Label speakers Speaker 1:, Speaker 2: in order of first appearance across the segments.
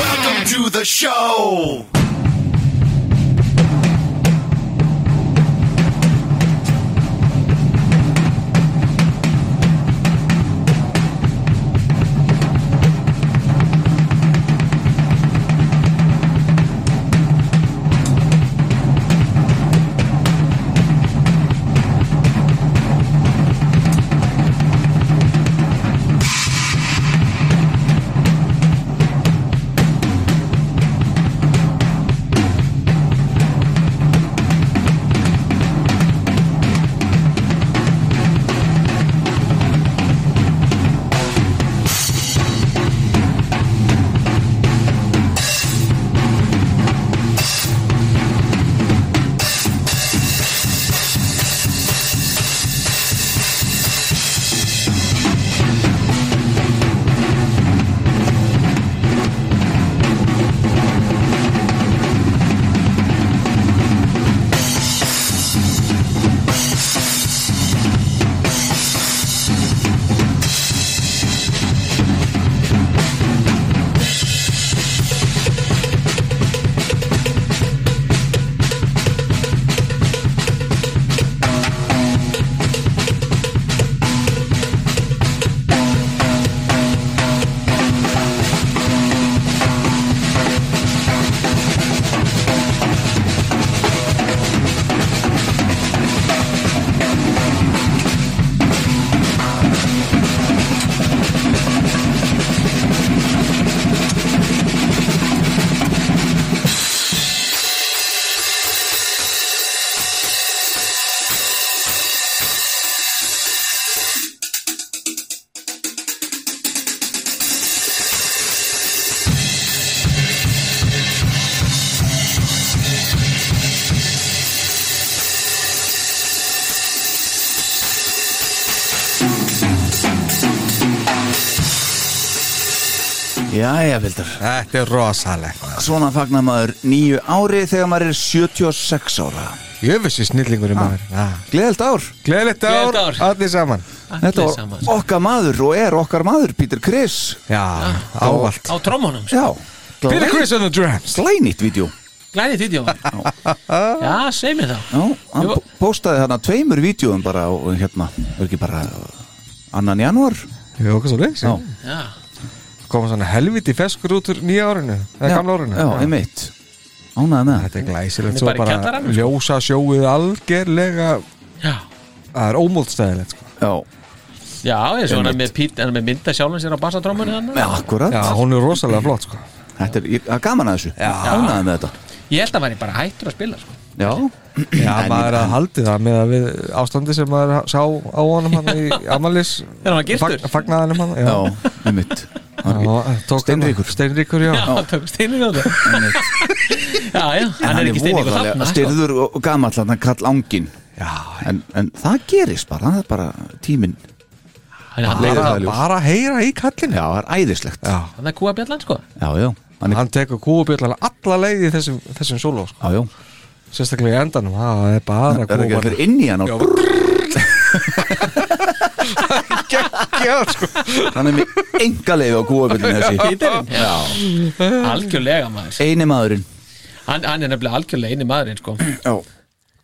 Speaker 1: Welcome to the show.
Speaker 2: Jæja, Vildur
Speaker 3: Þetta er rosalegt
Speaker 2: Svona fagnar maður nýju ári þegar maður er 76 ára
Speaker 3: Jöfessi snillingur í maður ah.
Speaker 2: Gleðilt ár
Speaker 3: Gleðilegt ár,
Speaker 4: Gleðilegt ár.
Speaker 3: allir saman
Speaker 2: Þetta var
Speaker 4: saman.
Speaker 2: okkar maður og er okkar maður Pítur Kris
Speaker 3: Já, ávallt
Speaker 4: á trómunum
Speaker 2: Já
Speaker 3: Peter Chris on the drums
Speaker 2: Slænýtt vídeo
Speaker 4: glæðið vídeo já, segi mér þá
Speaker 2: Já, hann
Speaker 4: Ég var-
Speaker 2: pó- postaði þarna tveimur vídeoum bara og og hérna, er ekki bara annan januar
Speaker 3: Jó, hvað svo leiks
Speaker 2: Já,
Speaker 4: já,
Speaker 3: Koma svona helviti feskur út úr nýja árinu Eða
Speaker 2: Já,
Speaker 3: gamla árinu
Speaker 2: Já, einmitt Ánæði með það
Speaker 3: Þetta er
Speaker 4: Hann er
Speaker 3: glæsilegt Svo
Speaker 4: bara í
Speaker 3: bara
Speaker 4: kjallaranum, sko.
Speaker 3: ljósa sjóið algerlega
Speaker 4: já
Speaker 3: Það er ómóldstæðilegt sko.
Speaker 2: Já,
Speaker 4: já, ég svo hann er með, pít, hann er með mynda sjálfum sér á bassatrómunni hann
Speaker 2: með akkurat
Speaker 3: Já, hún er rosalega flott sko.
Speaker 2: Þetta er ég- það er gaman að þessu Ánæði með þetta
Speaker 4: ég held að væri bara hættur að spila sko.
Speaker 2: Já,
Speaker 3: Já,
Speaker 2: En-
Speaker 3: maður er að haldi það með að við ástandi sem maður sá á honum hann í Amalis
Speaker 4: Þegar hann var giftur.
Speaker 3: Fagnaðanum hann
Speaker 2: já, einmitt Steinríkur.
Speaker 3: Steinríkur, já,
Speaker 4: já, hann tók steinir á það já, já, hann er ekki steinir á
Speaker 2: voðalega
Speaker 4: þarna sko.
Speaker 2: Styrður og og gamall hann kall ángin
Speaker 3: já
Speaker 2: en, en það gerist bara, það er bara tíminn
Speaker 4: hann er- hann er-
Speaker 2: Leiðir
Speaker 3: bara,
Speaker 2: það í ljós.
Speaker 3: bara heyra í kallinu
Speaker 2: Já, það er æðislegt Já,
Speaker 3: Já.
Speaker 4: hann er kúabjallan sko
Speaker 2: já, já hann er,
Speaker 3: hann tekur kúabjöllana alla leið í þessum, þessum sóló sko.
Speaker 2: já, já
Speaker 3: sérstaklega í endanum, það er bara
Speaker 2: Er það ekki
Speaker 3: kúabjöllana
Speaker 2: allir inn í hann og
Speaker 3: já, sko.
Speaker 2: hann er með enga leið á kúabillin þessi
Speaker 4: Píturinn, já, algjörlega maður
Speaker 2: Eini maðurinn
Speaker 4: hann, hann er nefnilega algjörlega eini maðurinn sko.
Speaker 2: Já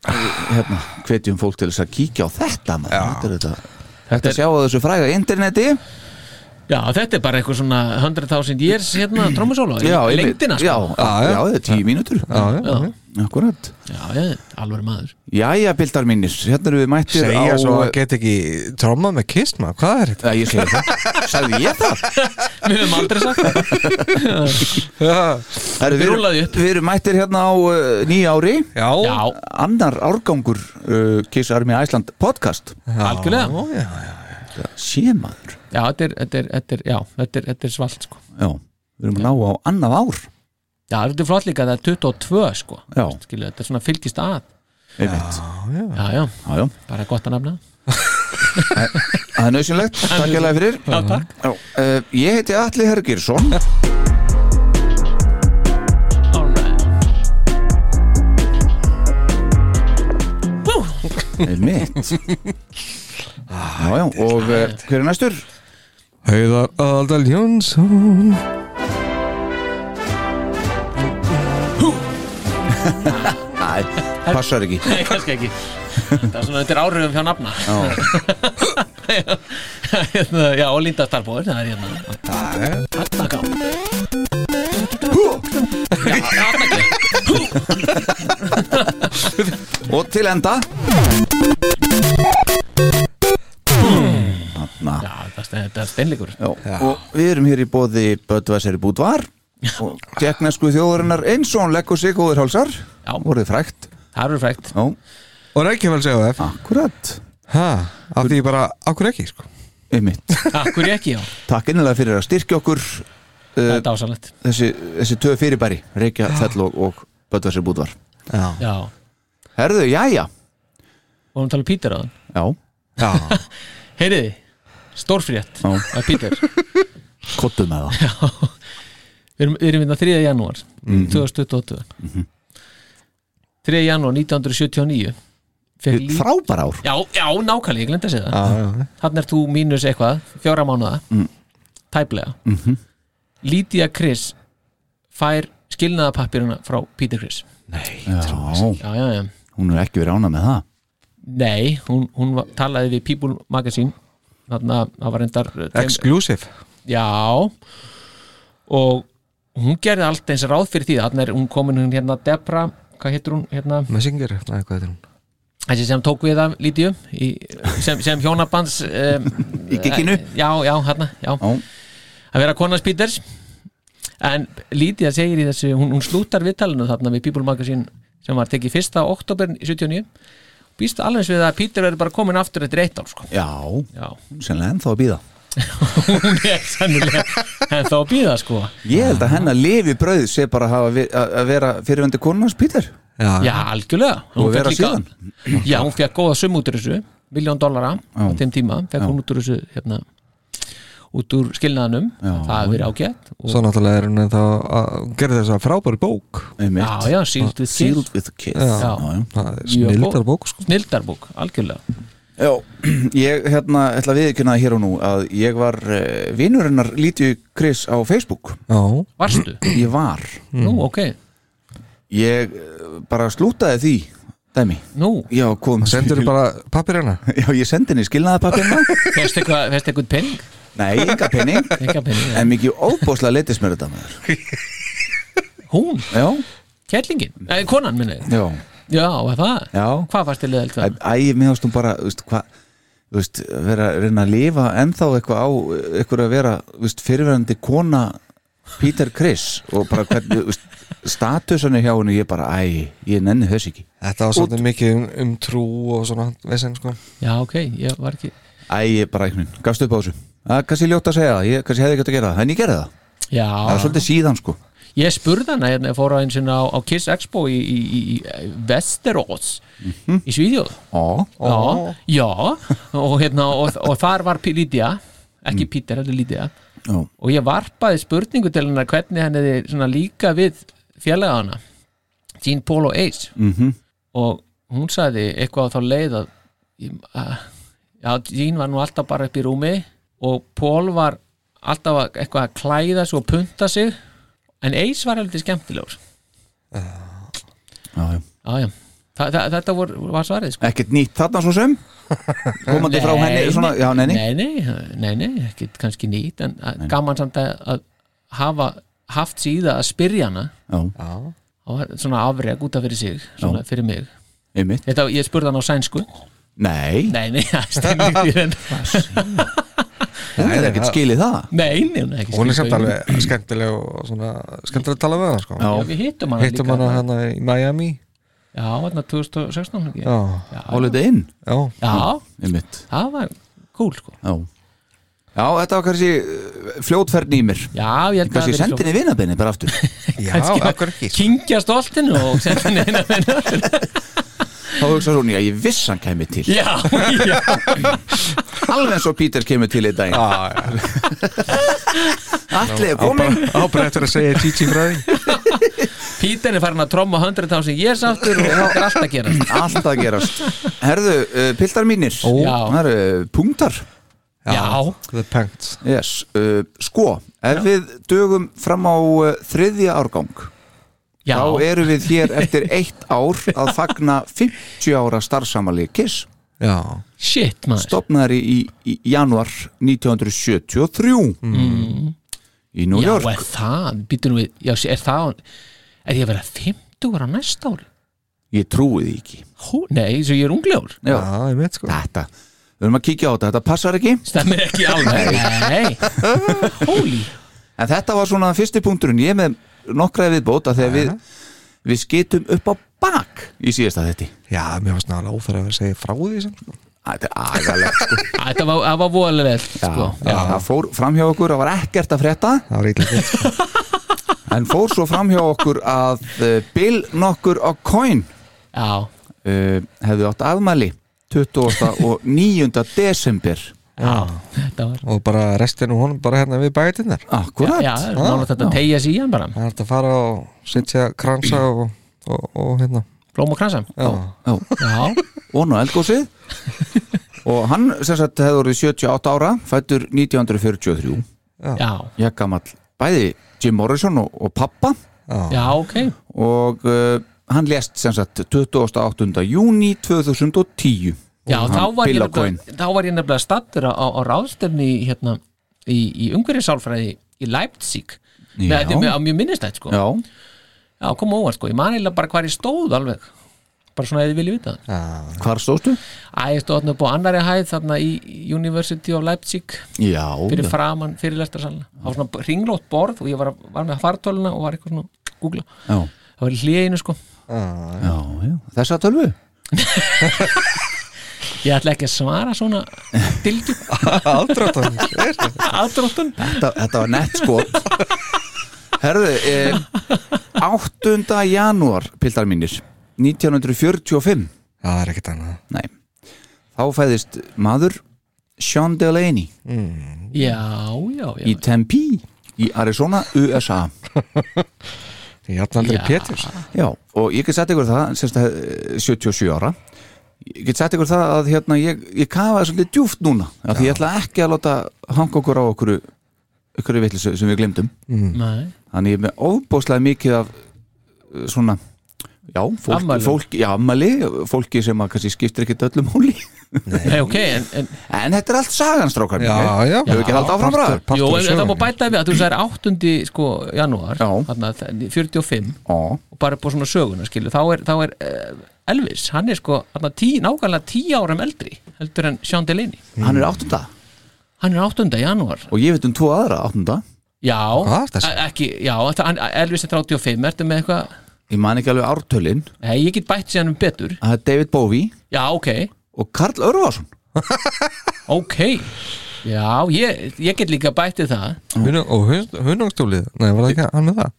Speaker 2: Hérna, hvetjum fólk til þess að kíkja á þetta maður Þetta er þetta Þetta sjá á þessu fræga interneti
Speaker 4: Já, þetta er bara eitthvað svona 100.000 years hérna trómusóla í
Speaker 2: Já,
Speaker 4: í
Speaker 2: einmitt.
Speaker 4: lengdina
Speaker 2: Já,
Speaker 4: sko.
Speaker 2: já,
Speaker 3: já.
Speaker 2: já, þetta er tíu mínútur
Speaker 3: já, já.
Speaker 2: Akkurat
Speaker 4: já, já, alveg maður
Speaker 2: Jæja, bildar mínir, hérna erum við mættir á...
Speaker 3: segja svo að get ekki tromma með kist maður, hvað er þetta?
Speaker 2: Æ, ég segi það, sagði ég það
Speaker 4: Við höfum aldrei sagt það
Speaker 3: Já,
Speaker 2: Herru, við, erum,
Speaker 4: Rúllaði upp.
Speaker 2: við erum mættir hérna á uh, nýja ári
Speaker 4: Já,
Speaker 3: já,
Speaker 2: Annar árgangur uh, Kiss Army Iceland podcast
Speaker 4: algjörlega
Speaker 3: já, já.
Speaker 2: Sémaður
Speaker 4: Já, þetta er, þetta er, þetta er, já, þetta er, þetta er svalt sko
Speaker 2: Já, við erum að ná á annað ár
Speaker 4: Já, þetta er flott líka, það er 22 sko
Speaker 2: Já,
Speaker 4: Skilu, þetta er svona fylgist að
Speaker 2: einmitt
Speaker 4: Já, já,
Speaker 2: Já, já,
Speaker 4: bara gott að nefna
Speaker 2: það er nöðsynlegt, takk ég lega fyrir
Speaker 4: Já, takk
Speaker 2: Já, uh, ég heiti Atli Hergirsson Einmitt Já, já, og uh, hver er næstur?
Speaker 3: Heiðar Aldal Jónsson
Speaker 2: Æ, passar ekki
Speaker 4: Nei, kannski ekki Það er svona undir áhrifum hjá nafna Hérna, Já, og Linda Starbóður Það er hérna Þarna gá Já, þarna ekki.
Speaker 2: Og til enda Þarna
Speaker 4: Já, það stein- þetta er steinleikur
Speaker 2: Já. Og við erum hér í bóði Böðvæsari Búdvar og teknesku þjóðurinnar eins og hún leggur sig góður hálsar
Speaker 4: Já.
Speaker 2: voruð frækt
Speaker 4: Það eru frægt
Speaker 2: Já,
Speaker 3: og Reykjavík segja það
Speaker 2: akkurat
Speaker 3: af því ég bara, akkur ekki sko.
Speaker 2: Einmitt.
Speaker 4: Akkur ekki, já,
Speaker 2: Takk innilega fyrir að styrkja okkur
Speaker 4: það er dásalett
Speaker 2: þessi, þessi töð fyrirbæri Reykja, Þell og, og Böðvæsari Búdvar
Speaker 3: já,
Speaker 4: Já,
Speaker 2: Herðu, jæja
Speaker 4: og hún tala um Pítur á þann
Speaker 2: Já,
Speaker 3: já,
Speaker 4: Heyriði, stórfrétt
Speaker 2: Já.
Speaker 4: af Pítur
Speaker 2: kottum með það
Speaker 4: Við erum, við erum hérna 3. janúar 2022 3. janúar 1979 Fékk lí-
Speaker 2: Frábær ár
Speaker 4: Já, já, nákvæmlega, ég glemt að segja það
Speaker 3: já, já.
Speaker 4: Þannig er þú mínus eitthvað, fjóra mánuða Tæplega mm Lídia Chris fær skilnaðapappirina frá Peter Chris
Speaker 2: Já,
Speaker 4: Já, já, já
Speaker 2: hún er ekki verið ána með það
Speaker 4: Nei, hún, hún var, talaði við People Magazine Þannig að það var reyndar eh, tveim-
Speaker 3: exclusive
Speaker 4: Já og hún gerði allt eins ráð fyrir því þannig er hún komin hún hérna Debra hvað heitir hún hérna
Speaker 3: Messinger, nei, hvað heitir hún?
Speaker 4: þessi sem tók við af Lídiu í, sem, sem hjónabands um,
Speaker 2: Í gikkinu
Speaker 4: já, já, hérna, já
Speaker 2: Já.
Speaker 4: að vera konans Peters en Lídia segir í þessu hún, hún slútar viðtalinu þarna við People Magazine sem var tekið fyrsta oktober 79 býst alveg eins við að Peter verður bara komin aftur eftir eitt ár sko
Speaker 2: Já,
Speaker 4: já,
Speaker 2: hún er sennilega ennþá að býða
Speaker 4: hún er sannilega en þá býða sko
Speaker 2: Ég held að hennar lifi brauð sé bara að, hafa, ver- að að vera fyrirvendu konunars Pítur
Speaker 4: Já, algjörlega
Speaker 2: Og vera
Speaker 4: fékk líka-
Speaker 2: síðan.
Speaker 4: Já, hún fekk góða sum út úr þessu miljón dollara á þeim tíma fekk hún út úr þessu hérna, út úr skilnaðanum það hefur verið ágætt og,
Speaker 3: Svo náttúrulega er hún en þá gerði þess að frábæri bók
Speaker 2: Einmitt.
Speaker 4: Já, já, Sealed with
Speaker 2: Sealed with a kiss
Speaker 4: Já.
Speaker 2: já.
Speaker 3: Það er
Speaker 4: Mjög
Speaker 3: snildar
Speaker 4: góð.
Speaker 3: bók sko.
Speaker 4: Snilldarbók, algjörlega
Speaker 2: Já, ég hérna ætla að viðkynna það hér og nú að ég var uh, vinurinnar Lítiðu Chris á Facebook
Speaker 3: Já,
Speaker 4: Varstu?
Speaker 2: Ég var
Speaker 4: Nú, ok,
Speaker 2: Ég eh, bara slútaði því Dæmi
Speaker 4: nú
Speaker 2: Já, kom
Speaker 3: sendur bara pappir hérna
Speaker 2: Já, ég sendi henni skilnaðapapirna
Speaker 4: Fyrst eitthvað fyrst eitthvað penning?
Speaker 2: Nei, enga penning
Speaker 4: Enga penning, já.
Speaker 2: En mikið óbóðslega leittist mér þetta maður
Speaker 4: Hún,
Speaker 2: Já,
Speaker 4: kællingin, eh, konan minni
Speaker 2: já
Speaker 4: Já, var það?
Speaker 2: Já.
Speaker 4: Hvað varst til leðalt það?
Speaker 2: Æ, ég meðast hún bara, þú veist, hvað Þú veist, vera, reyna að lifa ennþá eitthvað á eitthvað að vera, þú veist, fyrirverandi kona Peter Criss og bara hvernig, þú veist, statusannu hjá henni, ég bara, æ, ég nenni þess ekki
Speaker 3: Þetta var svolítið mikið um, um trú og svona vesen sko
Speaker 4: Já, ok, ég var ekki
Speaker 2: Æ, ég bara einhvern veginn, gafst upp á þessu Það er kannski ljótt að segja það, ég kannski hefði ekki átt að gera það en ég gerði það, það
Speaker 4: Já,
Speaker 2: er svolítið síðan sko
Speaker 4: Ég spurði hana hérna, ég fór á einu sinna á, á Kiss Expo í, í, í, í Vesterås í Svíðjóð
Speaker 2: Ó,
Speaker 4: Já, já og, hérna, og, og þar var P- Lydia ekki Peter, heldur Lydia
Speaker 2: já,
Speaker 4: og ég varpaði spurningu til hennar hvernig henni þið svona líka við félagana Jean Paul og Ace
Speaker 2: mhm,
Speaker 4: og hún sagði eitthvað á þá leið að, ég- að já, Jean var nú alltaf bara upp í rúmi og Paul var alltaf að- eitthvað að klæða sig og punta sig en Ace var heldur skemmtilegur
Speaker 2: já, já
Speaker 4: já, já. Þa, þa, þetta vor, var svarið sko.
Speaker 2: Ekkert nýtt þarna svo sem komandi frá henni svona, já, nei, nei,
Speaker 4: nei, nei, nei, nei, ekki kannski nýtt en að, gaman samt að, að hafa haft síða að spyrja hana
Speaker 2: já,
Speaker 4: og var svona afreg út af fyrir sig svona fyrir mig
Speaker 2: einmitt
Speaker 4: Þetta, ég spurði hann á sænsku
Speaker 2: nei,
Speaker 4: Nei, nei, það stendur ekki fyrir en
Speaker 2: hún er ekkert skilið það
Speaker 4: Nei, nei, hún er ekki
Speaker 3: hún er
Speaker 4: skrifstofu.
Speaker 3: samt alveg skemmtileg og svona skemmtileg að tala við hana sko.
Speaker 2: Já.
Speaker 4: Já, við hittum hana
Speaker 3: hittum
Speaker 4: líka
Speaker 3: hana hana í Miami
Speaker 4: Já, hann 2016 ekki?
Speaker 3: já,
Speaker 4: já,
Speaker 2: hálfið inn,
Speaker 3: já,
Speaker 4: já,
Speaker 2: einmitt
Speaker 4: það var cool sko
Speaker 2: já, já þetta var kannski uh, fljótferðn í mér
Speaker 4: Já, ég held
Speaker 2: kannski
Speaker 4: hafi verið
Speaker 2: sendinni vinabenni bara aftur
Speaker 3: já,
Speaker 4: Kannski var-
Speaker 3: akkur ekki
Speaker 4: svo- Kyngja stoltinu og sendin eina minna
Speaker 2: þá hugsaði hún, já ég viss hann kæmi til
Speaker 4: Já, já,
Speaker 2: alveg eins og Píters kemur til í dag
Speaker 3: Já,
Speaker 2: allir er
Speaker 3: já,
Speaker 2: komin
Speaker 3: bara ábæðið eftir að segja Gigi frá því
Speaker 4: Pítan er farin að tromma 100.000 yes aftur og það er allt að gera
Speaker 2: allt að gerast herðu, uh, piltar mínir
Speaker 3: Ó.
Speaker 4: Já.
Speaker 2: það eru uh, punktar
Speaker 4: Já,
Speaker 3: The Panked
Speaker 2: yes. uh, sko, ef við dögum fram á uh, þriðja árgang
Speaker 4: já,
Speaker 2: þá eru við hér eftir eitt ár að fagna 50 ára starfsamali KISS
Speaker 3: Já,
Speaker 4: shit maður
Speaker 2: stopnaðari í, í januar 1973 í New
Speaker 4: Já,
Speaker 2: York
Speaker 4: er það, býtum við Já, sé- er það, er ég að vera 50 ára næsta ári?
Speaker 2: ég trúi því ekki
Speaker 4: Hú, nei, svo ég er unglegur
Speaker 2: Já.
Speaker 3: já, ég veit sko
Speaker 2: þetta, við erum að kíkja á þetta, þetta passar ekki
Speaker 4: Stemmir ekki alveg Nei, holy
Speaker 2: En þetta var svona fyrsti punkturinn Ég er með nokkra viðbóta þegar við, við skitum upp á bak í síðasta þetti
Speaker 3: Já, mér varst náttúrulega óþæra að segja frá því sem sko.
Speaker 2: Þetta er agalegt sko.
Speaker 4: Æ, Þetta var, það var voðalega sko.
Speaker 2: Já, Það fór framhjá okkur, það var ekkert að frétta
Speaker 3: Það var eitthvað fint sko.
Speaker 2: En fór svo framhjá okkur að uh, Bill nokkur og Coin
Speaker 4: já,
Speaker 2: uh, hefðu átt afmæli 20. og 9. desember
Speaker 4: já, þetta var
Speaker 3: Og bara restin og honum bara hérna við bætinnar
Speaker 2: Akkurat
Speaker 4: Já, það er nálega
Speaker 2: já.
Speaker 4: þetta að tegja sig í hann bara
Speaker 3: Það er hægt að fara og setja kransa og, og, og hérna
Speaker 4: Blóm og kransa
Speaker 3: Já,
Speaker 2: Já,
Speaker 4: Já,
Speaker 2: og nú eldgósið Og hann sem sagt hefur orðið 78 ára fættur 1943
Speaker 4: já,
Speaker 2: ég gamall bæði Jim Morrison og, og pappa
Speaker 4: já, ok
Speaker 2: og uh, hann lést sem sagt 28. júni 2010
Speaker 4: Já,
Speaker 2: Hann
Speaker 4: þá var ég
Speaker 2: Bill O'Coin.
Speaker 4: nefnilega, þá var ég nefnilega stattur á, á ráðstefni í, hérna, í, í ungarisálfræði í Leipzig með,
Speaker 2: Já.
Speaker 4: þetta er með, á mjög minnistætt sko
Speaker 2: Já,
Speaker 4: já kom óvart sko, ég man eða bara hvar ég stóð alveg bara svona eða vilja vita það
Speaker 2: hvar stóðstu?
Speaker 4: Æ, ég stóð þarna upp á annari hæð þarna í University of Leipzig
Speaker 2: Já,
Speaker 4: fyrir framann, fyrir lestarsalna það var svona ringlótt borð og ég var, að- var með fartöluna og var eitthvað svona að googla
Speaker 2: já,
Speaker 4: það var í hliðinu sko,
Speaker 2: já, já. þessa tölvu
Speaker 4: ég ætla ekki að svara svona dildu
Speaker 3: aldráttan
Speaker 4: aðdróttun
Speaker 2: þetta, þetta var nett skot Herðu, eh, 8. janúar pildar mínir, 1945
Speaker 3: Það er ekkert annað
Speaker 2: Nei, þá fæðist maður Sean Delaney
Speaker 4: já, já, já,
Speaker 2: í Tempe í Arizona, USA
Speaker 3: Ég hafði aldrei
Speaker 4: Já.
Speaker 3: Péturs
Speaker 2: Já, og ég get sagt ykkur það semst að eh, 77 ára ég get sagt ykkur það að hérna ég, ég kafaði svolítið djúft núna af því ég ætla ekki að láta hanga okkur á okkur ykkur vitlisu sem við glemdum
Speaker 4: Nei.
Speaker 2: þannig ég er með óbóðslega mikið af eh, svona já, fólk,
Speaker 4: Afmælum.
Speaker 2: fólk, já, ammali fólki sem að kannski skiptir ekkit öllum hóli
Speaker 4: Nei, ok, en, en,
Speaker 2: en þetta er allt saganstrákar
Speaker 3: Já, já
Speaker 2: hefur ekki haldið áfram ræður
Speaker 3: Partur
Speaker 4: jú,
Speaker 3: af
Speaker 4: en það má
Speaker 3: sögunni.
Speaker 4: bæta við að þú sagðir 8. Sko, janúar
Speaker 2: Já.
Speaker 4: þarna, þ- 45
Speaker 2: Ó,
Speaker 4: og bara upp á svona söguna skilu, þá er, þá er uh, Elvis, hann er sko þarna tí, nákvæmlega 10 árum eldri heldur en Sean Delaney
Speaker 2: hann er áttunda
Speaker 4: hann er 8. janúar
Speaker 2: og ég veit um tvo aðra áttunda
Speaker 4: Já,
Speaker 3: Hvað er þessi?
Speaker 4: e- ekki, já, þetta- hann- Elvis er 35 ertu með eitthvað,
Speaker 2: ég man ekki alveg ártölin
Speaker 4: nei, ég get bætt síðan um betur
Speaker 2: að það er David Bowie
Speaker 4: Já, ok,
Speaker 2: og Karl Örvarsson
Speaker 4: ok Já, ég, ég get líka bættið það
Speaker 3: Hunang- Og hunangstúlið Nei, var það ekki hann með það?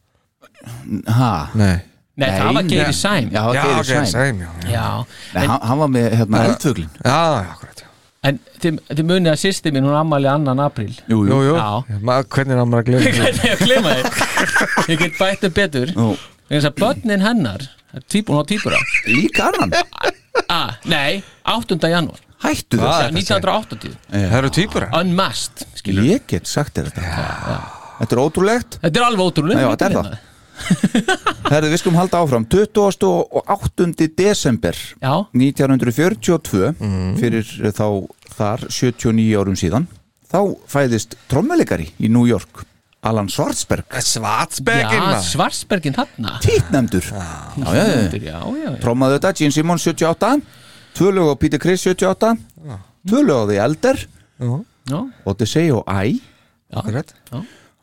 Speaker 2: Ha?
Speaker 3: Nei
Speaker 4: Nei, það var Geiri
Speaker 2: nei.
Speaker 4: Sæm
Speaker 2: Já,
Speaker 3: Já,
Speaker 2: Geiri
Speaker 3: ok,
Speaker 2: Sæm,
Speaker 3: sæm Já, já,
Speaker 4: Já.
Speaker 2: Nei, hann, hann var með hérna, eldfuglin
Speaker 3: já, akkurat já.
Speaker 4: En þið, þið munið að sýsti mín hún ammali annan april
Speaker 2: Jú,
Speaker 3: Jú, jú
Speaker 4: Já.
Speaker 3: Ma, Hvernig er hann maður að glemja því?
Speaker 4: Ég glema þið Ég get bættið betur
Speaker 2: Nú,
Speaker 4: Þegar þess að börnin hennar það er tvíbur, hún á tvíbura
Speaker 2: Líka annan,
Speaker 4: ah, Nei, 8. janúar
Speaker 2: hættu
Speaker 3: Hvað
Speaker 2: þess
Speaker 3: er þetta að
Speaker 4: 1980
Speaker 3: segja? Það eru týpur
Speaker 4: Unmasked skilur.
Speaker 2: Ég get sagt þér þetta Þetta er ótrúlegt
Speaker 4: Þetta er alveg ótrúlega
Speaker 2: Já, þetta er það. Herðu, við skulum halda áfram 28. desember
Speaker 4: já,
Speaker 2: 1942 fyrir þá þar 79 árum síðan þá fæðist trommuleikari í New York Alan Schwarzberg
Speaker 3: Svartsbergin
Speaker 4: já
Speaker 3: maður.
Speaker 4: Svarsbergin þarna
Speaker 2: títnefndur já, já, já.
Speaker 4: já, já, já.
Speaker 2: trommaði þetta Gene Simmons 78 tvö lög á Peter Criss 78 tvö lög á The Elder
Speaker 4: já.
Speaker 2: Odyssey og I
Speaker 3: Akkurat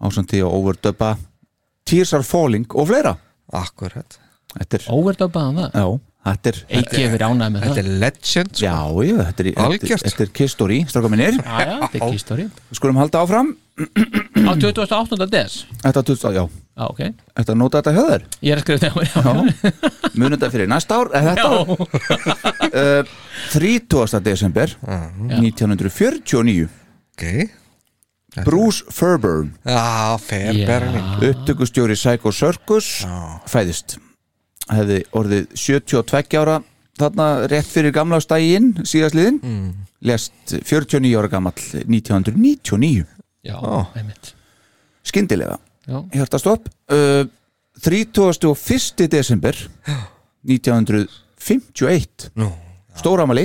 Speaker 2: ásandi og overdubba Tears Are Falling og fleira
Speaker 3: Akkurat
Speaker 2: Þetta er,
Speaker 4: Óverdabaðan það
Speaker 2: já, þetta er
Speaker 4: Eiki hefur ánægð með
Speaker 3: Þetta
Speaker 4: það
Speaker 3: er legend sko.
Speaker 2: Já, já, þetta er, þetta er,
Speaker 3: Algjört.
Speaker 2: þetta er kistori, stráka minnir
Speaker 4: Já, já, þetta er kistóri
Speaker 2: Skulum halda áfram
Speaker 4: Á 28. des
Speaker 2: Þetta, tutsa- já,
Speaker 4: Já, ok
Speaker 2: þetta nota þetta hjá þér
Speaker 4: Ég er að skrifa þetta já.
Speaker 2: Já, munum þetta fyrir næsta ár eða þetta ár
Speaker 4: Já,
Speaker 2: 30. desember 1949
Speaker 3: Ok
Speaker 2: Bruce Fairburn,
Speaker 3: Já, ferberning
Speaker 2: upptökustjóri Psycho Circus fæðist hefði orðið 72 ára þarna rétt fyrir gamla stægin síðastliðin, mm. lest 49 ára gamall 1999
Speaker 4: já, einmitt
Speaker 2: skyndilega,
Speaker 4: Já,
Speaker 2: hjartastopp uh, 31. desember 1951
Speaker 3: Nú
Speaker 2: stóramali,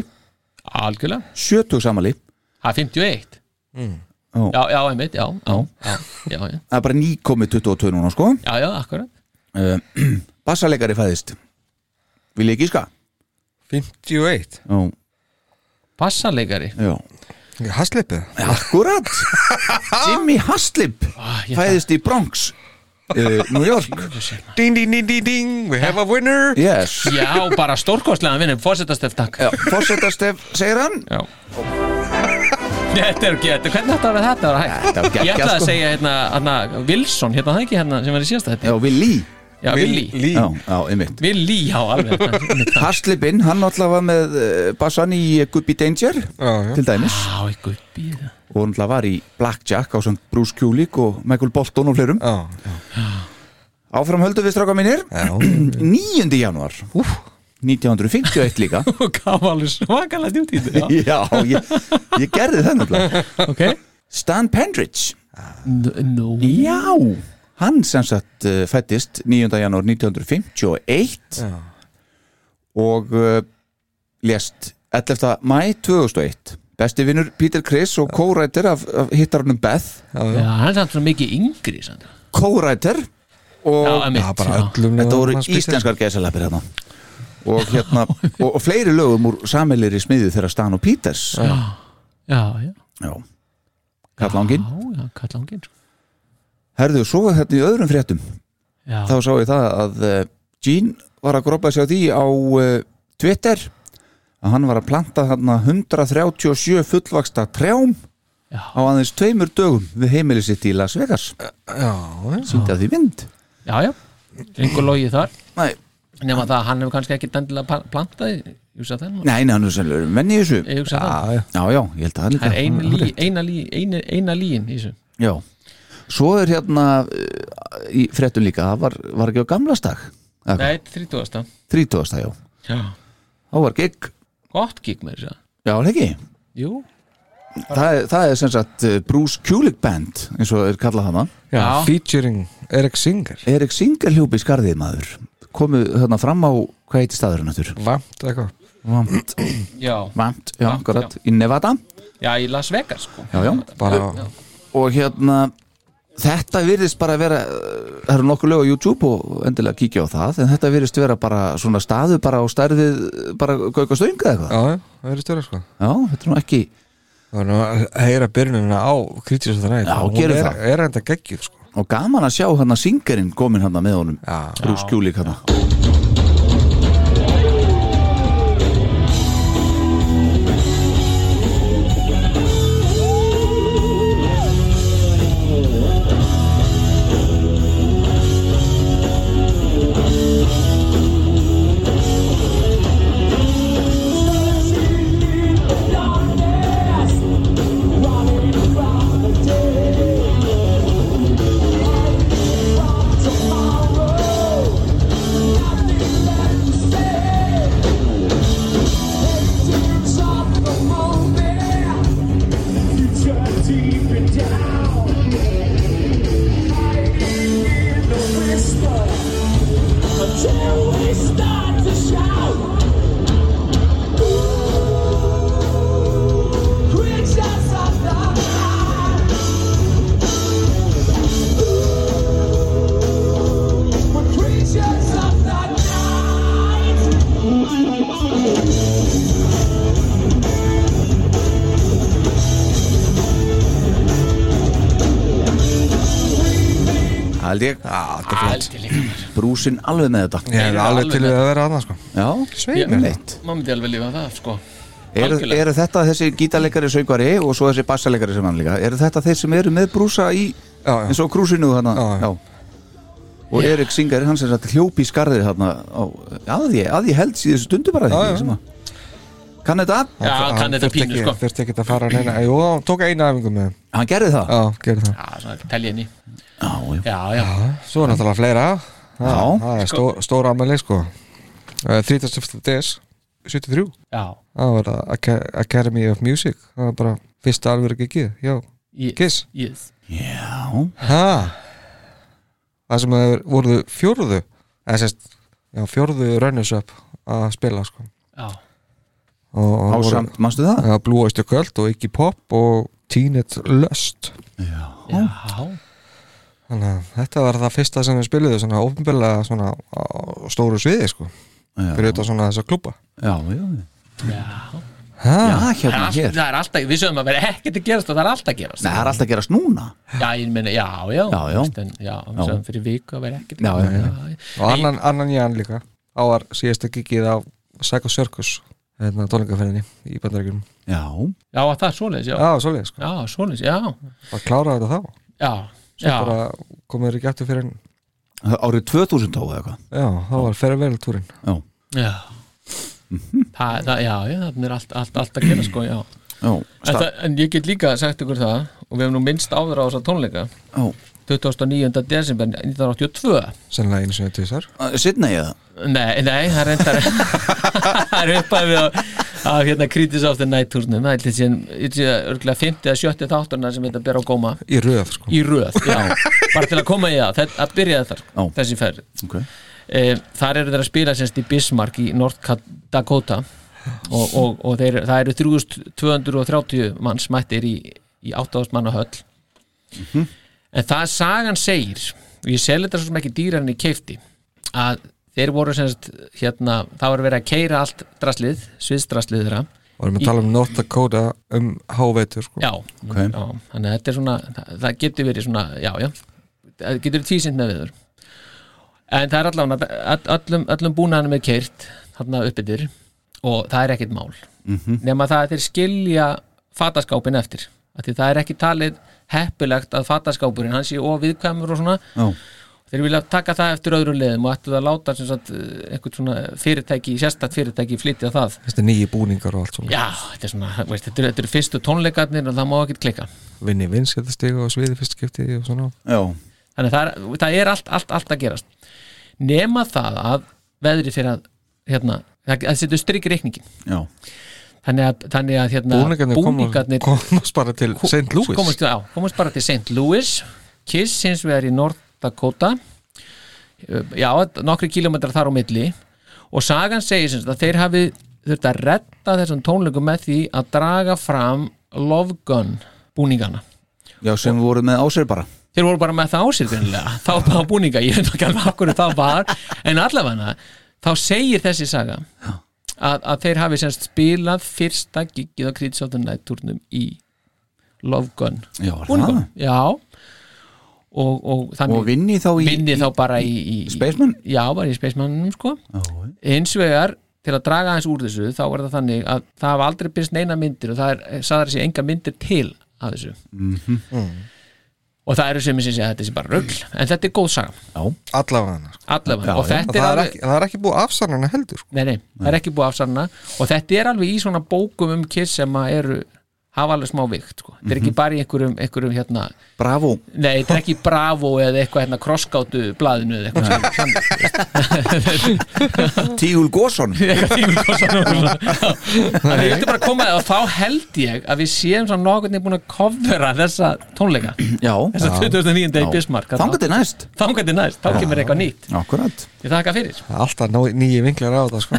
Speaker 4: algjörlega
Speaker 2: 70 samali
Speaker 4: Það er 51
Speaker 2: Ó.
Speaker 4: Já, já, einmitt, já Já, já, já, já,
Speaker 2: það er bara nýkomið 22 núna sko
Speaker 4: já, já akkurat
Speaker 2: Bassalegari fæðist Vil ég gíska?
Speaker 3: 51
Speaker 2: Já,
Speaker 4: Passarleikari
Speaker 2: já
Speaker 3: Hasleipið
Speaker 2: Akkurat Jimmy Haslip
Speaker 4: ah, ég-
Speaker 2: fæðist í Bronx uh, New York
Speaker 3: Ding, ding, ding, ding, ding We have a winner
Speaker 2: Yes
Speaker 4: Já, bara stórkostlega vinnum, fórsetast eftir takk
Speaker 2: Fossetastef segir hann
Speaker 4: Já Þetta er ekki, þetta- hvernig þetta var þetta var hægt
Speaker 2: Þetta var geggjað,
Speaker 4: Ég ætlaði að
Speaker 2: sko.
Speaker 4: segja hérna, hérna Wilson, hérna það ekki hérna sem var í síðasta þetta
Speaker 2: Já, Willi
Speaker 4: Já, Willi
Speaker 3: Lí
Speaker 2: Já, já, einmitt
Speaker 4: Willi, já, alveg einmitt.
Speaker 2: Haslipinn, hann alltaf var með uh, bassan í eh, Guppy Danger
Speaker 3: Já, já
Speaker 2: til dæmis
Speaker 4: Já, ykkur býða
Speaker 2: og hann alltaf var í Blackjack á samt Bruce Kulik og Michael Bolton og fleirum
Speaker 3: Já,
Speaker 2: Áfram höldum við stráka mínir
Speaker 3: já
Speaker 2: 9. januar 1951 líka
Speaker 4: Og gaf alveg svakalega djútt í þetta já.
Speaker 2: Já, ég, ég gerði það náttúrulega
Speaker 4: Ok
Speaker 2: Stan Pendridge
Speaker 4: Nú
Speaker 2: Já, hann sem sagt uh, fættist 9. janúar 1951 og uh, lést 11. mæ 2001 Besti vinnur Peter Criss og co-writer af, af hittarunum Beth
Speaker 4: Já, hann er samt svona mikið yngri samt.
Speaker 2: co-writer og
Speaker 4: Já, einmitt
Speaker 3: Það bara öllum
Speaker 2: þetta voru
Speaker 3: hans býsir.
Speaker 2: íslenskar gæsalapir hérna og hérna og, og fleiri lögum úr samilir í smiði þegar Stan og Peters Já,
Speaker 4: Já, já
Speaker 2: Já. Karl Langin
Speaker 4: Já, já, sko. kall langin
Speaker 2: Herðu, svo hérna í öðrum fréttum
Speaker 4: Já,
Speaker 2: þá sá ég það að eh, Gene var að grópa sig á því á eh, Twitter að hann var að planta þarna 137 fullvaksta trjám
Speaker 4: Já.
Speaker 2: á aðeins tveimur dögum við heimili sitt í Las Vegas síndi að því vind
Speaker 4: já, já Engur logið þar
Speaker 2: Nei,
Speaker 4: Nefna það að hann hefur kannski ekki dendilega plantaði Ég hugsa það nú
Speaker 2: nei, nei hann er sennilega menni í þessu
Speaker 4: Ég hugsa það
Speaker 3: Já, já
Speaker 2: Já, já, ég held að það líka
Speaker 4: Það er eina,
Speaker 2: Hann-
Speaker 4: lí, eina, lí, eina, eina líin í þessu
Speaker 2: Já, svo er hérna eh, í fréttum líka, það var, var ekki á gamlastag
Speaker 4: Nei, 30.
Speaker 2: 30. já,
Speaker 4: Já
Speaker 2: þá var gig
Speaker 4: Gott gig með þessu
Speaker 2: Já, er það ekki
Speaker 4: Jú
Speaker 2: það, er- það er sem sagt eh, Bruce Kulik Band eins og er kallað hana
Speaker 4: Já.
Speaker 3: Featuring Erik Singer
Speaker 2: Erik Singer hljópi í skarðið maður komu þarna fram á hvað heitir staðurinn aftur?
Speaker 3: Vamt eitthvað
Speaker 2: Vamt,
Speaker 4: Já
Speaker 2: vamt, já,
Speaker 4: Vamt,
Speaker 2: akkurat í Nevada
Speaker 4: Já, í Las Vegas sko
Speaker 2: já, já.
Speaker 3: Bara
Speaker 2: og hérna þetta virðist bara vera uh, það eru nokkuð lög á YouTube og endilega kíkja á það en þetta virðist vera bara svona staðu bara á stærðið uh, bara gauka stönga eitthvað já.
Speaker 3: Já, já, það eru störa sko
Speaker 2: þetta er nú ekki
Speaker 3: Það var nú að heyra byrjunina á Critics of the Night
Speaker 2: Já,
Speaker 3: Hún
Speaker 2: gerum
Speaker 3: er,
Speaker 2: það.
Speaker 3: Er enda geggjuð sko
Speaker 2: og gaman að sjá hérna hann að syngerinn komin hann hérna með honum
Speaker 3: Já.
Speaker 2: Bruce hérna. Kulik hann
Speaker 5: Thank
Speaker 2: held ég
Speaker 3: þetta er flott
Speaker 4: Aldrei líka mér
Speaker 2: brúsin alveg með þetta
Speaker 3: Ég er
Speaker 4: Þeir eru
Speaker 3: alveg
Speaker 4: alveg
Speaker 3: til við að vera annað sko
Speaker 2: Já,
Speaker 3: Svei mér.
Speaker 2: einmitt
Speaker 4: Má myndi alveg lifa það, sko
Speaker 2: eru,
Speaker 4: Algjörlega.
Speaker 2: eru þetta þessi gítarleikari sögvari og svo þessi bassaleikari sem hann líka eru þetta þeir sem eru með brúsa í
Speaker 3: Já, já.
Speaker 2: eins og krúsinu þarna
Speaker 3: Já, já.
Speaker 2: og Erik Singer hann sem sagt hljópi í skarðir þarna á, að, ég, að ég held síðan stundu bara
Speaker 3: Já, já.
Speaker 2: því kann þetta,
Speaker 4: Já,
Speaker 3: Hann
Speaker 4: kann þetta
Speaker 3: þurfti
Speaker 4: pínu,
Speaker 3: ekki-
Speaker 4: sko.
Speaker 3: Þurfti ekki að fara neina Jú, hann tók eina æfingu með þeim.
Speaker 2: hann gerði það
Speaker 3: Já, gerði það
Speaker 4: Já, svona telja henni
Speaker 2: já, já.
Speaker 4: Já, já,
Speaker 3: Svo er náttúrulega fleira Já,
Speaker 2: Já.
Speaker 3: Það er stór, stór ammæli sko Eh, 31. des 73
Speaker 4: já
Speaker 3: Það var það Aca- Academy of Music Það var bara fyrsta alveg gigið Já,
Speaker 4: Ég-
Speaker 3: Kiss
Speaker 4: Yes.
Speaker 3: Ha Það sem þeir voruðu fjórðu eða sérst, já, fjórðu runners up að spila sko
Speaker 4: Já,
Speaker 3: og, og voru-
Speaker 2: ásamt, manstu það?
Speaker 3: Já, Blue Oyster Cult og Iggy Pop og Teenage Lust
Speaker 4: já
Speaker 3: Þannig að þetta var það fyrsta sem við spiluðu svona ofnbjörlega svona á stóru sviði sko
Speaker 2: Já.
Speaker 3: fyrir þetta svona þessa klúpa
Speaker 2: já, já, já,
Speaker 3: Já,
Speaker 2: hérna
Speaker 4: Það
Speaker 2: hér
Speaker 4: það er alltaf, við sögum að vera ekkert að gerast og það er alltaf að gerast
Speaker 2: Nei, það er alltaf að gerast núna
Speaker 4: Já, ég meina, já, já
Speaker 2: Já, já.
Speaker 4: veist, en, já við
Speaker 2: Já.
Speaker 4: sögum fyrir viku að vera ekkert
Speaker 2: Já, já, já.
Speaker 3: og annan, annan Jan líka á var síðasta gigið á Psycho Circus hérna tónleikaferðinni í bandarækjum
Speaker 2: Já,
Speaker 4: Já, það er svoleiðis, já
Speaker 3: Já, svolítið sko,
Speaker 4: Já, svoleiðis, já
Speaker 3: bara kláraði þetta þá
Speaker 4: Já,
Speaker 3: Svo
Speaker 4: já,
Speaker 3: bara komið þér ekki aftur fyrir en
Speaker 2: árið 2000 þá eða eitthvað
Speaker 3: Já, það var ferðarvel túrin
Speaker 2: Já,
Speaker 4: já Það, það, já, já, það er allt, allt, allt að gera sko, já
Speaker 2: já,
Speaker 4: en,
Speaker 2: stað
Speaker 4: það, en ég get líka sagt ykkur það og við hefum nú minnst áður á þessa tónleika
Speaker 2: Já,
Speaker 4: 29. desember 1982
Speaker 3: Sennilega einu sinni til þessar
Speaker 2: Sidney eða?
Speaker 4: Nei, nei, það er reyndar það er upphæfið á, á hérna Kritis of the Night túrnum það er til síðan, örgulega 50 eða 70 þátturna sem þetta ber á góma
Speaker 3: Í röð sko
Speaker 4: í röð, já, bara til að koma í það þetta- að byrja þar,
Speaker 2: Já.
Speaker 4: þessi ferð
Speaker 2: Ok
Speaker 4: e, þar eru þeir að spila semst í Bismarck í North Ka- Dakota og, og, og þeir, það eru 3230 manns mættir í, í 8000 manna höll en það sagan segir og ég sel þetta svo sem ekki dýrar en ég keifti að þeir voru semst hérna, það var verið að keira allt draslið, sviðstraslið þeirra
Speaker 3: Varum að tala um North Dakota um hávetur sko
Speaker 4: já, já, þannig að þetta er svona það, það getur verið svona, já, já það getur verið tvísind með viður en það er allan að öllum, öllum búnaðanum er keirt þarna uppbyttir og það er ekkit mál nema það að þeir skilja fataskápin eftir að því það er ekki talið heppilegt að fataskápurinn hans sé óviðkvæmur og svona
Speaker 2: Já,
Speaker 4: þeir vilja taka það eftir öðrum leiðum og ættu það að láta sem sagt eh, eitthvað svona fyrirtæki, sérstætt fyrirtæki flytja það
Speaker 3: Þetta er nýji búningar og allt svona
Speaker 4: Já, þetta er svona, veist, þetta, eru, þetta eru fyrstu tónleikarnir og það má ekki klika
Speaker 3: Vinni vinskjöldastiga og sviði fyrst skiptið og svona
Speaker 2: já,
Speaker 4: Þannig að það er, það er allt, allt, allt að gerast Nema það að veðri fyrir að hérna, það, það setur strikk í reikningin
Speaker 2: já
Speaker 4: Þannig að, þannig að hérna,
Speaker 3: Búningarnir,
Speaker 4: búningarnir
Speaker 3: komast, komast bara til St. Louis
Speaker 4: komast, á, komast bara til St. Louis Kiss hins vegar í North Dakota Eh, Já, nokkri kílómetrar þar á milli og sagan segir sem sagt að þeir hafi þurft að retta þessum tónleikum með því að draga fram Love Gun búningana
Speaker 2: Já, sem við vorum með á sér bara
Speaker 4: þeir voru bara með það á sér greinilega þá bara búninga, ég veit nú ekki alveg okkur það var, en allavega þá segir þessi saga að, að þeir hafi semst spilað fyrsta giggið á Creeds of the Night turnum í Love Gun
Speaker 2: Já, er
Speaker 4: búningum, já og, og
Speaker 2: það
Speaker 4: þannig
Speaker 2: Og vinni þá í
Speaker 4: vinni þá bara í, í, í
Speaker 2: Spaceman?
Speaker 4: já, bara í Spacemanum sko
Speaker 2: Já,
Speaker 4: hins vegar til að draga aðeins úr þessu þá er það þannig að það hafa aldrei byrst neina myndir og það er eh, sagðar þessi enga myndir til að þessu og það eru sem sem segja að þetta sé bara rugl en þetta er góð saga,
Speaker 3: Allavega hana sko
Speaker 2: Já,
Speaker 4: allavega og
Speaker 2: já.
Speaker 3: Og
Speaker 4: þetta er
Speaker 3: það er,
Speaker 4: alveg,
Speaker 3: ekki, það er ekki búið afsannana heldur sko.
Speaker 4: nei, nei, það er ekki búið afsanna og þetta er alveg í svona bókum um kiss sem að eru, hafa alveg smá vikt sko. þetta er ekki bara í einhverjum, einhverjum hérna,
Speaker 2: bravo
Speaker 4: nei, þetta er ekki í bravo eða eitthvað hérna krosskátu blaðinu eða eitthvað sem-
Speaker 2: Tíul Gósson
Speaker 4: eitthvað tímukossan og svona Þannig að ég vildi bara koma að þá held ég að við séum svona nokkurni búin að kofvera þessa tónleika
Speaker 2: Já,
Speaker 4: þessa 2009.
Speaker 2: Já.
Speaker 4: í Bismarck
Speaker 2: Þangað til næst
Speaker 4: Þangað til næst, þá kemur eitthvað nýtt
Speaker 2: Akkurat
Speaker 4: Ég þakka fyrir
Speaker 3: Það er Alltaf ná- nýji vinklar á þetta sko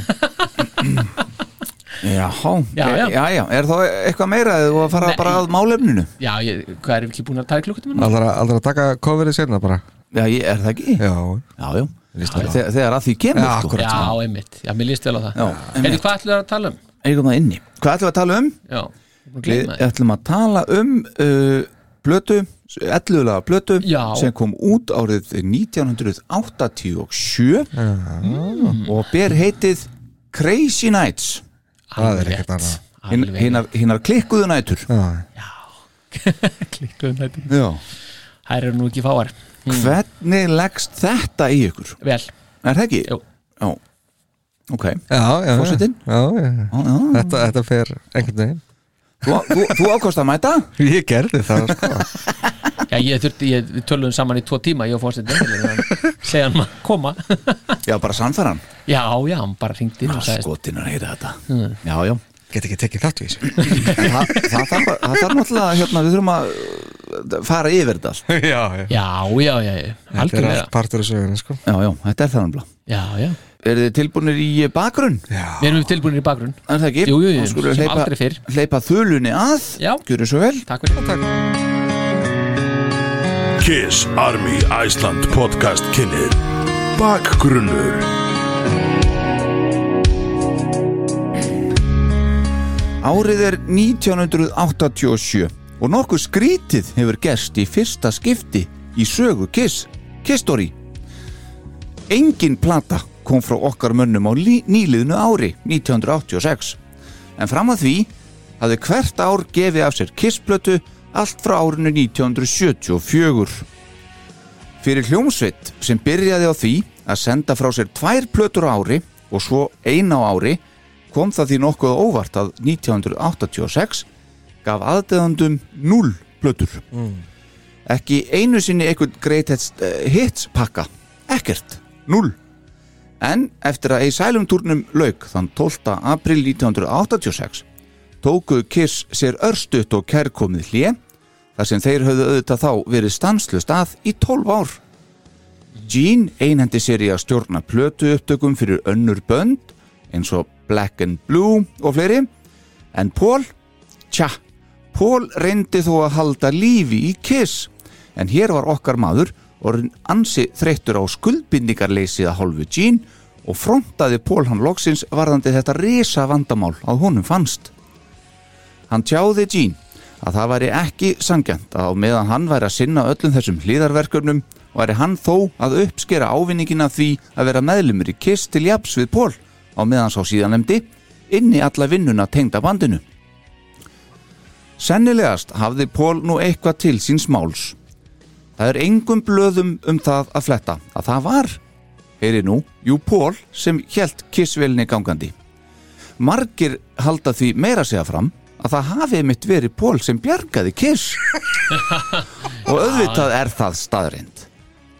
Speaker 2: Já,
Speaker 4: Já, já.
Speaker 2: já, já. Er þá eitthvað meira eða þú að fara
Speaker 4: Nei.
Speaker 2: bara að málefninu?
Speaker 4: Já, ég, hvað erum við ekki búin að taka klukkutum?
Speaker 3: Aldrei aldrei að taka coverið sérna bara
Speaker 2: Já, ég, er það ekki?
Speaker 3: Já,
Speaker 2: Já, já Þegar, þegar að því kemur sko.
Speaker 3: Já, akkurat.
Speaker 4: Já, einmitt, já, mér líst vel á það
Speaker 2: Já,
Speaker 4: Eða
Speaker 2: einmitt.
Speaker 4: hvað ætlum við að tala um?
Speaker 2: Eigum það inni Hvað ætlum við að tala um?
Speaker 4: Já, ég er búin að
Speaker 2: Við
Speaker 4: gleyma því.
Speaker 2: ætlum að tala um uh, plötu 11 laga plötu
Speaker 4: Já.
Speaker 2: sem kom út árið 1987 og ber heitið Crazy Nights
Speaker 3: Það er
Speaker 4: Alveg
Speaker 3: ekkert
Speaker 4: rétt.
Speaker 3: annað.
Speaker 2: hin-
Speaker 4: Alveg
Speaker 2: hinar hinar klikkuðu nætur
Speaker 3: Já,
Speaker 4: Klikkuðum þetta.
Speaker 2: Já.
Speaker 4: um Þær eru nú ekki fáar
Speaker 2: hvernig leggst þetta í ykkur?
Speaker 4: Vel,
Speaker 2: Er það ekki?
Speaker 4: Jú.
Speaker 2: Já. Ok,
Speaker 3: já, já, já.
Speaker 2: Forsetinn?
Speaker 3: Já, já, já.
Speaker 2: Já, já.
Speaker 3: Þetta, þetta fer einhvern veginn
Speaker 2: þú, þú, þú ákvæmst að mæta?
Speaker 3: Ég gerði það sko.
Speaker 4: já ég þurfti, ég, við töluðum saman í tvo tíma Ég fórst þetta Segja hann að koma
Speaker 2: Já, bara sannfæran
Speaker 4: Já, já, hann bara Hmm. hringdi inn og sagði
Speaker 2: Skotinar heita þetta Já, já
Speaker 3: Get ekki tekið þátt í þessu
Speaker 2: En það, það, þarf, að- það þarf náttúrulega, hérna, við þurfum að uh, fara yfir þetta allt.
Speaker 3: Já, já
Speaker 4: Já, já, já, já,
Speaker 3: Þetta er
Speaker 4: algjörlega
Speaker 3: allt partur af söguna sko.
Speaker 2: Já, já, þetta er það náttúrulega
Speaker 4: Já, já,
Speaker 2: Eru þið tilbúinir í bakgrunn?
Speaker 4: við erum tilbúinir í bakgrunn
Speaker 2: Er það ekki?
Speaker 4: Jú, jú, jú,
Speaker 2: Þá skulum við
Speaker 4: sem
Speaker 2: hleypa-
Speaker 4: aldrei fyrr.
Speaker 2: Hleypa þulunni að
Speaker 4: Já.
Speaker 2: Gjöru svo vel
Speaker 4: Takk fyrir
Speaker 1: Kiss Army Iceland podcast kynir Bakgrunnur
Speaker 2: Árið er 1987 og nokkuð skrítið hefur gerst í fyrsta skipti í sögu Kiss, Kiss Story. Engin plata kom frá okkar mönnum á lí- nýliðnu ári 1986 en fram að því hafði hvert ár gefið af sér Kiss-plötu allt frá árinu 1974. Fyrir hljómsveit sem byrjaði á því að senda frá sér tvær plötur á ári og svo eina á ári kom það því nokkuð á óvart að 1986 gaf aðdeðandum 0 plötur. Ekki einu sinni einhvern greatest eh, hits pakka. Ekkert. 0. En eftir að Asylum turnum lauk þann 12. april 1986 tóku Kiss sér örstutt og kærkomið hlje þar sem þeir höfðu auðvitað þá verið stanslust að í 12 ár. Gene einhendi sér í að stjórna plötu upptökum fyrir önnur bönd eins og Black and Blue og fleiri en Paul, tja, Paul reyndi þó að halda lífi í Kiss en hér var okkar maður orðin ansi þreyttur á skuldbindingarleysið að hálfu Gene og frontaði Paul hann loksins varðandi þetta risa vandamál að honum fannst. Hann tjáði Jean að það væri ekki sangjant að á meðan hann væri að sinna öllum þessum hlýðarverkurnum væri hann þó að uppskera ávinningina því að vera meðlumur í kiss til jafs við Pól á meðan sá síðanemdi inni alla vinnuna tengda bandinu. Sennilegast hafði Pól nú eitthvað til síns máls. Það er engum blöðum um það að fletta að það var, heyri nú, jú Pól sem hjælt kissvelinni gangandi margir halda því meira segja fram að það hafi mitt verið Pól sem bjargaði Kiss og auðvitað er það staðrind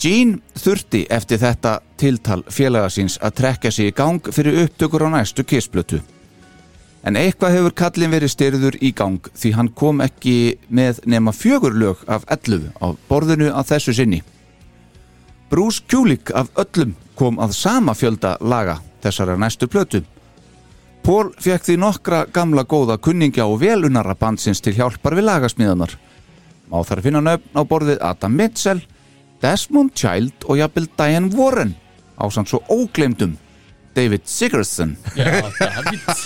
Speaker 2: Gene þurfti eftir þetta tiltal félaga síns að trekja sig í gang fyrir upptökur á næstu Kiss-plötu en eitthvað hefur kallin verið styrður í gang því hann kom ekki með nema fjögur lög af 11 á borðinu að þessu sinni Bruce Kulick af öllum kom að sama fjölda laga þessara næstu plötu Pól fekk því nokkra gamla góða kunningja og velunara bandsins til hjálpar við lagasmíðanar. Má þar finna nöfn á borðið Adam Mitchell, Desmond Child og jafnvel Diane Warren á samt svo óglemdum David Sigurðsson.
Speaker 4: Já,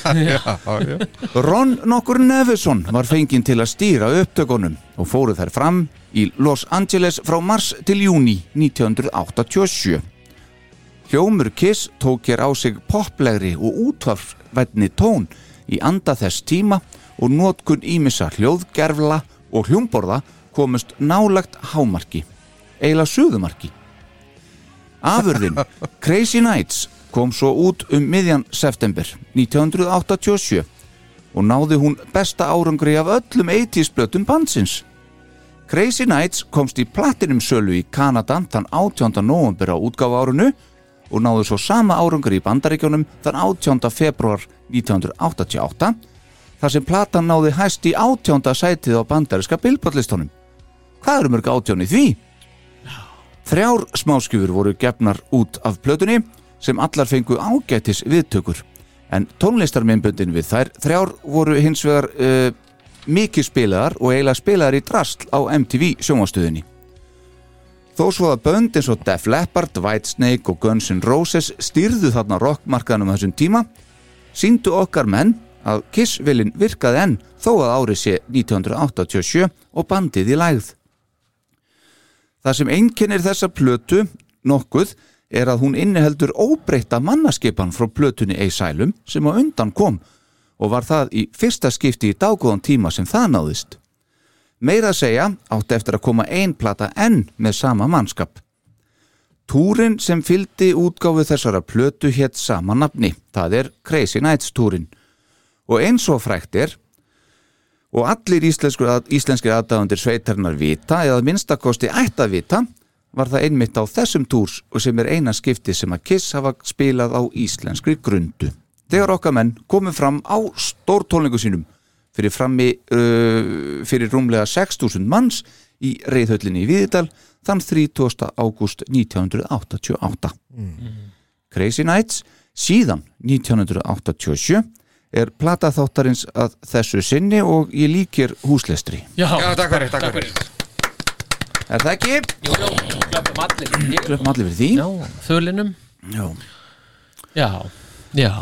Speaker 4: David
Speaker 2: Ron nokkur Nevison var fenginn til að stýra upptökunum og fóru þær fram í Los Angeles frá mars til júni 1987. Hljómur Kiss tók hér á sig poplegri og útvarfvætni tón í anda þess tíma og notkun ímissa hljóðgerfla og hljómborða komust nálagt hámarki, eiginlega suðumarki. Afurðin Crazy Nights kom svo út um miðjan september 1987 og náði hún besta árangri af öllum 80s blötum bandsins. Crazy Nights komst í platinum sölu í Kanada þann 18. november á útgáfa árunu og náði svo sama árangri í bandaríkjónum þann 18. februar 1988 þar sem platan náði hæst í 18. sætið á bandaríska billbóllistónum. Hvað eru mörg 18 í því? Þrjár smáskjöfur voru gefnar út af plötunni sem allar fengu ágætis viðtökur en tónlistarmyndböndin við þær þrjár voru hins vegar uh, mikið spilaðar og eiginlega spilaðar í drastl á MTV sjónvastöðinni. Þó svo að bönd eins og Def Leppard, Whitesnake og Guns N' Roses stýrðu þarna rockmarkaðanum á þessum tíma síndu okkar menn að Kiss-vilin virkaði enn þó að árið sé 1987 og bandið í lægð. Það sem einkennir þessa plötu nokkuð er að hún inniheldur óbreytta mannaskipan frá plötunni Eisælum sem á undan kom og var það í fyrsta skipti í dágóðan tíma sem það náðist. Meira að segja átti eftir að koma ein plata enn með sama mannskap. Túrin sem fylgdi útgáfu þessara plötu hétt sama nafni, það er Crazy Nights túrin. Og eins og frækt er, og allir íslenskur, íslenskir aðdáðundir sveitarnar vita, eða að minnstakosti ætt að vita, var það einmitt á þessum túrs og sem er eina skipti sem að Kiss hafa spilað á íslenskri grundu. Þegar okkar menn komu fram á stórtólningu sínum fyrir, frammi, uh, fyrir rúmlega 6.000 manns í reyðhöllinni í Viðdal þann 30. ágúst 1988. Crazy Nights síðan 1987 er plata þáttarins að þessu sinni og ég líkir húslestri.
Speaker 4: Já,
Speaker 3: Já, takk fyrir, takk fyrir.
Speaker 2: Er það ekki?
Speaker 4: Jú, jú, klöppum allir
Speaker 2: Klöfum allir fyrir því.
Speaker 4: Já, þölinum
Speaker 2: Já,
Speaker 4: Já, já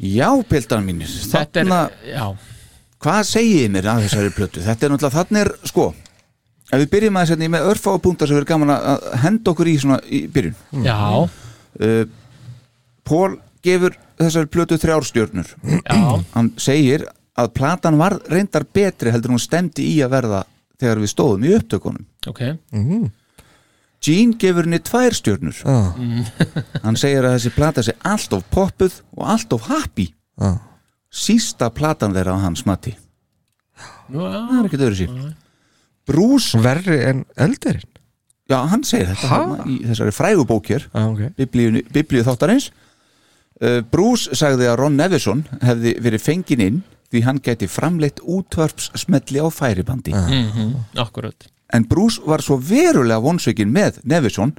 Speaker 2: já pildan mínir.
Speaker 4: Þetta er,
Speaker 2: Þarna,
Speaker 4: já,
Speaker 2: hvað segið þið mér að þessari plötu? Þetta er náttúrulega, þannig er, sko, ef við byrjum aðeins hérna í með örfá punktar sem við erum gaman að að henda okkur í svona í byrjun.
Speaker 3: Mm.
Speaker 4: já,
Speaker 2: Uh, Pól gefur þessari plötu þrjár stjörnur.
Speaker 4: já
Speaker 2: Hann segir að platan var reyndar betri heldur en hún stemdi í að verða þegar við stóðum í upptökunum.
Speaker 4: Ok,
Speaker 2: Gene gefur henni tvær stjörnur
Speaker 3: Já.
Speaker 2: hann segir að þessi plata sé alltof poppuð og alltof happy
Speaker 3: Já.
Speaker 2: sísta platan þeirra á hans mati
Speaker 4: nú, já,
Speaker 2: það er ekkert öðru sér Bruce,
Speaker 3: Verri en eldurinn
Speaker 2: já hann segir þetta
Speaker 3: Ha?
Speaker 2: hann, í þessari frægubókir
Speaker 4: Ah,
Speaker 3: Já, ok
Speaker 2: biblíu, biblíu þáttarins Uh, Bruce sagði að Ron Nevison hefði verið fengin inn því hann gæti framleitt útvarps smetli á færibandi
Speaker 4: akkurat
Speaker 2: en Bruce var svo verulega vonsökin með Nevison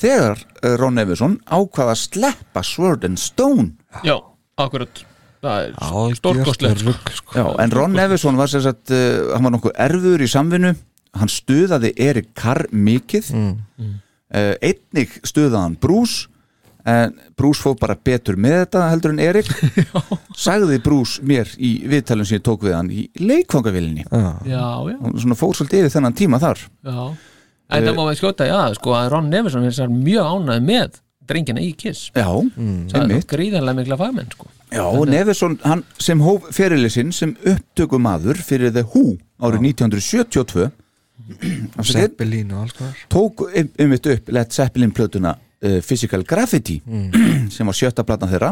Speaker 2: þegar uh, Ron Nevison ákvaða að sleppa Sword and Stone
Speaker 4: Já, akkurat Það er
Speaker 3: Algjört
Speaker 4: stórkostlegt
Speaker 3: rugl, sko.
Speaker 2: Já, en Ron Nevison var sem sagt uh, hann var nokkuð erfur í samvinnu hann stuðaði Erik Carr mikið Uh, einnig stuðaði hann Bruce en Bruce fóð bara betur með þetta heldur en Erik sagði Bruce mér í viðtalum sem ég tók við hann í leikfangavillinni
Speaker 4: Já, já,
Speaker 2: og svona fór svolítið yfir þennan tíma þar
Speaker 4: já En það má við skjóta, já, sko að Ron Nevison er sér mjög ánæði með drengina í Kiss
Speaker 2: Já,
Speaker 4: Það er
Speaker 2: einmitt
Speaker 4: gríðanlega mikla fagmenn, sko
Speaker 2: Já, og Nevison, hann sem hóf fyrirlisinn sem upptökumadur fyrir The Who árið 1972 Afsakið.
Speaker 3: Zeppelin og alls konar
Speaker 2: tók um- einmitt upp Led Zeppelin plötuna uh, Physical Graffiti sem var sjötta platan þeirra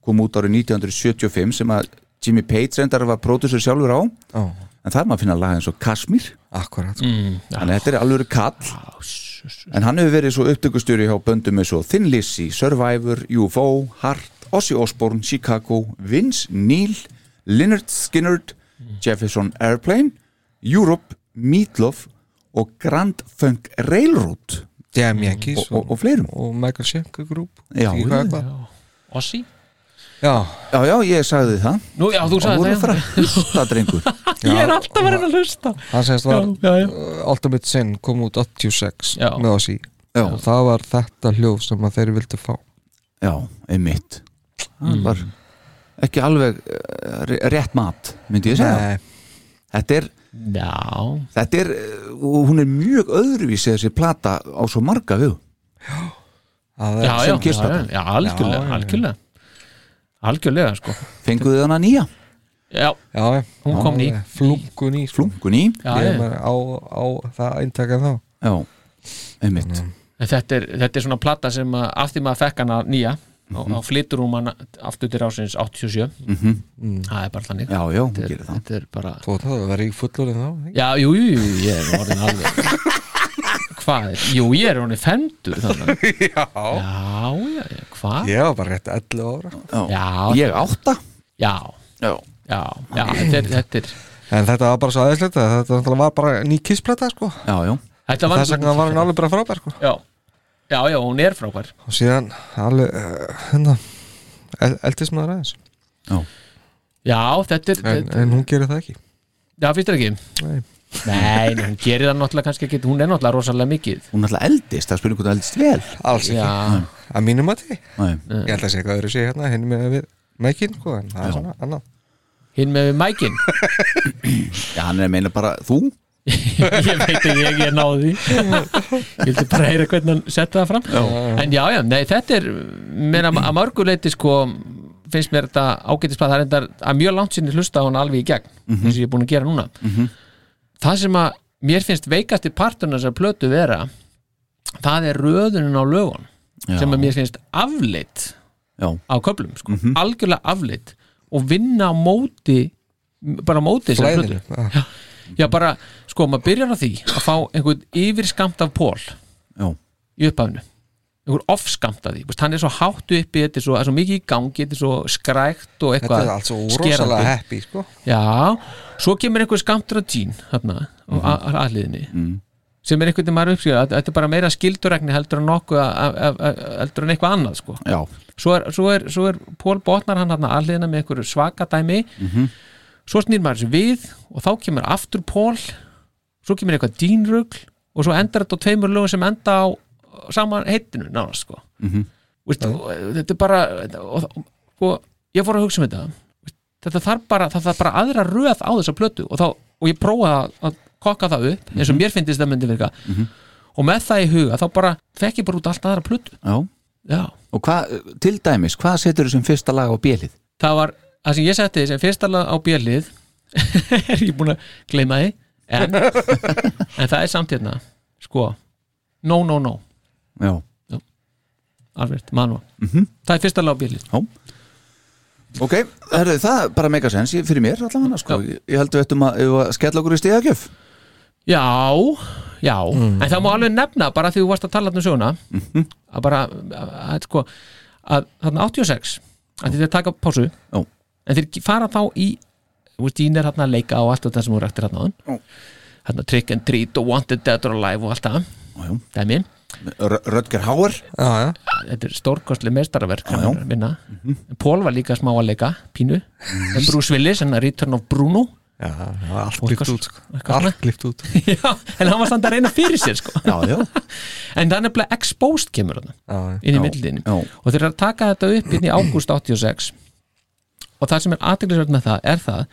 Speaker 2: kom út árið 1975 sem að Jimmy Page reyndar var pródusur sjálfur á en
Speaker 3: Já,
Speaker 2: það er maður að finna lag eins og Kashmir
Speaker 3: akkurat
Speaker 4: Mm.
Speaker 3: sko.
Speaker 2: þannig að þetta er alveg kall en hann hefur verið svo upptökustjóri hjá böndum eins og Thin Lizzy, Survivor, UFO Heart, Ozzy Osbourne, Chicago Vince, Neil, Lynyrd Skynyrd, Jefferson Airplane Europe, Meatloaf og Grand Funk Railroad
Speaker 3: Jam Yankees
Speaker 2: og, og, og fleirum
Speaker 3: og Michael Schenker Group
Speaker 2: Já,
Speaker 3: Ekki hvað, hvað.
Speaker 4: Ossi?
Speaker 3: já,
Speaker 2: Já, já, ég sagði það
Speaker 4: Nú, já, þú
Speaker 2: Það
Speaker 4: sagði
Speaker 2: voru
Speaker 4: það
Speaker 2: þar að hlusta, drengur
Speaker 4: Ég er alltaf að vera að hlusta
Speaker 3: hann segist var
Speaker 4: Já, já, já.
Speaker 3: uh, Ultimate Sin kom út 86
Speaker 4: Já.
Speaker 3: með oss í
Speaker 2: Já.
Speaker 3: og það var þetta hljóf sem að þeir vildu fá
Speaker 2: Já, einmitt
Speaker 4: Mm.
Speaker 2: Það var ekki alveg eh, ré- rétt mat, myndi ég segja
Speaker 3: Nei,
Speaker 2: Þetta er,
Speaker 4: Já,
Speaker 2: þetta er eh, og hún er mjög öðruvísi þessi plata á svo marga við
Speaker 3: það er
Speaker 4: já, já,
Speaker 2: sem Kiss
Speaker 4: já, já,
Speaker 2: platan.
Speaker 4: já, algjörlega,
Speaker 3: Já, já, já.
Speaker 4: algjörlega Algjörlega, sko
Speaker 2: Fenguðu hana nýja,
Speaker 4: Já,
Speaker 3: já,
Speaker 4: hún kom ný
Speaker 3: flungun í sko.
Speaker 2: flunkun í
Speaker 4: Já,
Speaker 3: ég er
Speaker 4: já.
Speaker 3: maður á, á það eintaka þá
Speaker 2: Já, Mm. einmitt
Speaker 4: En þetta, er, þetta er svona platta sem að af því maður fekk hana nýja mm
Speaker 3: Mhm.
Speaker 4: -hmm. og flytur hún hana aftur til ásins 87 Það er bara þannig
Speaker 2: Já, já, hún
Speaker 4: þetta, er,
Speaker 2: gerir það
Speaker 4: þetta er bara
Speaker 3: þú veit það, það var ég fullur en þá ekki?
Speaker 4: Já, jú, jú, jú, ég er orðin alveg Hvað er, jú, ég er orðin fendur þannig
Speaker 3: já,
Speaker 4: Já, já, já, hvað?
Speaker 3: ég var bara rétt 11 ára sko.
Speaker 4: Já.
Speaker 2: Ég átta
Speaker 4: Já,
Speaker 2: Já,
Speaker 4: já, já, þetta er, þetta er
Speaker 3: en þetta var bara svo aðeinslegt þetta náttúrulega var bara ný kissplata sko.
Speaker 2: já, já
Speaker 4: Þetta var
Speaker 3: þess vegna var hann alveg bara frábær sko.
Speaker 4: Já, já, já, hún er frábær
Speaker 3: og síðan alveg uh, hérna, el- eldist maður aðeins
Speaker 4: Já, þetta er,
Speaker 3: en,
Speaker 4: þetta,
Speaker 3: en hún gerir það ekki
Speaker 4: já, finnst þér ekki?
Speaker 3: Nei.
Speaker 4: Nei, nei, hún gerir það náttúrulega kannski ekki Hún er náttúrulega rosalega mikið
Speaker 2: Hún er alltaf eldist, það spyrir hvort það eldist vel
Speaker 3: alls ekki,
Speaker 4: Já,
Speaker 3: að mínum að því
Speaker 2: Nei.
Speaker 3: ég held að sé eitthvað öðru sé hérna hinn með við mækin, sko, en það er svona annað
Speaker 4: hinn með við mækin
Speaker 2: Já, hann er að meina bara þú
Speaker 4: ég veit ekki, ég, ég náði því ég vildi bara heyra hvernig hann setja það fram en já, já, nei, þetta er meina að mörguleiti sko finnst mér þetta ágætisblað það er endar að mjög langt sinni hlusta á hann alveg í gegn
Speaker 2: Mhm.
Speaker 4: eins og ég er búin að gera núna það sem að mér finnst veikasti parturinn þessar plötu vera það er röðunin á lögun
Speaker 2: Já.
Speaker 4: sem að mér finnst afleitt
Speaker 2: Já, Mhm.
Speaker 4: á köflum, sko, algjörlega afleitt og vinna á móti bara á móti þessari plötu.
Speaker 3: flæðinu Já.
Speaker 4: Já, bara, sko, maður byrjar á því að fá einhvern yfirskamt af pól
Speaker 2: já,
Speaker 4: í upphafnu einhvern offskamt af því, Vist, hann er svo háttu uppi þetta er svo, það er svo mikið í gangi, þetta er svo skrækt og
Speaker 3: Þetta
Speaker 4: eitthvað
Speaker 3: er allt svo
Speaker 4: skerandi.
Speaker 3: rosalega happy sko.
Speaker 4: Já, svo kemur einhver skamtur á tín þarna,
Speaker 3: Mhm.
Speaker 4: mm -hmm. aðliðinni sem er einhvern veginn maður uppskýra þetta er bara meira skilduregni heldur en nokkuð að- að- að- að- heldur en eitthvað annað, sko
Speaker 2: já,
Speaker 4: svo er, svo er, svo er Pól Botnar hann hann aðliðina með einhverju svaka dæmi svo snýr maður þessu við og þá kemur aftur Pól svo kemur eitthvað dýnrugl og svo endar þetta á tveimur lögum sem enda á saman heitinu nánast sko Vist, og, eh, þetta er bara og, og, og ég fór að hugsa um þetta Veist, þetta þarf bara, það þarf bara aðra röð á þessa plötu og, þá, og ég prófaði að- að kokka það upp eins og mér finnst það myndi virka og með það í huga þá bara fekk ég bara út allt aðra plötu
Speaker 2: já
Speaker 4: já
Speaker 2: Og hvað, til dæmis, hvað setur þú sem fyrsta lag á bjelið?
Speaker 4: það var, það sem ég setti sem fyrsta lag á bjölið er ég búin að gleyma því en, en það er samt hérna sko, no no no
Speaker 2: Já,
Speaker 4: alveg, manva, -hmm. það er fyrsta lag á bjölið
Speaker 2: ok, herru, það bara mega sens ég- fyrir mér allavega, sko
Speaker 4: Já.
Speaker 2: Ég ég held við ættum að, eigum að skella okkur í stíðagjöf
Speaker 4: já, já en það má alveg nefna bara því þú varst að tala þarna um söguna að bara, að, að, sko að þarna 86 að þið er að taka pásu
Speaker 2: Já.
Speaker 4: en þeir fara þá í þú veist, Dín er þarna að leika og allt þetta sem hún rættir þarna á hann þarna trick and treat og wanted dead or alive og allt það
Speaker 2: Já, já.
Speaker 4: dæmi,
Speaker 2: R- Rutger Hauer
Speaker 3: já, já.
Speaker 4: þetta er stórkostlega meistaraverk
Speaker 2: já.
Speaker 4: hann er að vinna
Speaker 3: Mhm.
Speaker 4: Pól var líka smá að leika, pínu en Bruce Willis, hann er Return of Bruno
Speaker 3: Já, það var allt
Speaker 4: Og
Speaker 3: klift
Speaker 4: eitthvað-
Speaker 3: út sko.
Speaker 4: eitthvað svona.
Speaker 3: allt klift út
Speaker 4: já, en hann var samt að reyna fyrir sér sko.
Speaker 2: Já, já,
Speaker 4: en það er nefnilega Exposed kemur hann
Speaker 3: Já,
Speaker 4: inn í
Speaker 2: Já,
Speaker 4: milliðinu
Speaker 2: já.
Speaker 4: og þeir eru að taka þetta upp inn í ágúst 86 og það sem er aðteglisverð með það er það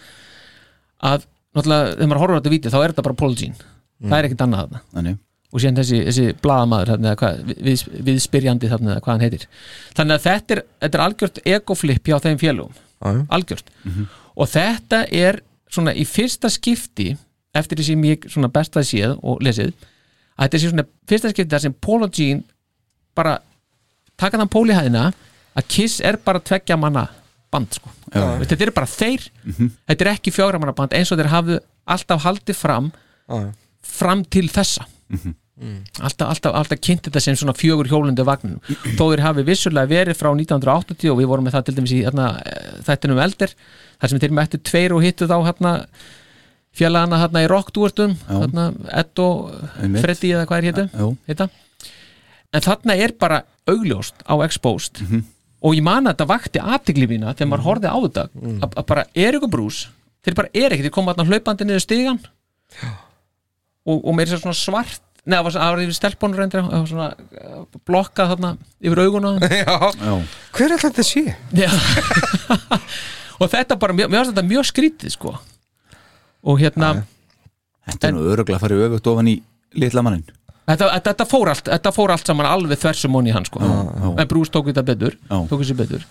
Speaker 4: að náttúrulega þegar maður horfður á þetta víti þá er þetta bara Pól Jean það er ekkert annað þarna
Speaker 2: þannig
Speaker 4: og síðan þessi, þessi blaðamaður þarna, eða hvað, við, við spyrjandi þarna, eða hvað hann heitir þannig að þetta er, þetta er algjört egoflip hjá þeim félugum,
Speaker 3: já.
Speaker 4: algjört
Speaker 2: Mhm.
Speaker 4: og þetta er svona í fyrsta skipti eftir því sem ég svona besta séð og lesið að þetta sé svona fyrsta skipti þar sem Paul og Jean bara taka þann Pól í hæðina að Kiss er bara tveggja manna band sko
Speaker 2: Já. Mhm.
Speaker 4: Veist, þetta er bara þeir, þetta er ekki fjögra manna band eins og þeir hafðu alltaf haldið fram
Speaker 3: Já, já.
Speaker 4: fram til þessa alltaf, alltaf, alltaf kynnt þetta sem svona fjögur hjólundi vagninum þó þeir hafi vissulega verið frá 1980 og við vorum með það til dæmis í þarna, eh, þættinum eldir þar sem þeir mættu tveir og hittu þá hérna fjalagana hérna í rockdúartum hérna Ed og
Speaker 2: Einmitt.
Speaker 4: Freddy eða hvað er hétu
Speaker 2: Já.
Speaker 4: heita. en þarna er bara augljóst á Exposed og ég man að þetta vakti aðtigli mína þegar maður horfði á þetta að, að bara er ykkur brús þeir bara er ekkert, þeir koma þarna hlaupandi niður stigan og, og meira sér svona svart neða, það var svona- það var yfir stelpunur reyndri það var svona eh, blokkað þarna yfir augun á þeim
Speaker 3: já.
Speaker 2: Já,
Speaker 3: hver er alltaf þetta sé?
Speaker 4: Já. og þetta bara, mjög- mér finnst þetta mjög skrítið sko og hérna
Speaker 2: þetta er nú öruglega að fara í öfugt ofan í litla mannin
Speaker 4: þetta, þetta, þetta, fór allt, þetta fór allt saman alveg þversum honni hann sko en Bruce tók þetta betur,
Speaker 2: Já.
Speaker 4: tók þessi betur.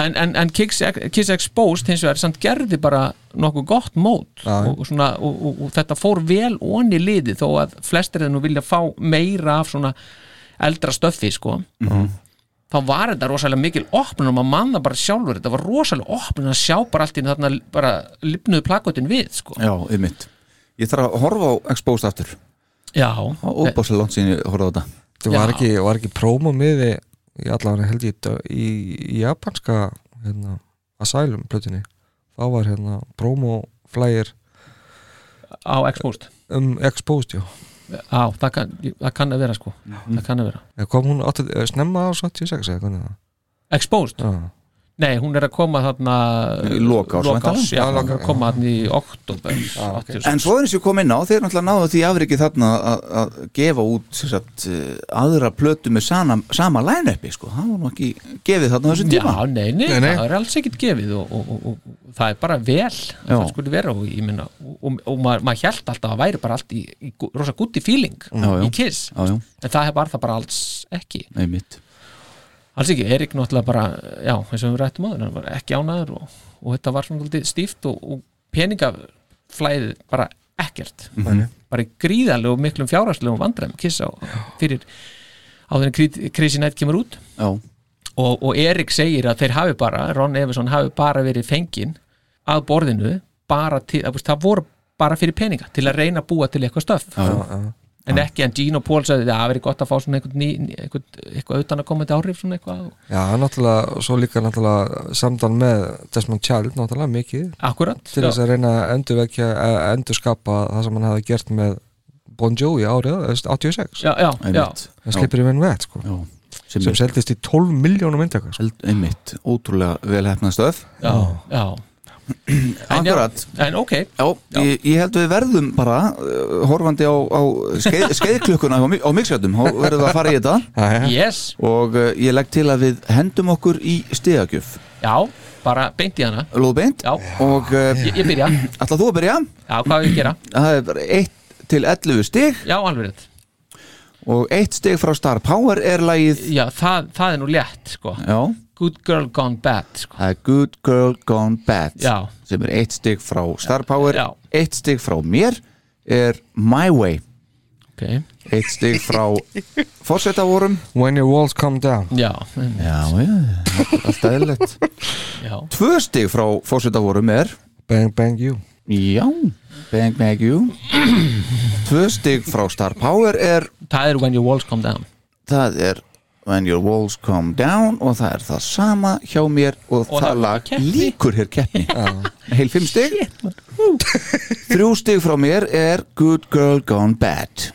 Speaker 4: en, en, en Kiss, Kiss Exposed hins vegar samt gerði bara nokkuð gott mót og, og svona, og, og, og þetta fór vel onni liði þó að flestir þeir nú vilja fá meira af svona eldra stöffi sko
Speaker 2: Mhm.
Speaker 4: þá var þetta rosalega mikil opnun og maður manna bara sjálfur, þetta var rosalega opnun að sjá bara allt í einu þarna bara lipnuðu plakotin við sko
Speaker 2: Já, ymmit Ég þarf að horfa á Exposed aftur Eh.
Speaker 4: Já,
Speaker 2: á óbáslega langt síðan ég horfa á þetta
Speaker 3: það var ekki, var ekki prómo miði í allavega held ég þetta í, í japanska hérna, Asylum plötunni þá var hérna prómo flyer
Speaker 4: á Exposed
Speaker 3: um Exposed já
Speaker 4: Já, það kann, það kann að vera sko það kann að vera
Speaker 3: Eða kom hún 80, eh, snemma á 76 eða hvernig það
Speaker 4: Exposed?
Speaker 3: já,
Speaker 4: Nei, hún er að koma þarna
Speaker 2: Í lok árs, væntanlega.
Speaker 4: já,
Speaker 3: Já,
Speaker 4: hún
Speaker 3: lok-
Speaker 4: er að koma þarna í sko. oktober
Speaker 2: Ah, En svo þeir sem kom inn á, þeir náttúrulega náðu því afriki þarna að- að gefa út sem sagt, eh, aðra plötu með sana, sama line-upi, sko, það var nú ekki gefið þarna á þessum
Speaker 4: Já,
Speaker 2: tíma
Speaker 4: nei, nei,
Speaker 3: Nei, nei.
Speaker 4: það er alls ekkert gefið og, og, og, og það er bara vel að
Speaker 2: Já.
Speaker 4: það skulle vera og, ég minna, og, og, og maður, maður hjælt alltaf að væri bara allt í, í gú- rosa gutti feeling
Speaker 2: Já, já.
Speaker 4: í kiss
Speaker 2: já, já,
Speaker 4: en það var það bara alls ekki
Speaker 2: einmitt
Speaker 4: alls ekki, Erik náttúrulega bara já, eins og við rættum áður, hann var ekki ánæður og, og þetta var svona svolítið stíft og, og peningaflæðið bara ekkert
Speaker 3: Nei.
Speaker 4: bara í gríðarlegu og miklum fjárhagslegum vandræðum kissa fyrir áður en Crazy Night kemur út
Speaker 2: já,
Speaker 4: og, og Erik segir að þeir hafi bara Ron Evason hafi bara verið fenginn að borðinu bara til, að, veist, það voru bara fyrir peninga til að reyna að búa til eitthvað stöf
Speaker 2: já, já,
Speaker 3: Já, já.
Speaker 4: en ekki en Gene og Paul sagði að það verið gott að fá svona eitthvað, ný, ný- eitthvað, eitthvað utan að koma þetta áhrif svona eitthvað
Speaker 3: Já, náttúrulega, svo líka náttúrulega samdal með Desmond Child náttúrulega mikið
Speaker 4: akkurat
Speaker 3: til þess að reyna að endurvekja að endurskapa það sem hann hafði gert með Bon Jovi árið þú veist, 86
Speaker 4: já, já, já,
Speaker 2: einmitt
Speaker 3: það slipper í menn vett sko,
Speaker 2: já, sem,
Speaker 3: sem
Speaker 2: sem
Speaker 3: seldist í 12 miljónum myndaka sko.
Speaker 2: held, einmitt, ótrúlega vel hefna stöf
Speaker 4: já, já. En já,
Speaker 2: Akkurat.
Speaker 4: en ok,
Speaker 2: Já, Ég, ég held við verðum bara uh, horfandi á, á skeið, skeiðklukkuna á, mi- á mixjöndum, þá verðum við að fara í þetta
Speaker 3: Jæja.
Speaker 4: yes
Speaker 2: og uh, ég legg til að við hendum okkur í stegagjöf,
Speaker 4: já, bara beint í hana
Speaker 2: lóðbeint
Speaker 4: já,
Speaker 2: og uh,
Speaker 4: ég, ég byrja,
Speaker 2: ætla þú að byrja
Speaker 4: já, hvað við gera
Speaker 2: það er bara 1 til 11 stig
Speaker 4: já, alveg rétt,
Speaker 2: og 1 stig frá Star Power er lagið
Speaker 4: já, það, það er nú létt sko,
Speaker 2: já,
Speaker 4: good girl gone bad sko,
Speaker 2: það er Good Girl Gone Bad
Speaker 4: já
Speaker 2: sem er 1 stig frá Star Power
Speaker 4: Já.
Speaker 2: 1 stig frá mér er My Way
Speaker 4: Ok,
Speaker 2: 1 stig frá Fórsetavorum
Speaker 3: When your walls come down
Speaker 4: já,
Speaker 2: Já, já, alltaf eðlilegt
Speaker 4: já,
Speaker 2: Tvö stig frá fórsetaforum er
Speaker 3: bang bang you
Speaker 2: Já, Bang Bang You Tvö stig frá Star Power er
Speaker 4: það er when your walls come down
Speaker 2: Það er When Your Walls Come Down og það er það sama hjá mér og,
Speaker 4: Og það
Speaker 2: það
Speaker 4: var
Speaker 2: lag
Speaker 4: keppni.
Speaker 2: líkur hér keppni Heil fimm stig Þrjú stig frá mér er Good Girl Gone Bad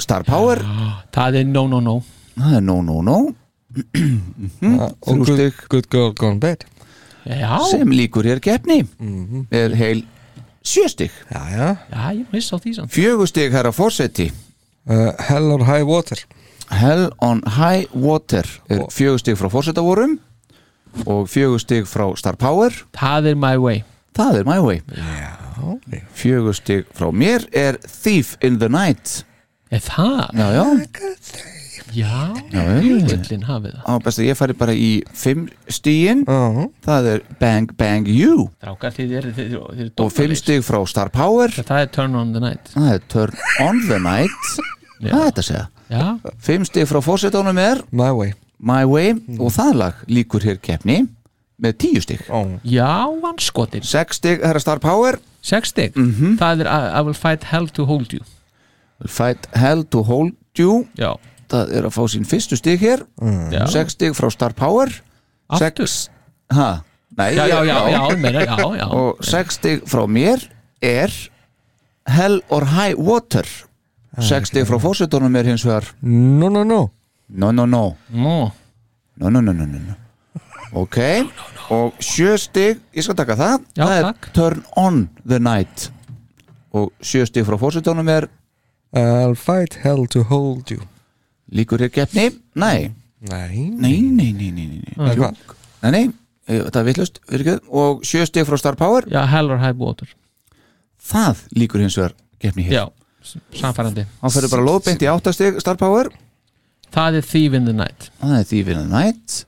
Speaker 2: Star Power,
Speaker 4: Ah, það er no no no
Speaker 2: það er No No No
Speaker 3: Ah, og
Speaker 2: Þrjú
Speaker 3: good,
Speaker 2: stygg.
Speaker 3: good girl gone bad
Speaker 4: já,
Speaker 2: sem líkur hér keppni er heil sjö stig
Speaker 3: já, já.
Speaker 4: já, ég er hissa á því samt
Speaker 2: Fjögur stig herra fórseti
Speaker 3: Uh, hell or high water
Speaker 2: Hell on High Water er fjögur stig frá fórsetaforum og fjögur stig frá Star Power
Speaker 4: það er my way,
Speaker 2: það er My Way fjögur stig frá mér er Thief in the Night
Speaker 4: er það
Speaker 2: já, já,
Speaker 4: já,
Speaker 2: já, já.
Speaker 4: villin hafið það
Speaker 2: Á, best að ég fari bara í fimm stigin
Speaker 3: uh,
Speaker 2: það er Bang Bang You
Speaker 4: drákar þið eru þið, þið, þið
Speaker 2: og fimm stig frá Star Power
Speaker 4: það er turn on the night
Speaker 2: það er Turn on the Night það er þetta að segja
Speaker 4: já,
Speaker 2: fimm stig frá fórsetunum er
Speaker 3: my way
Speaker 2: My Way og það lag líkur hér keppni með tíu stig
Speaker 3: oh.
Speaker 4: já, anskotin
Speaker 2: sex stig herra Star Power
Speaker 4: sex stig, það er I, I will fight hell to hold you
Speaker 2: Fight Hell to Hold You
Speaker 4: já,
Speaker 2: það er að fá sín fyrstu stig hér
Speaker 4: Mm. já,
Speaker 2: 6 stig frá Star Power
Speaker 4: aftur
Speaker 2: sex- ha, nei,
Speaker 4: já, já, já,
Speaker 2: já.
Speaker 4: já, meira, já, já
Speaker 2: og 6 stig frá mér er Hell or High Water
Speaker 4: Ah,
Speaker 2: 6 stig frá fósitunum er hins vegar
Speaker 3: no no no
Speaker 2: no no no
Speaker 4: Nú,
Speaker 2: no no no no no, no. ok og 7 stig, ég skal taka það
Speaker 4: Já,
Speaker 2: það
Speaker 4: takk.
Speaker 2: er Turn on the Night og 7 stig frá fósitunum er
Speaker 3: I'll fight hell to hold you
Speaker 2: líkur hér keppni, nei
Speaker 3: nei,
Speaker 2: nei, nei, nei, nei, nei, nei.
Speaker 3: Hvað?
Speaker 2: Nei, nei, eh, þetta er vittlust og sjö stig frá Star Power
Speaker 4: já, hell or high water
Speaker 2: það líkur hins vegar gefni hér
Speaker 4: já, s- samfærandi
Speaker 2: hann fyrir bara lóðbeint í áttastig Star Power
Speaker 4: það er thief in the night
Speaker 2: það er því vinna nætt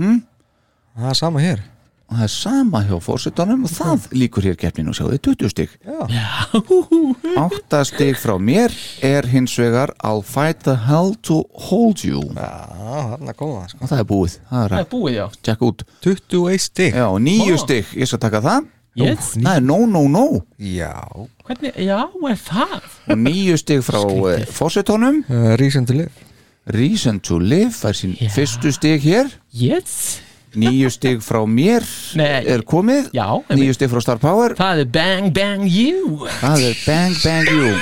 Speaker 3: það er sama hér
Speaker 2: og það er sama hjá fórsetunum
Speaker 4: Mhm.
Speaker 2: og það líkur hér gefni nú sjáðu 20 stig áttastig frá mér er hins vegar I'll fight the hell to hold you
Speaker 3: já, hann er góða sko.
Speaker 2: og það er búið, það er
Speaker 4: það
Speaker 2: að
Speaker 4: er búið, já
Speaker 2: tjekka út
Speaker 3: 21 stig
Speaker 2: já, níu
Speaker 4: Ah.
Speaker 2: stig, ég skal taka það
Speaker 4: yes.
Speaker 2: það er no no no
Speaker 3: já
Speaker 4: Hvernig, já, er það?
Speaker 2: og níu stig frá eh, fórsetunum
Speaker 3: uh, reason to live
Speaker 2: Reason to Live fær sín
Speaker 4: Já.
Speaker 2: fyrstu stig hér
Speaker 4: Yes
Speaker 2: nýju stig frá mér
Speaker 4: Nei.
Speaker 2: er komið
Speaker 4: Já,
Speaker 2: nýju stig frá Star Power
Speaker 4: það er bang bang you
Speaker 2: það er Bang Bang You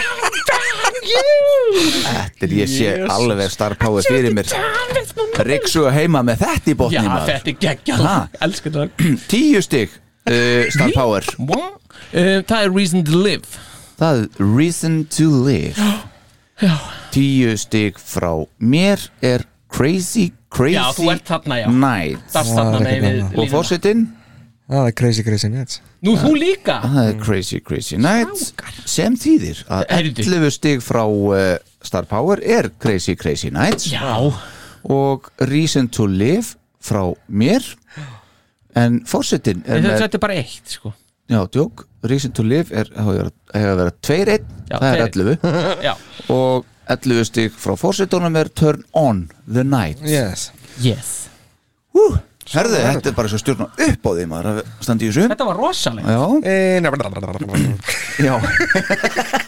Speaker 2: Þetta er ég sé alveg Star Power fyrir mér Riksu heima með þetta í
Speaker 4: Já,
Speaker 2: botni
Speaker 4: þetta er geggjall
Speaker 2: Ha.
Speaker 4: Elsku það
Speaker 2: tíu stig uh, Star Power
Speaker 4: uh, Það er reason to live
Speaker 2: það er Reason to Live tíu stig frá mér er Crazy
Speaker 4: Já, þú
Speaker 2: Crazy
Speaker 4: ert þarna, já
Speaker 2: Night
Speaker 4: Darst
Speaker 3: Það
Speaker 4: þarna
Speaker 3: er
Speaker 4: með
Speaker 3: ekki
Speaker 4: við
Speaker 3: annað.
Speaker 2: og
Speaker 4: línuna.
Speaker 2: fórsetin
Speaker 3: Ah, það er crazy crazy nets
Speaker 4: Nú, þú líka
Speaker 2: Það er Crazy Crazy Nights sem þýðir að
Speaker 4: Mm. Eh, Heyrðu.
Speaker 2: 11 stig frá uh, Star Power er Crazy Crazy Nights
Speaker 4: Já,
Speaker 2: og Reason to Live frá mér en fórsetin er
Speaker 4: þetta,
Speaker 2: með,
Speaker 4: þetta er bara eitt sko.
Speaker 2: já, djók Reason to Live er, það hefur að vera 2-1,
Speaker 4: Já,
Speaker 2: það er 11
Speaker 4: Já,
Speaker 2: og 11 stig frá fórsetunum er Turn On The Night
Speaker 3: yes.
Speaker 4: yes
Speaker 2: Hú, herðu, þetta er bara svo stjórna upp á því maður að standa í þessu
Speaker 4: Þetta var rosalega
Speaker 2: Já,
Speaker 3: Eh, nei, bla, bla, bla, bla, bla.
Speaker 2: Já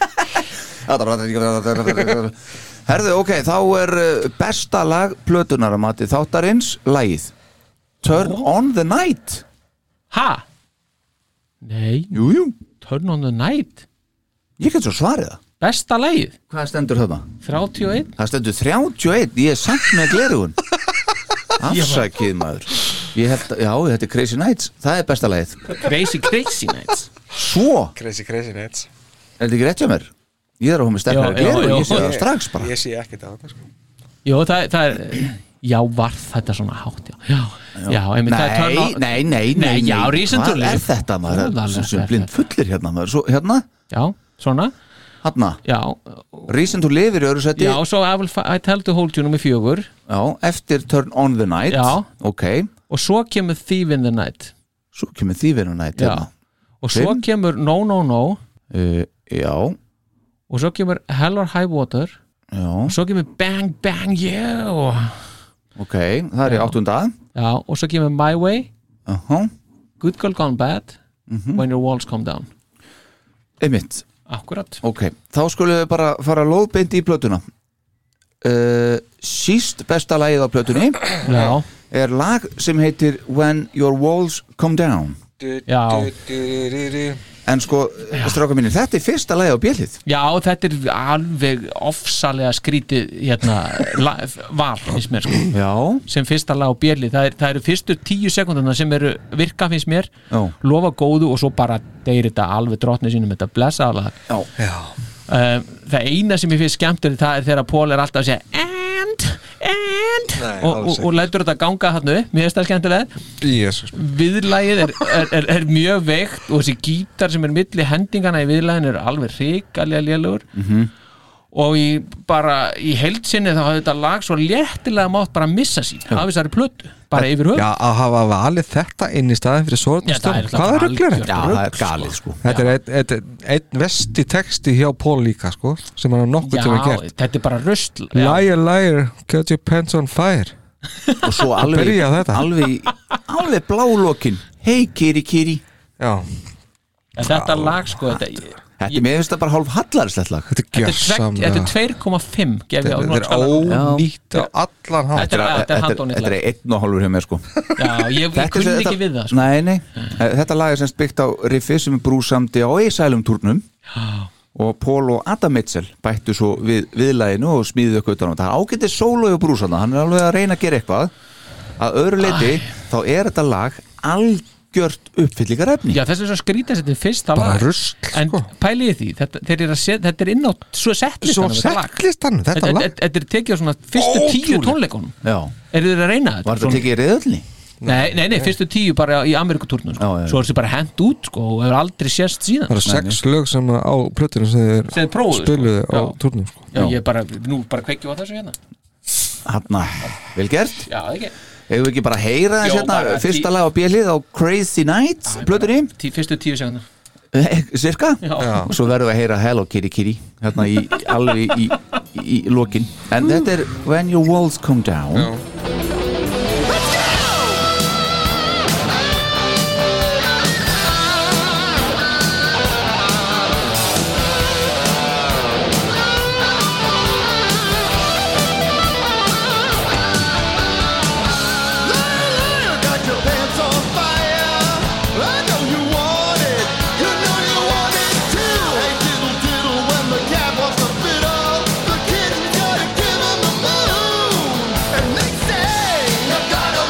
Speaker 2: Herðu, ok, þá er uh, besta lag plötunar að mati þáttarins lagið Turn on the night
Speaker 4: Ha? Nei,
Speaker 2: Jú, jú,
Speaker 4: Turn on the Night
Speaker 2: ég get svo svarið það
Speaker 4: Besta lagið,
Speaker 2: Hvað stendur höfða?
Speaker 4: 31
Speaker 2: Það stendur 31, ég er samt með glerugun Afsakið maður Ég held að, já, þetta er Crazy Nights Það er besta lagið
Speaker 4: Crazy Crazy Nights
Speaker 2: Svo,
Speaker 3: crazy crazy nets
Speaker 2: er þetta ekki rétt hjá mér? Ég er að hún með
Speaker 4: Já,
Speaker 2: stefnari
Speaker 4: já,
Speaker 2: glerugun,
Speaker 4: já.
Speaker 2: ég sé það strax bara
Speaker 3: ég sé ekkert á þetta sko.
Speaker 4: Jó, það, það er Já, var þetta svona hátt Já, já, já einmitt það er Turn
Speaker 2: Nei,
Speaker 4: on-
Speaker 2: nei, nei, nei,
Speaker 4: Nei, já, Reason to
Speaker 2: Hvað
Speaker 4: Live.
Speaker 2: er þetta maður?
Speaker 4: Voðalega
Speaker 2: Sem sem
Speaker 4: er
Speaker 2: blind fullir hérna maður Svo hérna,
Speaker 4: Já, svona
Speaker 2: hérna
Speaker 4: Já,
Speaker 2: Reason to Live er í öru seti
Speaker 4: já svo I, will, fi- I tell to hold you nummer fjögur
Speaker 2: Já, Eftir Turn on the Night
Speaker 4: Já.
Speaker 2: Ok,
Speaker 4: Og svo kemur Thief in the Night
Speaker 2: svo kemur því verið nætt
Speaker 4: Já.
Speaker 2: hérna
Speaker 4: Og svo
Speaker 2: Fimm.
Speaker 4: kemur No No No
Speaker 2: Uh, Já,
Speaker 4: Og svo kemur Hell or High Water
Speaker 2: já,
Speaker 4: Og svo kemur Bang Bang Yeah
Speaker 2: ok Það er í áttunda
Speaker 4: Já, og svo kemur My Way
Speaker 2: uh -huh.
Speaker 4: Good Girl Gone Bad
Speaker 3: Mhm.
Speaker 4: When Your Walls Come Down
Speaker 2: Einmitt,
Speaker 4: Akkurat
Speaker 2: ok Þá skulum við bara fara lóðbeint í plötuna uh, Síst besta lagið á plötunni
Speaker 4: Já,
Speaker 2: er lag sem heitir When Your Walls Come Down
Speaker 3: Du-
Speaker 4: Já.
Speaker 3: du- du- du- du.
Speaker 2: En sko, stráka mínir, þetta er fyrsta lagið á bjölið
Speaker 4: já þetta er alveg ofsalega skrítið hérna, la, val finnst mér sko
Speaker 2: Já,
Speaker 4: sem fyrsta lag á björli, það, er, það eru fyrstu tíu sekundana sem eru virka finnst mér
Speaker 2: Já.
Speaker 4: lofa góðu og svo bara deyri þetta alveg drottni sínum þetta blessa alveg
Speaker 2: já,
Speaker 4: uh, það eina sem ég finnst skemmtur það er þegar Pól er alltaf að segja and, and
Speaker 3: Nei,
Speaker 4: og,
Speaker 3: alls
Speaker 4: og, og lætur þetta ganga hann upp, mér finnst það skemmtilega
Speaker 3: Jesus
Speaker 4: viðlægið er, er, er, er mjög veikt og þessi gítar sem er milli hendingana í viðlægin er alveg hrikalega lélugur
Speaker 3: Mhm.
Speaker 4: og í, bara í heldsinni þá hafði þetta lag svo léttilega mátt bara missa sín af þessari plötu, bara yfir höf
Speaker 3: Já, að hafa valið þetta inn í staðin fyrir
Speaker 4: Já,
Speaker 3: Sórnum
Speaker 4: það er
Speaker 3: Stjórn
Speaker 4: náttúrulega
Speaker 3: Hvað er rugglir
Speaker 4: algjört
Speaker 2: já
Speaker 3: þetta?
Speaker 2: það er galið sko
Speaker 3: Þetta er einn- einn einn vesti texti hjá Pól líka sko, sem hann er nokkuð til að gert
Speaker 4: þetta er bara rusl já,
Speaker 3: Liar, liar, get your pants on fire
Speaker 2: og svo alveg,
Speaker 3: byrja þetta.
Speaker 2: alveg, alveg blálokin hei kiri kiri
Speaker 3: Já,
Speaker 4: en þetta lag sko þetta,
Speaker 2: þetta ég, mér finnst það bara hálf hallarslegt lag
Speaker 3: þetta er
Speaker 4: þetta er tvegg-
Speaker 3: gjörsamlega
Speaker 4: þetta er 2,5 gef ég á
Speaker 3: Þetta er
Speaker 4: Norskala.
Speaker 3: ónýtt á allan hátt
Speaker 4: þetta er, þetta er handónið
Speaker 2: þetta
Speaker 4: lag
Speaker 2: er einn og hálfur hjá mér sko
Speaker 4: já, ég, ég kunni
Speaker 2: þetta-
Speaker 4: ekki við það sko.
Speaker 2: nei, nei, þetta lag er semst byggt á riffi sem brúsamdi á Ísælum turnum og Pól og Adam Mitchell bættu svo við, viðlæginu og smíðið okkur utan á þetta. það er ágætið sólu og brúsana hann er alveg að reyna að gera eitthvað að öðru leiti þá er þetta lag algjört uppfyllingar efni
Speaker 4: já, þess að skrýta þetta er fyrsta
Speaker 3: Bara
Speaker 4: lag
Speaker 3: rusl,
Speaker 4: en
Speaker 3: sko.
Speaker 4: pæliði því, þetta, þeir eru að set, þetta er inn á svo
Speaker 3: Svo
Speaker 4: settlistanum þetta lag.
Speaker 3: settlistanum, þetta
Speaker 4: Þetta
Speaker 3: lag
Speaker 4: þetta- þetta er tekið á svona fyrstu tíu tónleikunum
Speaker 2: já,
Speaker 4: Eru þeir að reyna þetta?
Speaker 2: var þetta
Speaker 4: Svona-
Speaker 2: tekið í reyðölni?
Speaker 4: Nei, nei, nei, fyrstu tíu bara í Amerikutúrnum sko.
Speaker 2: Já, já, já.
Speaker 4: Svo er þessi bara hent út sko, og hefur aldrei sést síðan
Speaker 3: Það eru sex lög sem á plötunum sem
Speaker 4: Sem þeir
Speaker 3: þeir
Speaker 4: prófuðu, sko.
Speaker 3: spiluðu á
Speaker 4: Já.
Speaker 3: turnum sko.
Speaker 4: Já, ég bara, nú bara kveikjum á þessu hérna
Speaker 2: hann vel gert
Speaker 4: Já, ekki
Speaker 2: Hefur við ekki bara að heyra þess
Speaker 4: Jó,
Speaker 2: hérna
Speaker 4: bara
Speaker 2: fyrsta
Speaker 4: tí-
Speaker 2: lag á bjölið á Crazy Nights plötunni, Eh,
Speaker 4: Tí, Fyrstu tíu segundar
Speaker 2: cirka
Speaker 4: Já.
Speaker 2: og svo verðum við að heyra Hello Kitty Kitty hérna í, alveg í, í, í lokin en þetta er When Your Walls Come Down
Speaker 5: The kid's gotta give him the moon And they say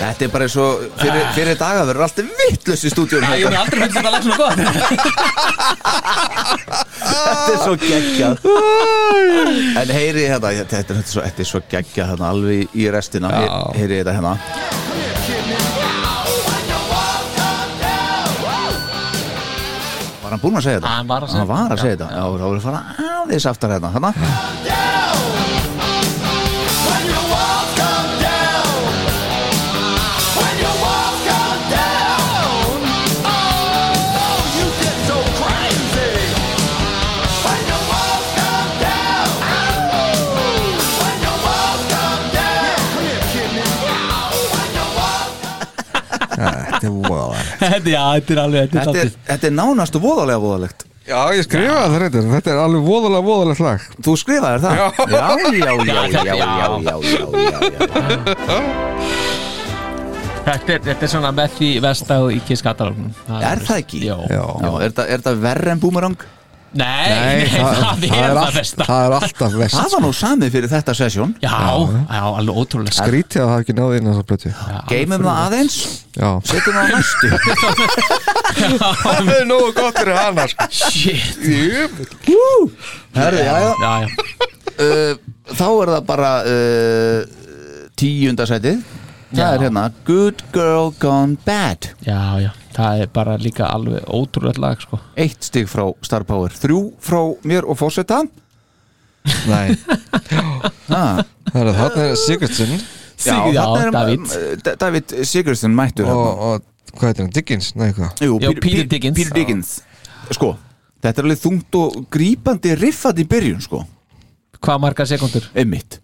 Speaker 2: Þetta er bara eins og fyrir, fyrir daga verður alltaf vittlust í stúdíun
Speaker 4: Ég hef aldrei fundið þetta lag svona gott
Speaker 2: Þetta er svo geggjað En heyri þetta Þetta er, þetta er, svo, þetta er svo geggjað hérna, alveg í restina
Speaker 3: Já.
Speaker 2: Hey- Heyri þetta hérna Var hann búinn að segja þetta?
Speaker 4: Hann var að segja
Speaker 2: Hann var að
Speaker 4: þetta,
Speaker 2: segja þetta Já, þá voru að fara aðeins aftar hérna Hérna
Speaker 5: Oh,
Speaker 3: Þetta er voðalegt
Speaker 4: Þetta já, þetta er alveg Þetta er
Speaker 2: Þetta er,
Speaker 4: dálítið-
Speaker 2: þetta er nánast og voðalega voðalegt
Speaker 3: Já, ég skrifaði það reyndar, þetta er alveg voðalega voðalegt lag
Speaker 2: Þú skrifaðir það? Já, já, já, já, já, já, já, já, já.
Speaker 4: Þetta er- þetta er svona með því vest á Íkis katalógnum
Speaker 2: Er það ekki?
Speaker 4: Jó
Speaker 3: Já,
Speaker 2: Já, er þetta- er þetta verri en boomerang?
Speaker 4: Nei, nei, það, er það
Speaker 3: allt,
Speaker 4: besta
Speaker 3: það er alltaf vest sko.
Speaker 2: Það var nú samið fyrir þetta sesjón
Speaker 4: Já, já, alveg sko. ótrúlega skr-
Speaker 3: Grítið að það er ekki náði inn á þessa plötu Já,
Speaker 2: Geymum það aðeins, setjum það á næstu
Speaker 3: Það er nógu gott fyrir hana sko.
Speaker 4: Shit
Speaker 2: Herri, já, já.
Speaker 4: Já, já
Speaker 2: Uh, Þá er það bara uh, tíundasætið Það
Speaker 4: Já.
Speaker 2: er hérna Good Girl Gone Bad
Speaker 4: Já, já, það er bara líka alveg ótrúlega lag sko.
Speaker 2: Eitt stig frá Star Power Þrjú frá mér og fósetta
Speaker 3: Nei,
Speaker 2: ah,
Speaker 3: það er það er Sigurdsson
Speaker 4: Sig- já, David.
Speaker 2: uh, David Sigurðsson mættur
Speaker 3: og,
Speaker 2: og,
Speaker 3: og hvað heitir hann, Dickens? Nei, hvað?
Speaker 2: Jú,
Speaker 4: Já, Peter Dickens.
Speaker 2: Peter Dickens. Sko, þetta er alveg þungt og grípandi riffat í byrjun sko
Speaker 4: Hvað marga sekundur?
Speaker 2: einmitt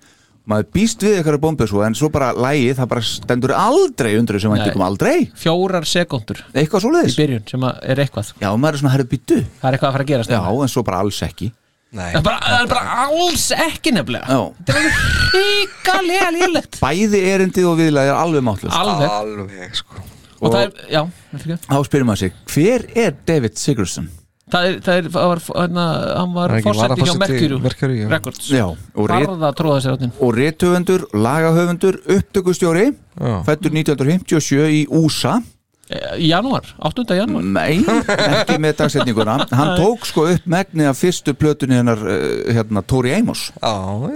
Speaker 2: maður býst við eitthvað bombu svo en svo bara lægið, það bara stendur aldrei undir þessu væntingum
Speaker 4: Nei.
Speaker 2: aldrei,
Speaker 4: Fjórar sekundur
Speaker 2: eitthvað
Speaker 4: í
Speaker 2: svoleiðis
Speaker 4: byrjun sem að- er eitthvað
Speaker 2: já, maður er svona herri byttu já,
Speaker 4: Það er eitthvað að fara að gerast núna.
Speaker 2: en svo bara alls ekki
Speaker 3: Nei,
Speaker 4: Það er bara, það er bara alls ekki nefnilega
Speaker 2: já.
Speaker 4: Ríkalega lélegt
Speaker 2: bæði erindið og viðlega er alveg mátlust
Speaker 4: Alveg
Speaker 3: alveg sko
Speaker 4: Og það er, já, fyrir ekki.
Speaker 2: þá spyrir maður sig, hver er David Sigurðsson?
Speaker 4: það er, það er, það var, hérna, hann
Speaker 3: Það
Speaker 4: var
Speaker 3: er ekki
Speaker 4: fórsætti hjá
Speaker 3: varaforseti
Speaker 4: Merkjúru
Speaker 3: Mercury, já.
Speaker 4: Records
Speaker 2: já, og, rit,
Speaker 4: Varða að tróða sér áttin
Speaker 2: og rithöfundur lagahöfundur, upptökustjóri
Speaker 3: Já.
Speaker 2: fættur 1957 í USA
Speaker 4: E, Janúar, 8. janúar
Speaker 2: Nei, ekki með dagsetninguna Hann tók sko upp megnið af fyrstu plötunni hennar, uh, hérna, Tori Amos
Speaker 3: Já,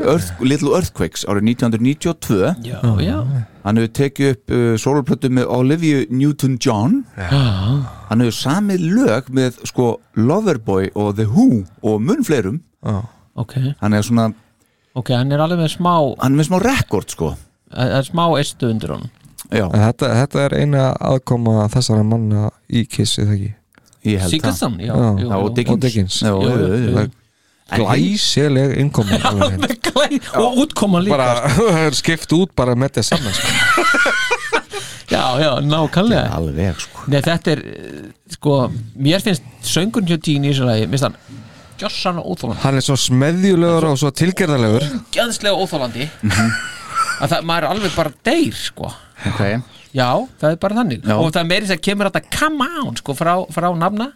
Speaker 2: Earth, Little Earthquakes árið 1992
Speaker 4: Já, já
Speaker 2: hann hefur tekið upp uh, soloplötu með Olivia Newton-John hann hefur samið lög með sko Loverboy og The Who og mun fleirum
Speaker 4: Ok,
Speaker 2: hann er svona,
Speaker 4: ok, hann er alveg með smá
Speaker 2: hann er með smá rekord sko
Speaker 4: Það er smá eistu undir honum
Speaker 2: já,
Speaker 3: En Þetta, þetta er eina aðkoma þessara manna í Kiss eða ekki
Speaker 2: ég held það
Speaker 4: Sigurðsson, já,
Speaker 3: Já.
Speaker 4: jú,
Speaker 2: Já, og
Speaker 4: jú.
Speaker 2: Dickens,
Speaker 3: Og Dickens.
Speaker 2: Já,
Speaker 4: Jú,
Speaker 2: jú, jú, jú.
Speaker 4: jú.
Speaker 2: En hinn-
Speaker 3: Glæsileg innkoma alveg hreint.
Speaker 4: Með glæ- og útkoman líka
Speaker 3: Bara það er skipt út bara með þetta saman sko.
Speaker 4: já, já, nákvæmlega
Speaker 2: alveg sko
Speaker 4: Nei, þetta er, eh, sko mér finnst söngun hjá Dín í þessu lagi minnst hann gjörsann og óþólandi
Speaker 3: Hann er svo smeðjulegur og svo tilgerðarlegur
Speaker 4: gjöðslega óþólandi
Speaker 2: Mhm.
Speaker 4: að það, maður er alveg bara deyr, sko
Speaker 2: okay.
Speaker 4: já, það er bara þannig
Speaker 2: Já.
Speaker 4: og það meiri þess að kemur þetta come on, sko, frá, frá nafna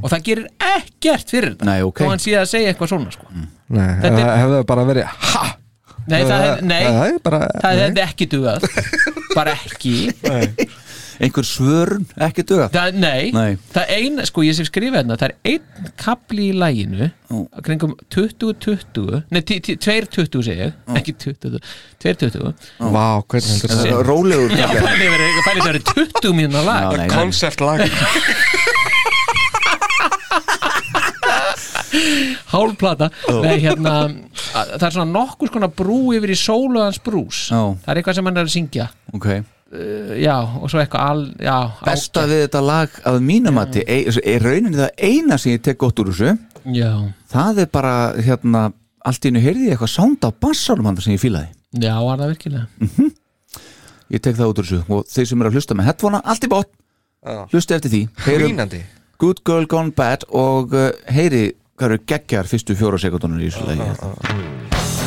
Speaker 4: og það gerir ekkert fyrir þetta
Speaker 2: Nei, ok.
Speaker 4: þó hann sé að segja eitthvað svona, sko
Speaker 3: Nei,
Speaker 4: Þetta
Speaker 3: ef
Speaker 4: er-
Speaker 3: það hefði bara verið ha,
Speaker 4: nei, það, hef, nei,
Speaker 3: það er bara
Speaker 4: það hefði ekki dugað bara ekki
Speaker 2: einhver svörn, ekki duga
Speaker 4: Það, nei,
Speaker 2: Nei.
Speaker 4: það eina, sko ég sem skrifa hérna það er einn kapli í læginu
Speaker 2: Ó.
Speaker 4: kringum 20-20 nei, 2-20 segi ég ekki 20, 2-20
Speaker 3: Vá, hvernig heldur það
Speaker 4: Shit.
Speaker 2: rólegur
Speaker 4: Já, fælið verið, fælið það eru 20 mínuna lag
Speaker 2: Já, nei, nei.
Speaker 3: Concept lag
Speaker 4: hálplata Nei, hérna, að- það er svona nokkur skona brú yfir í sóluðans brús
Speaker 2: Ó.
Speaker 4: það er eitthvað sem hann er að syngja
Speaker 2: okay.
Speaker 4: já, og svo eitthvað al, já,
Speaker 2: besta við þetta lag að mínumati er rauninni það eina sem ég tek gott úr þessu
Speaker 4: á, já,
Speaker 2: það er bara hérna allt í einu heyrði ég eitthvað sound á bassanum hann sem ég fílaði
Speaker 4: já, var það virkilega
Speaker 2: ég tek það út úr þessu og þeir sem eru að hlusta með headphonea allt í bótt, hlusta eftir því heyrum
Speaker 3: Grínandi
Speaker 2: Good Girl Gone Bad og uh, heyri hvað eru geggjar fyrstu fjóra sekundunar í þessu lagi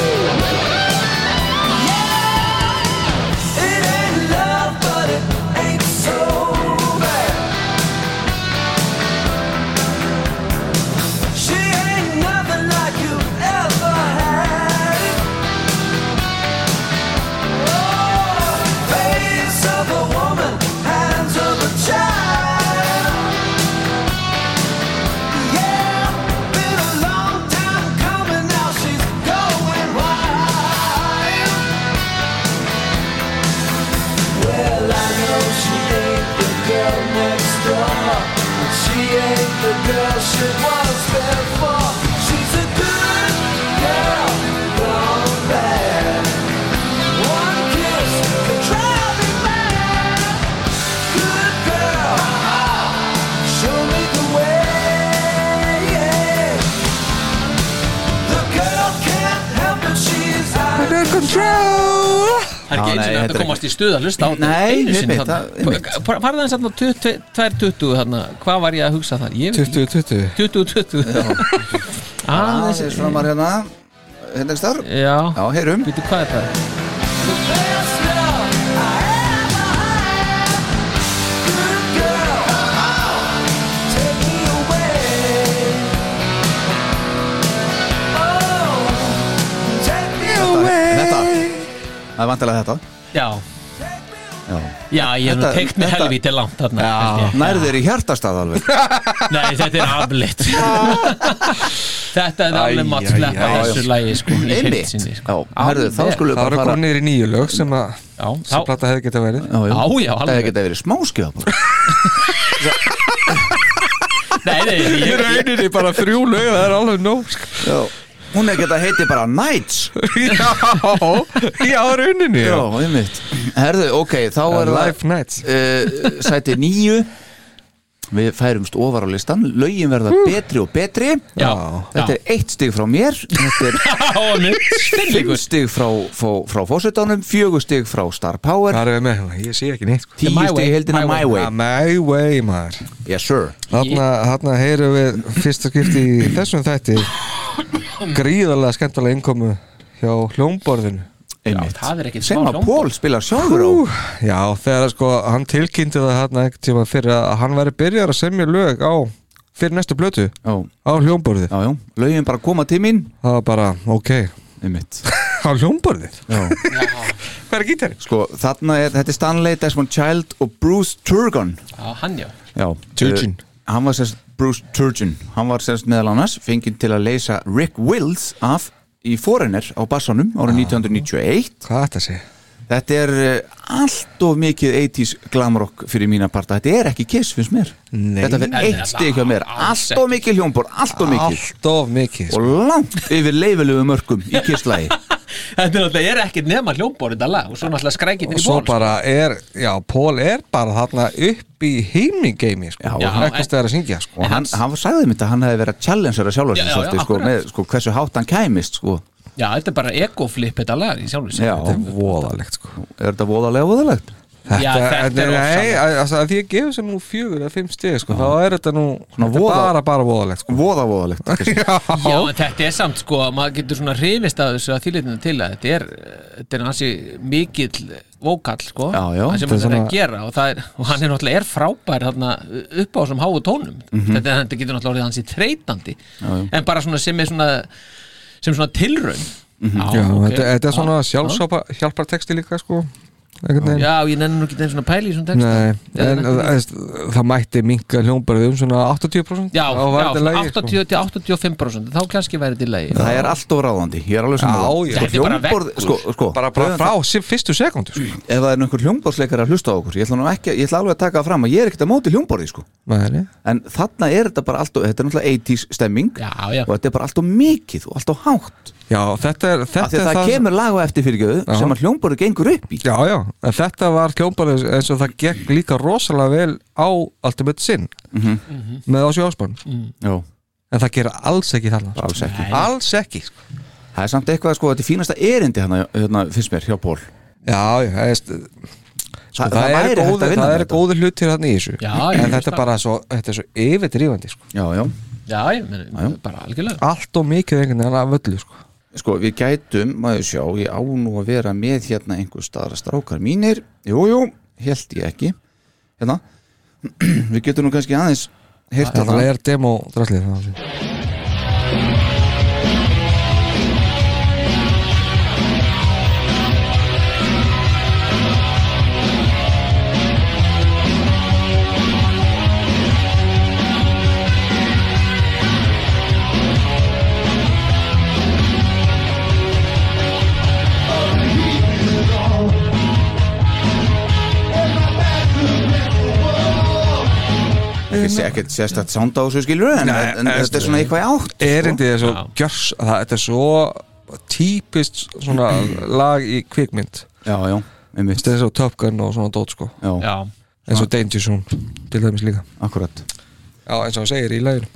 Speaker 5: It ain't love, but it ain't so bad.
Speaker 2: Oh,
Speaker 5: ain't the girl she was before. She's a good girl, gone bad. One kiss can drive me mad. Good girl, show me the way. The girl can't help it, she's out of control.
Speaker 4: Það er
Speaker 2: Já,
Speaker 4: ekki eins
Speaker 2: nei,
Speaker 4: og
Speaker 2: þetta
Speaker 4: þetta
Speaker 2: er
Speaker 4: komast í stuð að hlusta á
Speaker 2: Nei,
Speaker 4: þetta einu sinni
Speaker 2: einmitt,
Speaker 4: þarna.
Speaker 2: það- einmitt.
Speaker 4: Hva- hva- Farðu aðeins þarna á 22 2.20 þarna, hvað var ég að hugsa þar? Ég veit ekki.
Speaker 3: 2020
Speaker 4: 2020
Speaker 2: aðeins
Speaker 4: Aðeins
Speaker 2: er framar hérna hérna ekki starf
Speaker 4: Já,
Speaker 2: já, heyrum
Speaker 4: veitu hvað er það?
Speaker 2: þetta það er vantilega þetta
Speaker 4: Já,
Speaker 2: já.
Speaker 4: já ég hef nú
Speaker 2: Þetta-
Speaker 4: teikt mig
Speaker 2: þetta-
Speaker 4: helvítið langt þarna held ég.
Speaker 2: nærðu þér í hjartastað alveg
Speaker 4: Nei, þetta er afleitt Þetta er alveg mátt sleppa
Speaker 2: æ, æ.
Speaker 4: þessu lægi sko, í heild
Speaker 2: einmitt
Speaker 4: sinni,
Speaker 2: já,
Speaker 4: sko.
Speaker 2: herðu, þá
Speaker 4: Alveg.
Speaker 2: skulum við
Speaker 3: Það
Speaker 2: bara
Speaker 3: eru
Speaker 2: fara
Speaker 3: komið niður í nýju lög sem að
Speaker 4: Já,
Speaker 3: sem
Speaker 4: þá,
Speaker 3: plata hefði geta verið
Speaker 4: Já, já,
Speaker 2: það
Speaker 4: alveg.
Speaker 2: hefði getað verið smáskjöða bara
Speaker 4: nei, nei, ég, ég,
Speaker 3: Rauninni bara þrjú lög, það er alveg nóg sko.
Speaker 2: Já. hún hefði getað heitið bara Nights
Speaker 3: Já, já, rauninni
Speaker 2: já,
Speaker 3: já.
Speaker 2: einmitt herðu, ok, þá er það
Speaker 3: Life Eh, Nights
Speaker 2: uh, sæti nýju við færumst ofar á listan lögin verða betri og betri
Speaker 4: já,
Speaker 2: þetta er eitt stig frá mér þetta er
Speaker 4: já,
Speaker 2: fimm
Speaker 4: stinnleikur
Speaker 2: stig frá, frá, frá fósitánum fjögur stig frá Star Power
Speaker 3: Það er við með hérna, ég sé ekki neitt sko.
Speaker 2: tíu
Speaker 4: My
Speaker 2: stig
Speaker 4: Way,
Speaker 2: í heldina
Speaker 4: My
Speaker 2: My
Speaker 4: Way.
Speaker 2: Way
Speaker 3: Ah, My way, maður
Speaker 2: yes sir
Speaker 3: Þarna, þarna heyrum við fyrsta skipti í þessum þætti gríðarlega skemmtilega innkomu hjá hljómborðinu
Speaker 2: Einmitt.
Speaker 4: það er ekkert
Speaker 2: sem
Speaker 4: smá
Speaker 2: að
Speaker 4: hljómborð.
Speaker 2: Pól spilar sjálfur á
Speaker 3: Já, þegar sko hann tilkynnti það þarna ekkert tíma fyrir að hann væri byrjar að semja lög á fyrir næstu blötu
Speaker 2: já,
Speaker 3: á hljómborðið
Speaker 2: já, já, lögin bara koma til mín
Speaker 3: Það var bara, ok,
Speaker 2: einmitt
Speaker 3: á hljómborðið
Speaker 2: Já.
Speaker 3: Hvað er gítarinn?
Speaker 2: sko, þarna er, þetta er Stanley Desmond Child og Bruce Turgon
Speaker 4: Já, hann já
Speaker 2: já,
Speaker 3: Turgeon.
Speaker 2: Eh, hann var sérst Bruce Turgeon hann var sérst meðal annars fenginn til að leysa Rick Wills af í Foreigner á bassanum árið 1991
Speaker 3: Hvað þetta sé?
Speaker 2: Þetta er eh, allt of mikið 80s glamrock fyrir mína parta Þetta er ekki kiss, finnst mér
Speaker 3: Nei.
Speaker 2: Þetta fyrir
Speaker 4: Nei,
Speaker 2: eitt
Speaker 4: nei,
Speaker 2: stig hjá mér
Speaker 4: alls
Speaker 2: Allt of mikið hljómbor, allt of mikið
Speaker 3: Allt of mikið sko.
Speaker 2: Og langt yfir leifilegu mörgum í kisslægi
Speaker 4: Þetta er alltaf, ég er ekkert nema hljómbor þetta lag og svo náttúrulega skrækir
Speaker 3: Og
Speaker 4: í
Speaker 3: svo
Speaker 4: ból
Speaker 3: bara er, já, Pól er bara þarna upp í heimingeimi sko.
Speaker 2: Já.
Speaker 3: Ekki stæðar að syngja sko.
Speaker 2: Og hann, hann sagði mér þetta, hann hefði verið að challengera sjálfur
Speaker 4: Já,
Speaker 2: sig
Speaker 4: já,
Speaker 2: svolítið,
Speaker 4: já,
Speaker 2: sko,
Speaker 4: akkurat.
Speaker 2: með, sko, hversu hátt hann kæmist sko.
Speaker 4: Já, þetta er bara ekoflip þetta lag í sjálfum sér.
Speaker 2: Já,
Speaker 3: Þetta er voðalegt sko
Speaker 2: er þetta voðalega voðalegt?
Speaker 3: Þetta,
Speaker 4: Já, þetta er
Speaker 3: Nei,
Speaker 4: ofsalegt.
Speaker 3: að- að því að gefa sem nú fjögur eða fimm stið sko, þá er þetta nú
Speaker 2: Svona
Speaker 3: þetta er
Speaker 2: voða-
Speaker 3: bara, bara voðalegt sko.
Speaker 2: Voða voðalegt
Speaker 4: Já, en þetta er samt sko að maður getur svona hrifist að þessu að þýlitina til að þetta er þetta er hansi mikill vókall sko,
Speaker 2: Já, já,
Speaker 4: það sem
Speaker 3: þetta er
Speaker 4: hann er að
Speaker 3: svona-
Speaker 4: gera og, það er, og hann er náttúrulega er frábær þarna, upp á þessum háu tónum
Speaker 3: Mhm.
Speaker 4: þetta, er- þetta getur náttúrulega orðið hansi treytandi en bara svona sem er svona sem svona tilraun
Speaker 3: Mhm. Já,
Speaker 4: ok. Ah,
Speaker 3: þetta, þetta er svona
Speaker 4: Já,
Speaker 3: sjálfsópa hjálpar texti líka sko einhvern
Speaker 4: já.
Speaker 3: veginn
Speaker 4: Já, ég nenni nú ekki þeim svona pæli í svona texta
Speaker 3: Nei,
Speaker 4: Ég
Speaker 3: en
Speaker 4: nenni
Speaker 3: það,
Speaker 4: ekki-
Speaker 3: það mætti minka hljómbarið um svona 80%
Speaker 4: Já,
Speaker 3: þá var
Speaker 4: já,
Speaker 3: þetta lagi, sko.
Speaker 4: 80-85% þá kannski væri þetta í lagi
Speaker 2: Það er allt of ráðandi, ég er alveg
Speaker 3: Já,
Speaker 2: saman
Speaker 3: já.
Speaker 2: sko,
Speaker 4: Þetta er bara
Speaker 2: hljómborð-
Speaker 4: veggur.
Speaker 2: sko, sko,
Speaker 3: bara, bara frá sem fyrstu sekundu sko.
Speaker 2: Ef það er einhver hljómborðsleikar að hlusta á okkur Ég ætla, nú ekki, ég ætla alveg að taka það fram að ég er ekkert að móti hljómborði sko.
Speaker 3: Nei, nei.
Speaker 2: en þarna er þetta bara alltaf þetta er náttúrulega 80s stemming
Speaker 4: Já, já,
Speaker 2: og þetta er bara alltaf mikið og alltaf hátt
Speaker 3: Já, þetta er
Speaker 2: af því
Speaker 3: þetta
Speaker 2: að
Speaker 3: er
Speaker 2: það, kemur lag á eftir fyrirgjöðu
Speaker 3: Já.
Speaker 2: sem að hljómborðu gengur upp í
Speaker 3: Já, já, en þetta var hljómbarið eins og það gekk líka rosalega vel á Ultimate Sin
Speaker 2: Mhm.
Speaker 4: Mhm.
Speaker 3: með Ásjó Ásbjörn
Speaker 2: Já,
Speaker 3: en það gerir alls ekki þarna sko.
Speaker 2: alls ekki
Speaker 3: alls ekki sko.
Speaker 2: Það er samt eitthvað sko, þetta er fínasta erindi hana, hérna, finnst mér, hjá Pól
Speaker 3: já, já, það, sko,
Speaker 2: Þa,
Speaker 3: það, það er
Speaker 2: væri hægt
Speaker 3: góði
Speaker 2: að vinna
Speaker 3: það
Speaker 2: með
Speaker 3: er
Speaker 2: þetta.
Speaker 3: góði hlutir þarna í þessu
Speaker 4: Já, ég
Speaker 3: en
Speaker 4: veist
Speaker 3: þetta
Speaker 4: það.
Speaker 3: er bara svo, þetta er svo yfirdrýfandi sko.
Speaker 2: Já, já,
Speaker 4: já, ég meni, bara algjörlega
Speaker 3: allt og mikið einhvern veginn af öllu sko.
Speaker 2: sko, við gætum maður sjá, ég á nú að vera með hérna einhver staðar strákar mínir Jú, jú, held ég ekki Hérna, við getum nú kannski aðeins heyrt hérna.
Speaker 3: þetta
Speaker 2: þarna.
Speaker 3: er demo drallið það.
Speaker 2: ekki, ekkert sérstætt sound á þessu skilur en,
Speaker 3: Nei,
Speaker 2: en
Speaker 3: eh,
Speaker 2: þetta er svona eitthvað í átt
Speaker 3: erindið er svo
Speaker 4: Já.
Speaker 3: gjörs það, þetta er svo típist svona lag í kvikmynd
Speaker 2: Já, já, einmitt
Speaker 3: þetta er svo Top Gun og svona dót sko
Speaker 2: Já,
Speaker 4: já,
Speaker 3: eins og Danger Zone til dæmis líka
Speaker 2: akkurat
Speaker 3: já eins og hann segir í laginu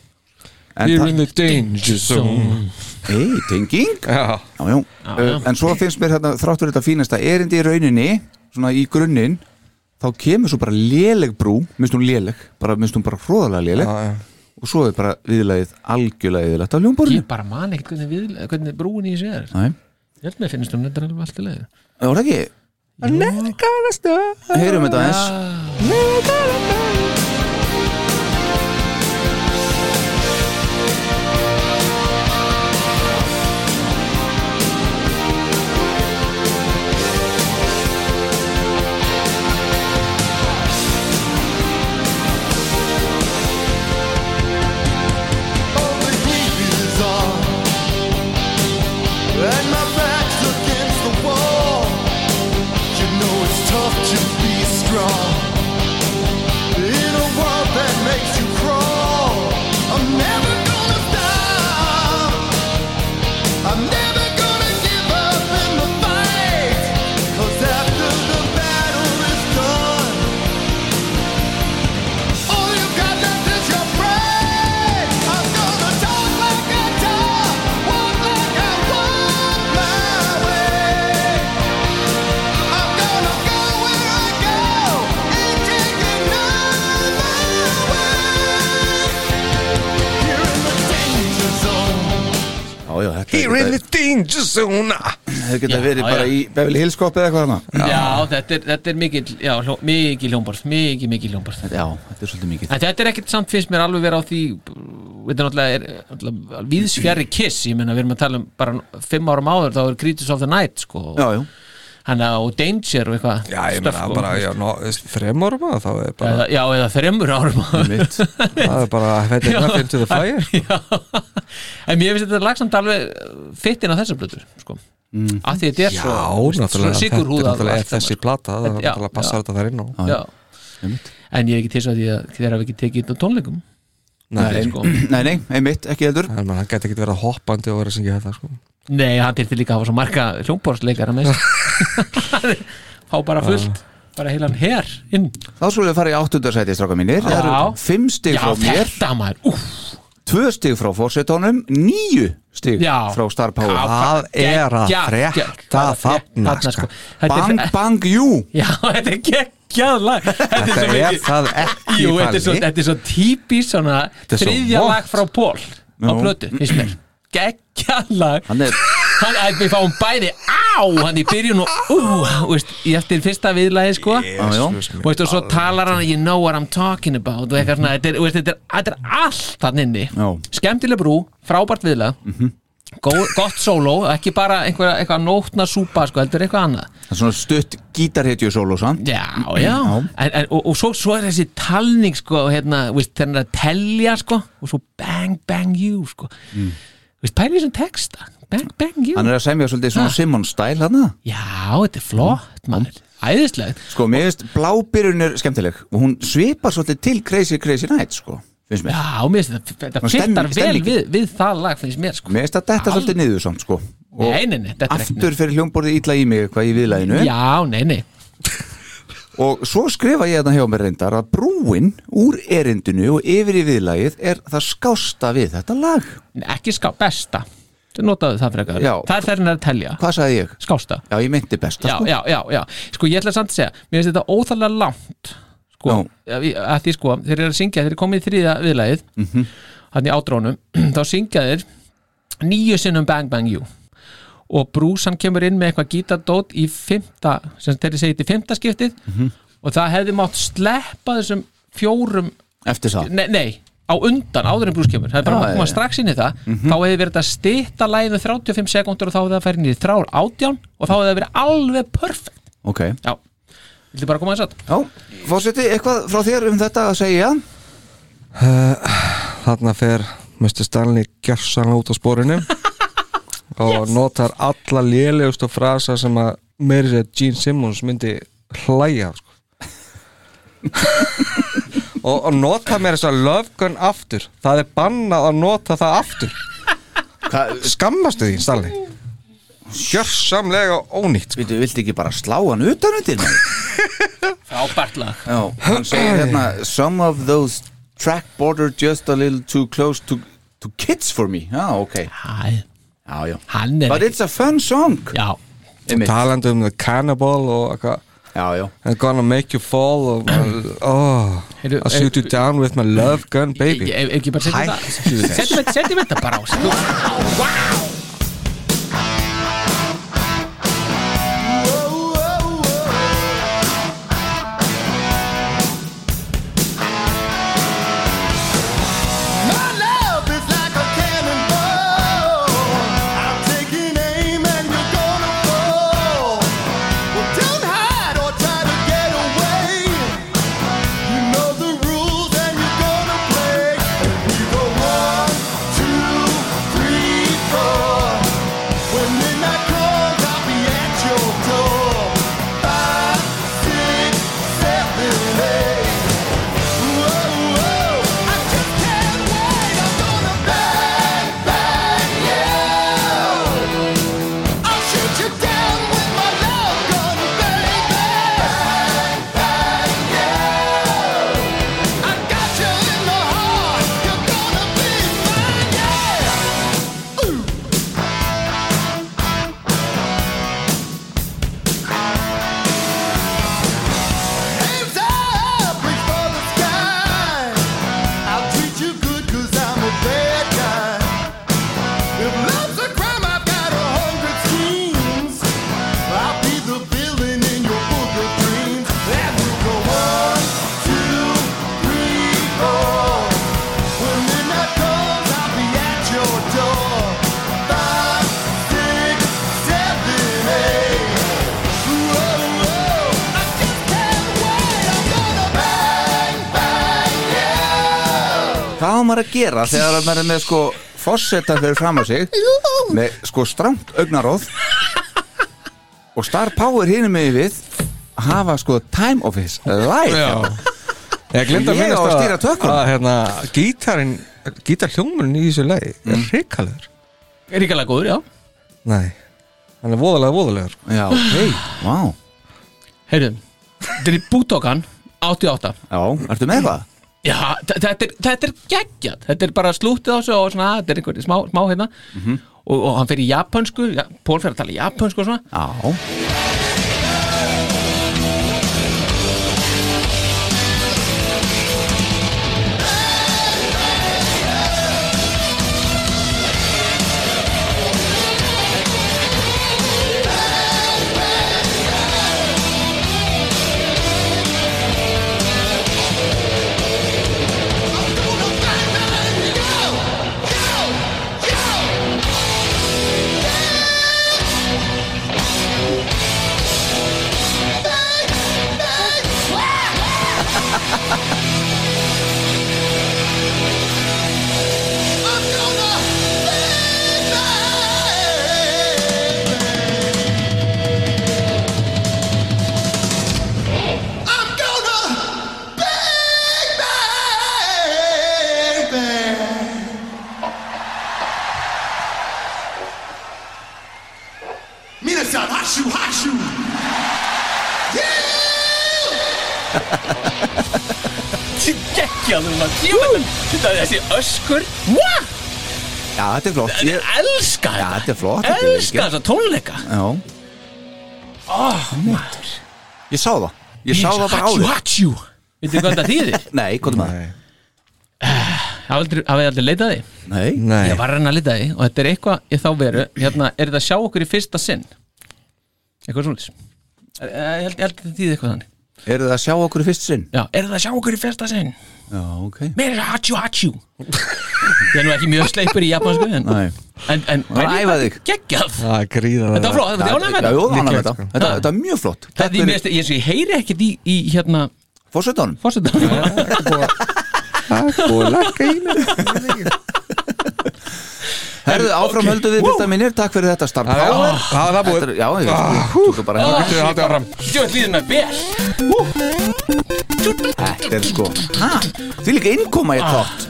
Speaker 2: En
Speaker 3: We're
Speaker 2: það,
Speaker 3: in the danger zone
Speaker 2: hei, tenging
Speaker 3: já,
Speaker 2: Já, já,
Speaker 4: já.
Speaker 2: Uh, en svo finnst mér hérna þráttur þetta fínasta erindi í rauninni svona í grunninn þá kemur svo bara léleg brú minnst hún léleg, bara minnst hún bara hróðalega léleg
Speaker 3: já, já.
Speaker 2: og svo er bara viðlagið algjörlega viðlagt af ljónborðinu
Speaker 4: ég bara man ekkert hvernig, við, hvernig brúin í sér
Speaker 2: Nei,
Speaker 4: ég held með finnst hún þetta alveg allt í leið
Speaker 2: það voru ekki Heyrum þetta aðeins
Speaker 5: I'm never gonna give up in the fight Cause after the battle is done all you got left is your pride. I'm gonna talk like I talk, walk like I walk my way. I'm gonna go where I go, ain't taking none way. Here in the danger zone.
Speaker 2: Já, já, þetta er Þetta
Speaker 3: We're in the danger zone
Speaker 2: geta
Speaker 4: Já,
Speaker 2: verið
Speaker 4: já.
Speaker 2: bara í Beverly Hills Cop eða eitthvað hana
Speaker 4: já, þetta er, þetta er mikil já, hljó, mikil hljómborð, mikil, mikil hljómborð
Speaker 2: Já, þetta er svolítið mikið
Speaker 4: en þetta er ekkert samt finnst mér alveg vera á því þetta er náttúrulega, er, náttúrulega víðsfjari kiss, ég meina við erum að tala um bara fimm árum áður, þá er Creatures of the Night sko,
Speaker 2: Já, já,
Speaker 4: hann að, og Danger og eitthvað
Speaker 3: já ég
Speaker 4: stöff
Speaker 3: menna
Speaker 4: og-
Speaker 3: bara já, no, þrem árum að þá er bara
Speaker 4: eða, já, eða þremur árum áður
Speaker 2: mitt
Speaker 3: það er bara þetta er nothing to the fire
Speaker 4: Já, en mér finnst þetta lagsamt alveg uh, fittin á þessar blöður sko. mm. af því þetta er
Speaker 3: já,
Speaker 4: svo
Speaker 3: náttúrulega þetta er
Speaker 4: sigur húða
Speaker 3: náttúrulega þessi plata það er
Speaker 4: Já,
Speaker 3: náttúrulega passar þetta þar inn á
Speaker 4: já. en ég er ekki til svo að því að þeir hafa ekki tekið þetta á tónleikum
Speaker 3: nei,
Speaker 4: sko.
Speaker 2: Nei, nei, einmitt, ekki heldur
Speaker 3: en hann gæti ekkert verið hoppandi og verið að syngja þetta sko
Speaker 4: nei, hann þyrfti líka að hafa svo marga hljómborðsleikara með sér. fá bara
Speaker 3: Ah.
Speaker 4: fullt bara heilan her inn
Speaker 2: Þá skulum við fara í áttundarsæti, stráka mínir Það eru
Speaker 4: Já.
Speaker 2: fimm stig
Speaker 4: já,
Speaker 2: frá mér
Speaker 4: þetta maður Úff,
Speaker 2: Tvö stig frá fórsetónum Níu stig
Speaker 4: Já.
Speaker 2: frá Star Power
Speaker 4: Já.
Speaker 3: það er að
Speaker 4: geggjað,
Speaker 3: frekta
Speaker 4: geggjað,
Speaker 3: þarna sko.
Speaker 4: þarna, sko. þetta er-
Speaker 2: Bang, bang, jú
Speaker 4: já, þetta er geggjað lag þetta er
Speaker 3: þetta
Speaker 4: svo
Speaker 3: er
Speaker 4: mikið-
Speaker 3: það ekki
Speaker 4: Jú, þetta er svo,
Speaker 3: Palli.
Speaker 4: þetta er svo típís svona
Speaker 3: er svo
Speaker 4: þriðja
Speaker 3: vont.
Speaker 4: lag frá Pól á plötu, finnst mér geggjað lag
Speaker 2: Hann er,
Speaker 4: hann, að við fáum bæði á hann í byrjun og ú, veist, í eftir fyrsta viðlagi sko
Speaker 2: já, já
Speaker 4: og veist, og svo talar hann you know what I'm talking about og eitthvað svona, þetta er, veist, þetta er, þetta er allt þann inni,
Speaker 2: Já.
Speaker 4: skemmtileg brú frábært viðlag
Speaker 3: Mhm.
Speaker 4: Gó, gott sóló, ekki bara einhver, eitthvað nótna súpa, sko, heldur eitthvað annað
Speaker 2: Það er svona stutt gítarhetju sóló, sann
Speaker 4: Já, já, En, en, og, og svo, svo er þessi talning sko, hérna, veist, þegar hann er að telja sko, og svo bang, bang you sko. mm. veist, pæli þessum texta bang, bang you
Speaker 2: Hann er að semja svolítið svona
Speaker 4: Ha.
Speaker 2: Simon stæl hann
Speaker 4: Já, þetta er flott, mann æðislegt,
Speaker 2: Sko, mér finnst blábyrjun er skemmtileg og hún svipar svolítið til Crazy Crazy Night, sko, finnst mér
Speaker 4: já, mér finnst þetta þetta
Speaker 2: Nú, stemning-
Speaker 4: fittar vel
Speaker 2: stemningin.
Speaker 4: við, við það lag finnst mér sko,
Speaker 2: Mér finnst að þetta svolítið niður samt, sko og
Speaker 4: nei, nei, nei, þetta er
Speaker 2: aftur fyrir hljómborðið ítla í mig hvað í viðlæðinu
Speaker 4: já, nei, nei,
Speaker 2: og svo skrifa ég þetta hjá mér reyndar að brúin úr erindinu og yfir í viðlæðið er það skásta við þetta lag
Speaker 4: ekki ská, besta þú notaðu það frekar,
Speaker 2: Já.
Speaker 4: það er þegar hann er að telja
Speaker 2: Hvað sagði ég?
Speaker 4: skásta
Speaker 2: Já, ég myndi besta,
Speaker 4: já,
Speaker 2: sko
Speaker 4: já, já, já, sko ég ætla samt að segja mér finnst þetta óþarlega langt sko, að, að því sko, þeir eru að syngja þeir eru komið í þriða viðlagið mm
Speaker 2: Mhm.
Speaker 4: hann í ádrónum, þá syngja þeir nýju sinnum Bang Bang You og Bruce hann kemur inn með eitthvað gítardót í fymta, sem þeir segið til fymta skiptið
Speaker 2: Mhm.
Speaker 4: og það hefði mátt sleppa þessum fjórum
Speaker 2: Eftir það
Speaker 4: nei, nei á undan, áður en Bruce kemur það er bara
Speaker 2: Já,
Speaker 4: að koma
Speaker 2: já, Mhm. já.
Speaker 4: strax inn í það þá hefði verið að stýta læginu 35 sekundur og þá hefði það færi niður þrjár átján og þá hefði það verið alveg perfect
Speaker 2: Ok
Speaker 4: já, viltu bara koma þess að
Speaker 2: Já, fórseti, eitthvað frá þér um þetta að segja?
Speaker 3: þarna fer Mr. Stanley gjössan út á spórinu og notar alla lélegust og frasa sem að meiri sér Gene Simmons myndi hlæja af, sko. og, og nota mér þess að Love Gun aftur það er bannað að nota það aftur
Speaker 2: Hvað-
Speaker 3: skammastu þín Stanley gjörsamlega ónýtt sko.
Speaker 2: Býtu, viltu ekki bara slá hann utan undir mig?
Speaker 4: Frábært lag
Speaker 2: Já, hann segir hérna Some of those track border just a little too close to, to kids for me Já, ok
Speaker 4: Æ,
Speaker 2: Já, já
Speaker 4: Hann er
Speaker 2: But it's a fun song
Speaker 4: Já,
Speaker 2: Einmitt.
Speaker 3: talandi um The Cannibal og eitthvað
Speaker 2: Já, já
Speaker 3: I'm gonna make you fall og, oh,
Speaker 4: Heyrðu,
Speaker 3: I'll shoot you down with my love gun baby
Speaker 4: Ég- ég- ef ekki bara setjum það setjum þetta- setjum þetta bara á setjum-
Speaker 5: My love is like a cannonball. I'm taking aim and you're gonna fall. Well, don't hide or try to get away. You know the rules and you're gonna break. And we go one, two, three, four. When midnight comes, I'll be at your door. Five, six, seven, eight. I just can't wait. I'm gonna bang, bang you. I'll shoot you down with my love gun, baby. Bang, bang you. I got you in the heart. You're gonna be mine, yeah. Hands up, reach for the sky. I'll treat you good 'cause I'm a bad guy. If love's a crime, I've got a hundred schemes. I'll be the villain in your book of dreams. And we'll go one, two, three, four. When midnight comes, I'll be at your door. Five, six, seven, eight. I just can't wait. I'm gonna bang, bang, yeah.
Speaker 2: Hvað á maður að gera þegar að maður er með sko fossetta fyrir fram á sig með sko strangt augnaróð og star power hinn með við að hafa sko time of his life
Speaker 3: Já Ég glinda
Speaker 2: Ég á að stýra tökum.
Speaker 3: að hérna, gítarinn, gítarhljómurinn í þessu lagi er mm. hrikalegur
Speaker 4: Ríkalega góður, já
Speaker 3: Nei, hann er voðalega voðalegur sko.
Speaker 2: Já, ok, wow
Speaker 4: Heyrðu, þetta er bútókan 88
Speaker 2: Já, ertu með það?
Speaker 4: Já, þe- þetta er, þetta er geggjað Þetta er bara slútið á þessu og svona Þetta er einhver smá, smá hérna og, og hann fer í japansku, ja, Pól fer að tala í japansku og svona
Speaker 2: Já,
Speaker 5: I'm gonna bang, bang. I'm gonna bang, bang, bang. Mina-san, hashu, hashu.
Speaker 4: Þetta er geggjað um að djúvel Þetta er þessi öskur Mwah!
Speaker 2: já þetta er flott Ég,
Speaker 4: Ég elska
Speaker 2: Já, þetta er flott, þetta er
Speaker 4: Elska
Speaker 2: geggjað.
Speaker 4: þessa tónleika
Speaker 2: Já,
Speaker 4: oh, maður.
Speaker 2: ég sá það Ég sá það bara áður
Speaker 4: Hatsjú, hatsjú Veitir hvað þetta þýðir?
Speaker 2: Nei, hvað er maður?
Speaker 3: Nei,
Speaker 4: Hafið aldrei, aldrei leitað því?
Speaker 2: Nei,
Speaker 3: Nei.
Speaker 4: Ég var að reyna að lita því og þetta er eitthvað í þá veru hérna, er þetta að sjá okkur í fyrsta sinn eitthvað svolítið ég held, ég held að þetta þýði eitthvað þannig
Speaker 2: eru það að sjá okkur í fyrst sinn?
Speaker 4: Já, er það að sjá okkur í fyrsta sinn
Speaker 2: Já, ok
Speaker 4: mér er það hatsjú hatsjú ég er nú ekki mjög sleipur í japansku en,
Speaker 2: Nei.
Speaker 4: en, en
Speaker 2: Bara
Speaker 4: en-
Speaker 2: æfa þig.
Speaker 4: geggjað
Speaker 3: það er gríðan
Speaker 4: þetta var flott, þetta var ánægð með
Speaker 2: Já, ég ánægði með þetta.
Speaker 3: Líklegt,
Speaker 4: þetta
Speaker 3: sko.
Speaker 2: þetta Þetta er mjög flott
Speaker 4: Það er því mér finnst- ég, ég heyri ekkert í, í hérna
Speaker 2: Fórsetunum
Speaker 4: fórsetanum
Speaker 3: Og lakka í mig
Speaker 2: Herðu, áfram höldum við byrta mínir Takk fyrir þetta Star
Speaker 3: Já,
Speaker 2: Power
Speaker 3: það er það
Speaker 2: Þetta
Speaker 3: búið
Speaker 2: er- Já, ég tók bara hérna
Speaker 3: Þetta er haldið áfram
Speaker 4: Jú, líður mér vel
Speaker 2: Þetta er sko ha, Því líka innkoma ég þátt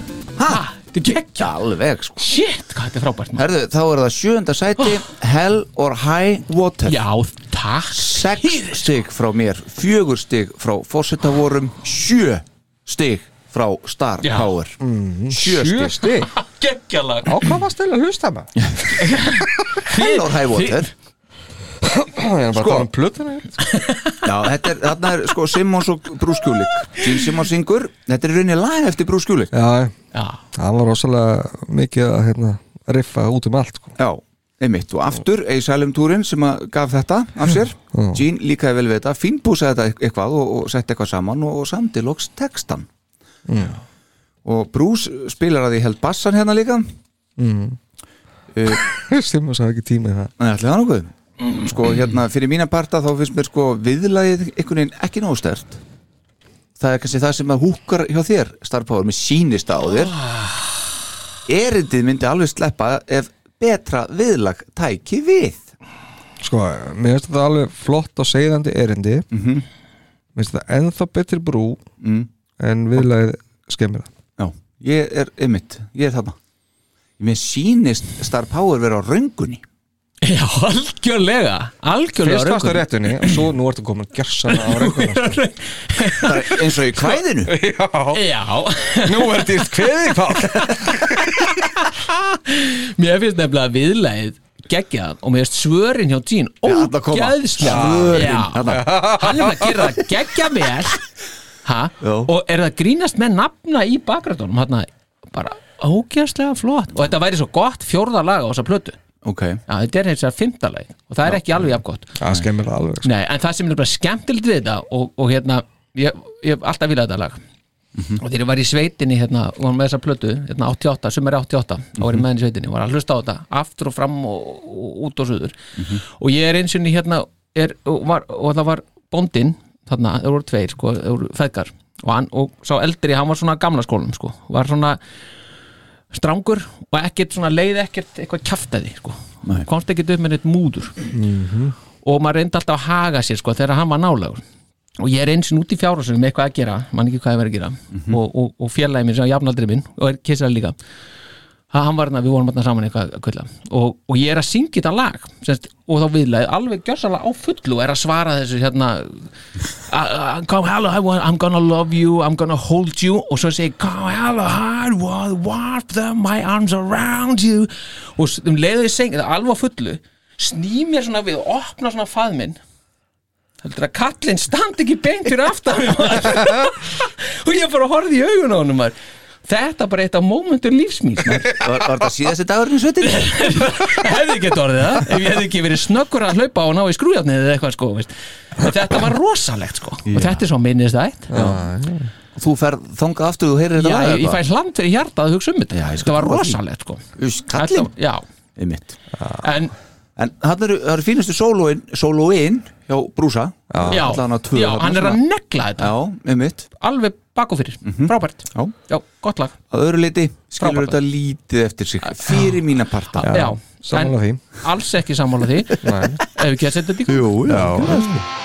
Speaker 2: ha,
Speaker 4: Þetta er geggja
Speaker 2: Alveg sko
Speaker 4: Shit, hvað þetta er frábært maður.
Speaker 2: Herðu, þá er það sjöunda sæti Hell or High Water
Speaker 4: Já, takk
Speaker 2: Sex stig frá mér Fjögur stig frá Fossetavorum Sjö stig frá Star
Speaker 4: Já.
Speaker 2: Power Sjö
Speaker 3: Sjö
Speaker 2: stig
Speaker 3: stig
Speaker 4: Geggjalag
Speaker 3: Á hvað varst eða að hlusta maður?
Speaker 2: Hell or High Water
Speaker 3: Ég er bara að tala um plötuna
Speaker 2: Já, þetta er, þarna er sko Simmons og Brúskjúlik Jim Simmons syngur, þetta er í rauninni lag eftir Brúskjúlik
Speaker 3: Já,
Speaker 4: Já,
Speaker 3: hann var rosalega mikið að hérna, riffa út um allt sko.
Speaker 2: Já, einmitt og aftur A Salem túrin sem að gaf þetta af sér Jean líkaði vel við þetta, fínbúsaði þetta eit- eitthvað og, og setti eitthvað saman og, og samdi loks textan og Brús spilar að því held bassan hérna líka Eh,
Speaker 3: Simmons hafði ekki tíma í það
Speaker 2: Nei, ætli það nokkuð Sko, hérna, fyrir mína parta þá finnst mér sko viðlagið einhvern veginn ekki nógu stert Það er kannski það sem að húkar hjá þér, starfpáður, með sýnist á þér Erindið myndi alveg sleppa ef betra viðlag tæki við
Speaker 3: Sko, mér finnst þetta alveg flott og segðandi erindi mm
Speaker 4: Mhm.
Speaker 3: -hmm. Mér finnst þetta ennþá betri brú
Speaker 2: mm.
Speaker 3: en viðlagið skemmir það
Speaker 2: Já, ég er ymmit, ég er þarna Mér sýnist starfpáður vera á röngunni
Speaker 4: já algjörlega Algjörlega
Speaker 3: Fyrst varst á réttunni og svo nú ertu komin gersan á reikuna sko.
Speaker 2: Bara eins og í kvæðinu
Speaker 3: Já,
Speaker 4: Já,
Speaker 3: nú ertu í kveði pál
Speaker 4: mér finnst nefnilega viðlæð geggjað og mér finnst svörin hjá tín
Speaker 2: þarna koma.
Speaker 4: ógeðslega
Speaker 2: Svörin,
Speaker 4: Já.
Speaker 2: þarna.
Speaker 4: hann er að gera það geggja vel ha?
Speaker 2: Já.
Speaker 4: og er það að grínast með nafna í bakgrætunum hann bara ógeðslega flott og þetta væri svo gott fjórða lag á þessa plötu
Speaker 2: Ok,
Speaker 4: Já, þetta er hins vegar fimmta lag og það er ekki alveg jafn gott
Speaker 3: Það skemmir það alveg sko.
Speaker 4: Nei, en það sem er bara skemmtilegt við þetta og, og hérna, ég, ég hef alltaf viljað þetta lag
Speaker 3: Mhm.
Speaker 4: og þegar ég var í sveitinni hérna, og var með þessa plötu, hérna 88 sumar 88, þá
Speaker 3: Mhm.
Speaker 4: var ég með henni í sveitinni og var að hlusta á þetta, aftur og fram og, og út og suður,
Speaker 3: Mhm.
Speaker 4: og ég er eins og hérna, er, og, var, og það var bóndinn, þarna, það voru tveir sko, það voru feðgar, og, hann, og sá eldri, hann var svona á gamla skólum, sko var svona strangur og ekkert svona leið ekkert eitthvað kjaftaði, sko,
Speaker 2: Nei.
Speaker 4: komst ekkert upp með neitt múður og maður reyndi alltaf að haga sér sko þegar hann var nálagur og ég er eins og út í fjárhúsinu með eitthvað að gera mann ekki hvað ég verið að gera og, og, og félagi minn sem var jafnaldri minn og er kissar líka Ha- hann var þarna, við vorum þarna saman eitthvað að kvilla og, og ég er að syngja þetta lag semst, og þá viðlaði alveg gjörsalega á fullu og er að svara þessu hérna "I- I- Ah, come hello, I want- I'm gonna love you I'm gonna hold you og svo segi ég, come hello, I will warp them my arms around you og s- um leiðu ég syngja þetta alveg á fullu sný mér svona við og opna svona faðminn heldur að kallinn standi ekki beint fyrir aftan mig maður. og ég bara horfði í augun á honum maður. þetta bara eitt af mómentum lífsmýns maður
Speaker 2: var, var þetta síðasti dagurinn í sveitinu?
Speaker 4: hefði ekki orðið það ef ég hefði ekki verið snöggur að hlaupa og ná í skrújafnið eða eitthvað sko veist. En þetta var rosalegt sko og þetta er svo minnist ætt já,
Speaker 2: Þú ferð þangað aftur, þú heyrir þetta
Speaker 4: ég, ég fæ hland fyrir hjarta að hugsa um þetta
Speaker 2: Já, ég skal
Speaker 4: þetta var
Speaker 2: trúa því.
Speaker 4: rosalegt sko
Speaker 2: Uss, kallinn?
Speaker 4: Þetta- já,
Speaker 2: Einmitt
Speaker 4: en
Speaker 2: En hann eru, það eru fínustu sólóin, sólóin hjá Brúsa
Speaker 4: já,
Speaker 2: Allan að tvö
Speaker 4: já,
Speaker 2: þarna
Speaker 4: hann er að
Speaker 2: svona.
Speaker 4: negla þetta
Speaker 2: Já, Mhm. einmitt
Speaker 4: alveg bak og fyrir, frábært
Speaker 2: Já.
Speaker 4: já, gott lag
Speaker 2: Að öðru leiti skilur
Speaker 4: Frábært.
Speaker 2: þetta lítið eftir sig Fyrir mína parta
Speaker 4: já,
Speaker 3: sammála því.
Speaker 4: en alls ekki sammála því ef við ekki að setja þetta í gang?
Speaker 2: Jú, sko. já,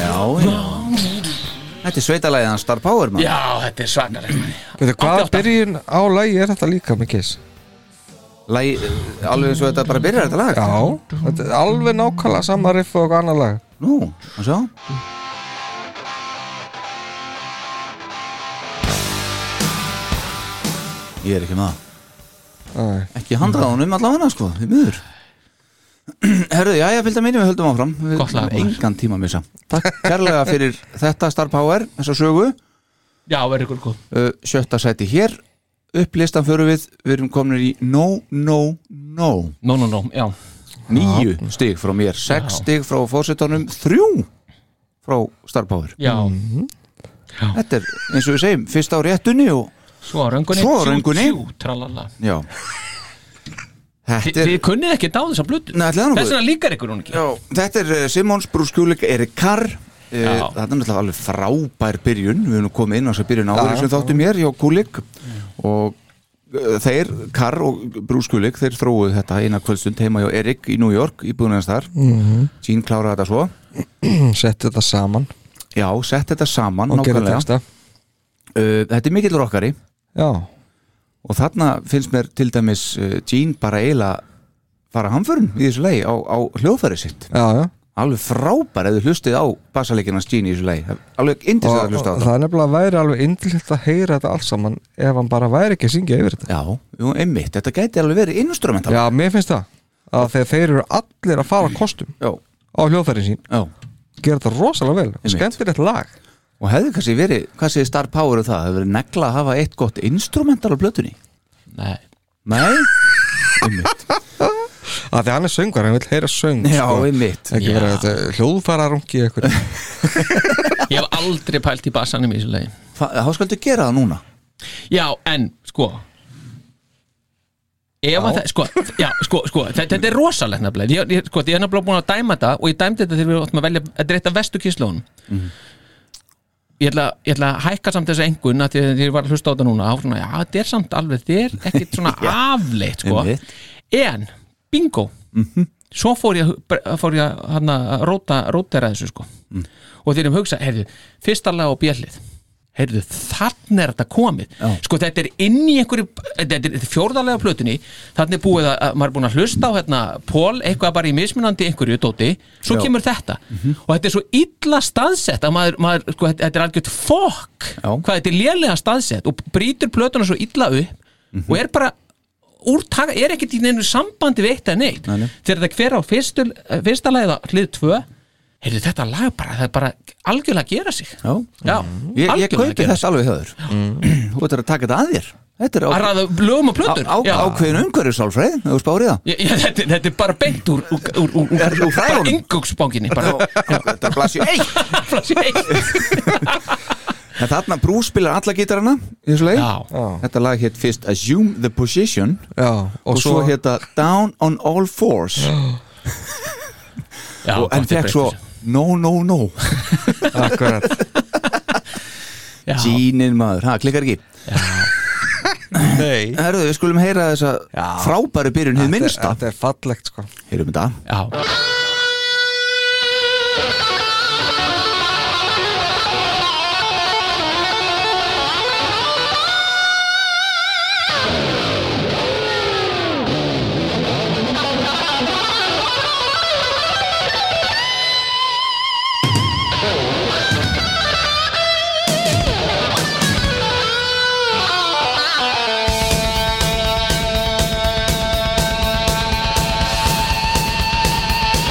Speaker 2: já, já. Þetta er sveitalæðið hans Star Power man.
Speaker 4: já, þetta er svakalegt
Speaker 3: Veitu, Hvaða
Speaker 4: 88.
Speaker 3: byrjun á lagi er þetta líka með kiss?
Speaker 2: Lægi, Alveg eins og þetta bara byrjar þetta lag
Speaker 3: Já, þetta er alveg nákvæmlega sama riff og eitthvað annað lag
Speaker 2: Nú, og svo ég er ekki með það
Speaker 3: Æ,
Speaker 2: ekki handraðanum allavega sko, því miður Herðu, já, já, fylgta minni, við höldum áfram Við
Speaker 4: Gott lag,
Speaker 2: höfum
Speaker 4: maður.
Speaker 2: engan tíma að missa Takk kærlega fyrir þetta Star Power, þessa sögu
Speaker 4: Já, verður ykkur góð
Speaker 2: uh, Sjötta sæti hér upp listan förum við, við erum komin í No, No, No
Speaker 4: Nó, nó, nó, já
Speaker 2: Níu stig frá mér, sex
Speaker 4: Já.
Speaker 2: stig frá fórsetunum Þrjú frá Star Power
Speaker 4: Já,
Speaker 2: Mm. Þetta er, eins og við segjum, fyrst á réttunni og
Speaker 4: svo á röngunni
Speaker 2: Svo á röngunni.
Speaker 4: Tjú, tjú, tralala
Speaker 2: já
Speaker 4: Þi,
Speaker 2: Þetta
Speaker 4: Þið
Speaker 2: er,
Speaker 4: kunnið ekki dáðu þessar blötu
Speaker 2: Nei, ætli það nú
Speaker 4: Þess
Speaker 2: guð.
Speaker 4: vegna líkar ykkur hún ekki
Speaker 2: já, þetta er eh, Simons Brúskjúlik Erik Carr uh, Þetta er náttúrulega alveg frábær byrjun Við erum komið inn á þess að byrjun áður sem þáttu mér hjá Kulik og uh, þeir, Carr og Brúskjúlik þeir þróuðu þetta eina kvöldstund heima hjá Erik í New York, í búinans þar mm Sín kláraði þetta svo
Speaker 3: setti Hm, þetta saman
Speaker 2: Já, sett þetta saman,
Speaker 3: og gera
Speaker 2: nákvæmlega
Speaker 3: texta
Speaker 2: uh, Þetta er mikill rockari
Speaker 3: já,
Speaker 2: og þarna finnst mér til dæmis uh, Gene bara eiginlega fara hamförum í þessu lei á, á hljóðfæri sitt
Speaker 3: já, já
Speaker 2: alveg frábær ef þú hlustið á bassaleikinans Gene í þessu lei alveg
Speaker 3: og,
Speaker 2: indislega að
Speaker 3: og
Speaker 2: hlusta á
Speaker 3: það er nefnilega væri alveg indlilt að heyra þetta allt saman ef hann bara væri ekki að syngja yfir þetta
Speaker 2: þetta já, jú, einmitt, þetta gæti alveg verið instrumental
Speaker 3: já, mér finnst það að þegar þeir eru allir að fara kostum
Speaker 2: já,
Speaker 3: á hljóðfærin sín
Speaker 2: já.
Speaker 3: gera þetta rosalega vel,
Speaker 2: Einmitt.
Speaker 3: skemmtilegt lag
Speaker 2: og hefði kannski verið, hvað séð star power um það hefði verið negla að hafa eitt gott instrumental á blötunni
Speaker 4: Nei
Speaker 2: nei, einmitt
Speaker 3: að því hann er söngar, hann vil heyra söng
Speaker 2: já,
Speaker 3: sko.
Speaker 2: einmitt,
Speaker 3: ekki
Speaker 4: Já.
Speaker 3: vera þetta hljóðfærarungi ekkur
Speaker 4: Ég hef aldrei pælt í bassanum í þessu leiðin
Speaker 2: Fa- þá skaldu gera það núna
Speaker 4: Já, en sko Ef að það, sko, já, sko, sko þe- þetta er rosalegt nefnilega ég, ég, sko, ég er nefnilega búin að dæma þetta og ég dæmdi þetta þegar við áttum að velja að dreita vestu kyslónum ég, ætla, ég ætla að hækka samt þessu engun að því að ég var að hlusta á þetta núna á, svona, já, þetta er samt alveg, þetta er ekkit svona afleitt, sko
Speaker 2: einmitt.
Speaker 4: en, bingo svo fór ég, að hu- fór ég að, hana, að róta, rótera þessu, sko og þeir eru hugsa, heyrðu, fyrsta lag á bjallið heyrðu, þannig er þetta komið sko, þetta er inn í einhverju þetta er- þetta er fjórðalega á plötunni þannig er búið að, að maður er búin að hlusta á hérna, Pól, eitthvað bara í mismunandi einhverju dóti, svo
Speaker 2: Já. Mhm.
Speaker 4: kemur þetta og þetta er svo illa staðsett að maður, maður sko, þetta, þetta er algjört fokk
Speaker 2: Já.
Speaker 4: hvað þetta er lélega staðsett og brýtur plötuna svo illa upp
Speaker 2: Mhm.
Speaker 4: og er bara úrtaka, er ekkert í neinu sambandi við eitt eða neitt
Speaker 2: Nei, nei.
Speaker 4: þegar þetta hver á fyrstu, eh, fyrsta lagið á hlið 2 heyrðu þetta lag bara, það er bara algjörlega að gera sig
Speaker 2: já,
Speaker 4: já,
Speaker 2: ég, ég
Speaker 4: algjörlega að
Speaker 2: kaupi
Speaker 4: gera
Speaker 2: þess alveg höður þú ert að taka þetta að þér þetta er
Speaker 4: sig að ræða lögum og plötur
Speaker 2: á, á,
Speaker 4: Já.
Speaker 2: ákveðin umhverjusálfræð ef þú spárið það
Speaker 4: Já, já, þetta, þetta er bara beint úr, úr, úr, úr,
Speaker 2: Er- úr fræðunum?
Speaker 4: ingungsbánginni bara,
Speaker 2: þetta er blasju eitt
Speaker 4: Flassi, hey.
Speaker 2: en þarna Bruce spilar alla gítarana í þessu leið
Speaker 4: Já.
Speaker 2: þetta lag hétt fyrst Assume the Position
Speaker 3: já, hérna-
Speaker 2: og, svo, svo hétta Down on All Fours
Speaker 4: já,
Speaker 2: og en
Speaker 4: þetta er
Speaker 2: fekk svo
Speaker 4: breytt.
Speaker 2: No No No
Speaker 3: akkurat
Speaker 4: Já.
Speaker 2: Gínin maður, ha, klikkar ekki
Speaker 3: nei
Speaker 2: Herðu, við skulum heyra þessa frábæru byrjun hið minnsta
Speaker 3: þetta er fallegt sko
Speaker 2: Heyrum þetta
Speaker 4: Já,
Speaker 5: Down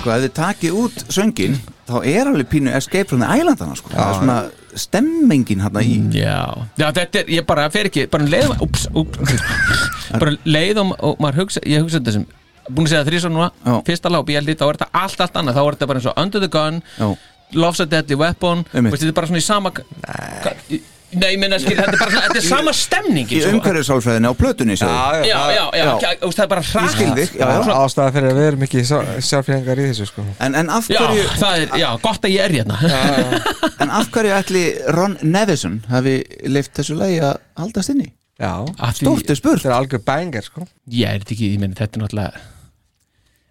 Speaker 2: sko, ef þið takið út söngin þá er alveg pínu escape from the islandana sko. það er svona stemmingin hérna í
Speaker 4: Já, já þetta er, ég bara fer ekki bara um leiðum, ups, ups bara leiðum og maður hugsa, ég hugsa þetta sem búin að segja þrísa núna,
Speaker 2: Já.
Speaker 4: fyrsta láp ég held í, þá er þetta allt, allt annað, þá er þetta bara eins og Under the Gun,
Speaker 2: Já.
Speaker 4: Love's a Deadly Weapon
Speaker 2: Einmitt.
Speaker 4: veist, þetta er bara svona í sama Nei, nei ég minna, skil, þetta er bara svona, þetta er sama sko. stemning
Speaker 2: í umhverfisálfræðinu á plötunni já,
Speaker 4: Já, já, já, já.
Speaker 2: Já.
Speaker 4: þú veist, það er bara
Speaker 2: Ég skil
Speaker 4: hratt
Speaker 2: þig, já, já.
Speaker 3: ástæða fyrir að við erum ekki sjálfhengar í þessu sko
Speaker 2: En, en, af
Speaker 4: Já,
Speaker 2: hverju,
Speaker 4: það er, já, gott að ég er hérna
Speaker 2: en af hverju ætli Ron Nevison hafi leift þessu lagi að haldast inni?
Speaker 3: Já,
Speaker 4: Af því-
Speaker 2: Stórt er
Speaker 3: þetta
Speaker 2: spurt
Speaker 3: er algjör bængar sko
Speaker 4: Ég er þetta ekki, ég meina þetta er náttúrulega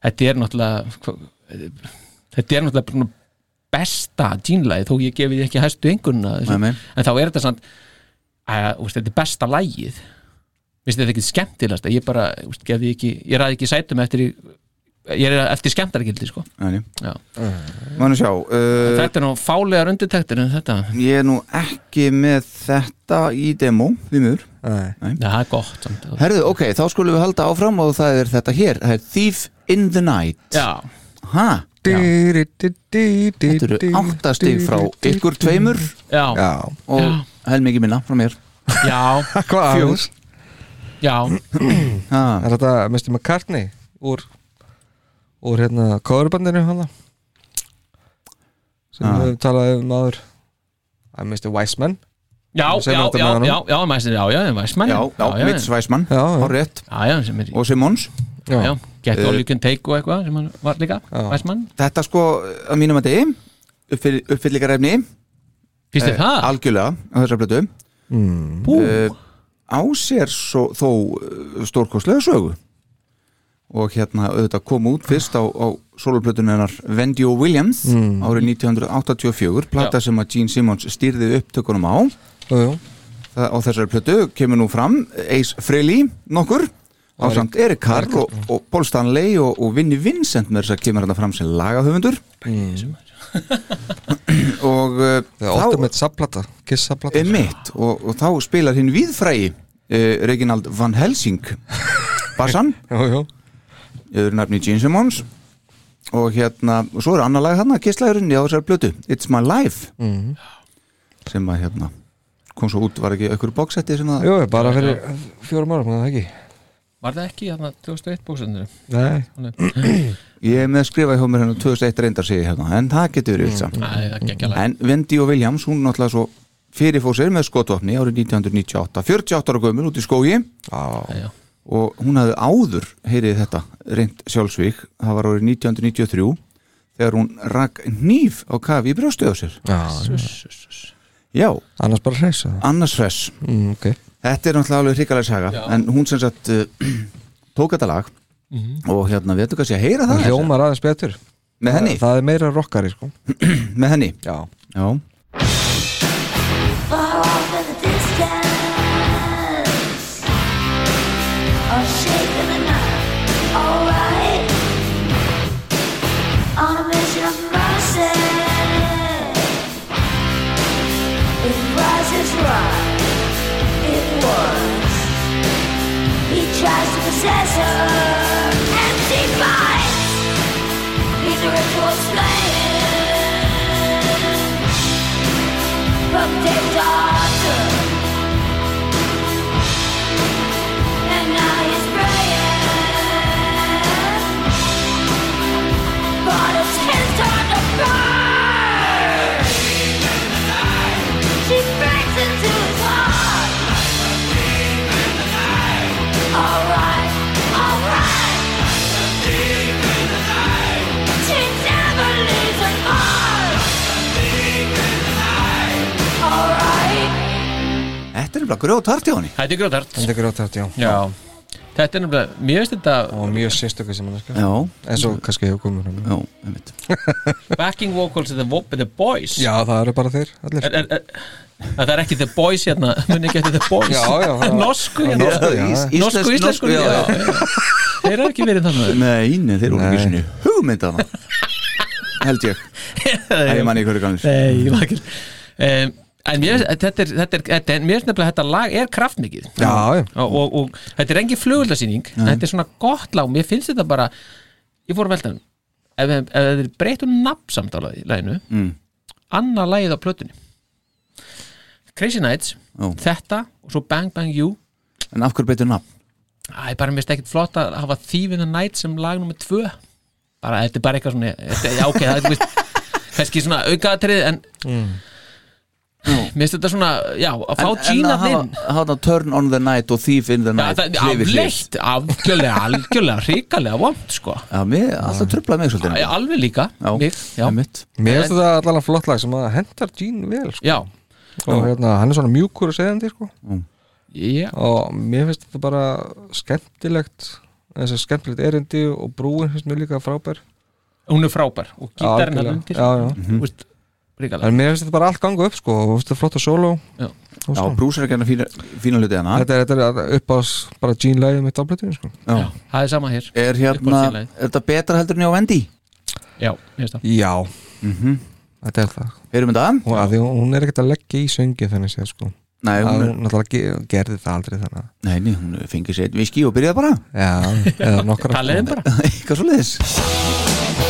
Speaker 4: Þetta er náttúrulega hva- Þetta er náttúrulega bara besta djínlagi þó ég gefi því ekki hæstu einhverjuna
Speaker 2: Nei, nei.
Speaker 4: en þá er þetta samt að, úst, þetta er besta lagið Vist þetta er ekki skemmtilegast ég bara, úst, gefi því ekki, ég ræði ekki sætum eftir í- ég er eftir skemmtargildi sko. Já.
Speaker 2: Mánu sjá uh,
Speaker 4: Þetta er nú fálegar undirtektir en þetta,
Speaker 2: Ég er nú ekki með þetta í demo Því mjögur
Speaker 3: Nei.
Speaker 4: Nei, það er gott samt.
Speaker 2: Herðu, ok, þá skulum við halda áfram og það er þetta hér Það er Thief in the Night
Speaker 4: Já,
Speaker 2: Ha,
Speaker 3: Þetta
Speaker 2: þetta eru áttastig frá ykkur tveimur
Speaker 4: já, já,
Speaker 3: Já,
Speaker 2: og
Speaker 4: Já.
Speaker 2: helmingi minna frá mér
Speaker 4: já,
Speaker 3: hvað
Speaker 2: Fjögur.
Speaker 4: já.
Speaker 2: ha,
Speaker 3: Er þetta Mr. McCartney úr, úr hérna coverbandinu hana sem
Speaker 2: Ah.
Speaker 3: við höfum talað um áður að Mr. Wiseman
Speaker 4: Já,
Speaker 3: Sem
Speaker 4: já,
Speaker 3: þetta með
Speaker 4: já,
Speaker 3: honum.
Speaker 4: já, já, mæsir, já, já, mæsmann
Speaker 2: Já, já,
Speaker 4: já,
Speaker 2: Mitch Weismann
Speaker 3: Já, já.
Speaker 2: og rétt
Speaker 4: já, já, sem er
Speaker 2: og Simons
Speaker 4: já, já, Get
Speaker 2: Eh,
Speaker 4: All You Can Take og eitthvað sem hann var líka, mæsmann
Speaker 2: Þetta sko, að mínum að degi uppfyll, uppfyllingarefni
Speaker 3: Eh,
Speaker 4: Fyrst þér það?
Speaker 2: Eh, algjörlega á þessar blötu
Speaker 4: Bú,
Speaker 2: á sér svo, þó eh, stórkostlega sögu og hérna auðvitað kom út fyrst á, á soloplötunni hennar Vendio Williams árið 1984 plata sem að Gene Simmons stýrði upptökunum á
Speaker 3: Jú, jú.
Speaker 2: Það, á þessari plötu kemur nú fram Ace Frehley nokkur á samt Erik Carr og, og Paul Stanley og, og Vinnie Vincent með þess að kemur hérna fram sem lagahöfundur og uh,
Speaker 3: Það er ultimate subplata, kiss subplata
Speaker 2: er mitt og, og þá spilar hinn viðfrægi uh, Reginald Van Helsing Bassan,
Speaker 3: Jú, jú.
Speaker 2: yfir nafni Gene Simmons og hérna, og svo er annar lag hérna, kisslagurinn í á þessari plötu It's My Life sem að hérna kom svo út, var ekki einhverju bóksetti sem að
Speaker 3: jú, jú, bara fyrir fjórum árum, er það ekki
Speaker 4: var það ekki þarna 2001 bóksendur?
Speaker 3: Nei,
Speaker 2: Ég er með að skrifa hjá mér hennar 2001 reyndar segi ég hérna, en það getur verið samt.
Speaker 4: Nei, það er ekki alveg
Speaker 2: En Wendy og Williams, hún náttúrulega svo fyrirfóð sér með skotvopni árið 1998 48 ára gömur út í skógi
Speaker 4: já.
Speaker 2: og hún hafði áður heyrið þetta reynd sjálfsvík það var árið 1993 þegar hún rak nýf á kafi í brjóstu á sér
Speaker 3: já,
Speaker 2: Já,
Speaker 3: annars bara hreysa það
Speaker 2: annars hress
Speaker 3: mm, okay.
Speaker 2: Þetta er náttúrulega alveg hrikalega saga en hún sem sagt uh, tók þetta lag og hérna, veitu hvað sé að heyra það
Speaker 3: Hljómar aðeins betur
Speaker 2: með henni,
Speaker 3: Það er meira rockari sko
Speaker 2: með henni
Speaker 3: Já,
Speaker 2: Já,
Speaker 6: far off in the distance. All shaken and not alright. On a mission of mercy. It was his right. It was. He tries to possess her. And she fights. He's a ritual slave from deep darker. And now he's praying, but it's his turn to burn. She breaks into his heart. Alright, alright. She never leaves an heart. Alright.
Speaker 2: þetta er bara grjótart hjá henni
Speaker 4: Þetta er grótart
Speaker 3: þetta er grótart, já
Speaker 4: Já, þetta er nefnilega, mér finnst þetta
Speaker 3: Og mjög sérstöku sem hann er sko
Speaker 2: Já,
Speaker 3: En svo kannski hefur komið fram
Speaker 2: já, einmitt
Speaker 4: backing vocals of the, Wo- the Boys
Speaker 3: Já, það eru bara þeir allir
Speaker 4: er, er, er, Það er ekki The Boys hérna muni ekki eftir The
Speaker 3: Já,
Speaker 4: Boys
Speaker 3: já, það-
Speaker 4: Norsku hérna
Speaker 3: Norsku, já.
Speaker 2: Ís-
Speaker 4: Norsku,
Speaker 2: íslensk-
Speaker 4: íslensku
Speaker 2: já,
Speaker 4: já,
Speaker 2: já.
Speaker 4: já. Þeir eru ekki verið þannig
Speaker 2: Nei, nei, þeir voru
Speaker 3: Nei.
Speaker 2: ekki sinni hugmyndana Held ég Það er manni í hverju gamlis
Speaker 4: Nei, ég var ekki um, En mér, þetta er, þetta er, þetta er, mér er nefnilega að þetta lag er kraftmikið og,
Speaker 3: Já, já
Speaker 4: og, og þetta er engin flugvöldasýning Þetta er svona gott lag, mér finnst þetta bara Ég fór að velta hann ef, ef, ef þeir breyttu um nafn samt á lagi- laginu mm. annar lagið á plötunni Crazy Nights
Speaker 2: Ó.
Speaker 4: þetta og svo Bang Bang You
Speaker 2: en af hverju beitur nafn?
Speaker 4: Það er bara mér stekkit flott að hafa Thievin' the Night sem lag nummer tvö bara, þetta er bara eitthvað svona þetta, já, ok, það er þú veist, kannski svona aukaðatrið en mér finnst þetta svona, já, að fá Gina þinn
Speaker 2: Hána turn on the night og thief in the
Speaker 4: Já,
Speaker 2: night
Speaker 4: það er
Speaker 2: hlið við hlið.
Speaker 4: afleitt, afgjörlega, algjörlega hrikalega vond, sko
Speaker 2: Já, mér, alltaf tröflaði mig svolítið
Speaker 4: Já, Alveg líka, mig, já,
Speaker 2: einmitt.
Speaker 3: Mér finnst þetta allavega flott lag sem að hendar Gene vel sko.
Speaker 4: já,
Speaker 3: og hérna, hann er svona mjúkur og segðandi sko.
Speaker 4: já
Speaker 3: og mér finnst þetta bara skemmtilegt þess að skemmtilegt erindi og brúin finnst mér líka frábær
Speaker 4: hún er frábær og gítarinn
Speaker 3: algjörlega.
Speaker 4: hann undir
Speaker 3: Já, já.
Speaker 4: Þú veist, hrikalega
Speaker 3: en mér finnst þetta bara allt ganga upp sko, og þetta er flott að solo
Speaker 4: Já.
Speaker 3: Og
Speaker 2: Já, sko.
Speaker 3: svona.
Speaker 2: Bruce er ekki hann að fína, fína hluti hérna. hana
Speaker 3: þetta er, þetta er upp á bara Gene lagið mitt á plötunni sko.
Speaker 2: Já.
Speaker 4: það er sama hér,
Speaker 2: Er hérna,
Speaker 4: Uppáhaldsfélagið.
Speaker 2: er þetta betra heldur en ég á Wendy?
Speaker 4: já, mér finnst það
Speaker 3: já
Speaker 2: Mhm.
Speaker 3: þetta er það
Speaker 2: Heyrum við það?
Speaker 3: hún, að því, hún er ekkert að leggja í söngi þannig séð sko
Speaker 2: Nei,
Speaker 3: að
Speaker 2: hún,
Speaker 3: hún náttúrulega ge- gerði það aldrei þannig að-
Speaker 2: nei, nei, hún fengið sér einn viski og byrjaði bara
Speaker 3: já, eða nokkra
Speaker 4: Taliðin bara
Speaker 2: Eitthvað svo leiðis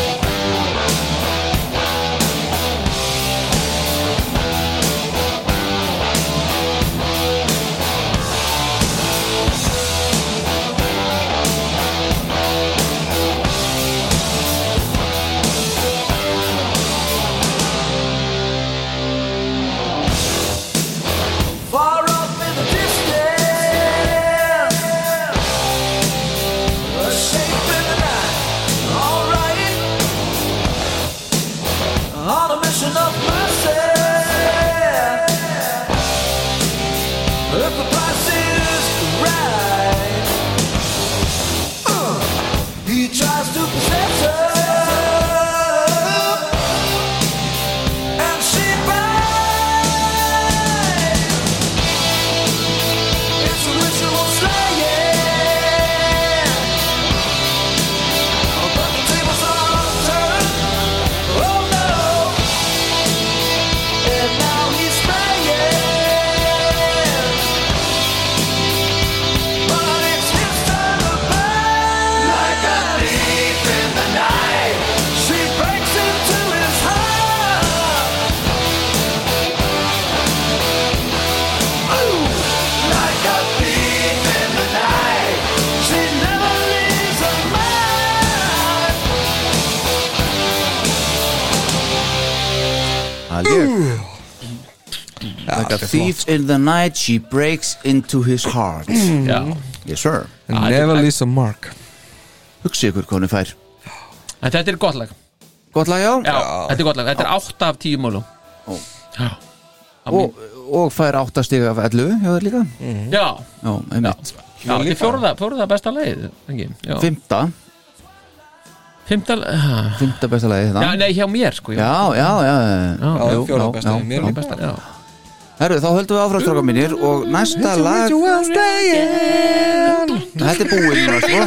Speaker 5: Far up in the distance, a shape in the night. All right, on a mission of eh? myself. If the price is right, Uh, he tries to possess her, and she buys. It's a ritual slaying. But the tables are turned. Oh no. And now he's praying. But it's his turn to burn. Like a thief in the night. She breaks into his heart. Like a thief in the night, she never leaves her mind.
Speaker 2: Alveg Like a thief in the night She breaks into his heart
Speaker 4: já,
Speaker 2: Yes sir
Speaker 3: And never leaves a mark
Speaker 2: Hugsi ykkur hvað hún er fær
Speaker 4: en þetta er gott lag
Speaker 2: Gott lag já,
Speaker 4: já, þetta er gott lag, þetta er 8 af 10 málum já Á mín-
Speaker 2: Og, og fær áttastiga af 11 hjá þér líka
Speaker 4: já,
Speaker 2: Já, einmitt
Speaker 4: já þetta er fjóruða, fjóruða besta leið
Speaker 2: Fymta,
Speaker 4: fymta
Speaker 2: fymta besta lagi þetta
Speaker 4: já, nei, hjá mér sko já,
Speaker 2: já, já, já, já.
Speaker 4: Já,
Speaker 2: Jú,
Speaker 3: fjórða
Speaker 2: já,
Speaker 3: besta
Speaker 2: já,
Speaker 3: lagi, mér
Speaker 2: já.
Speaker 3: líka.
Speaker 4: besta, já.
Speaker 2: Herru, þá höldum við áfram stráka mínir og næsta lag Þetta er búið núna, sko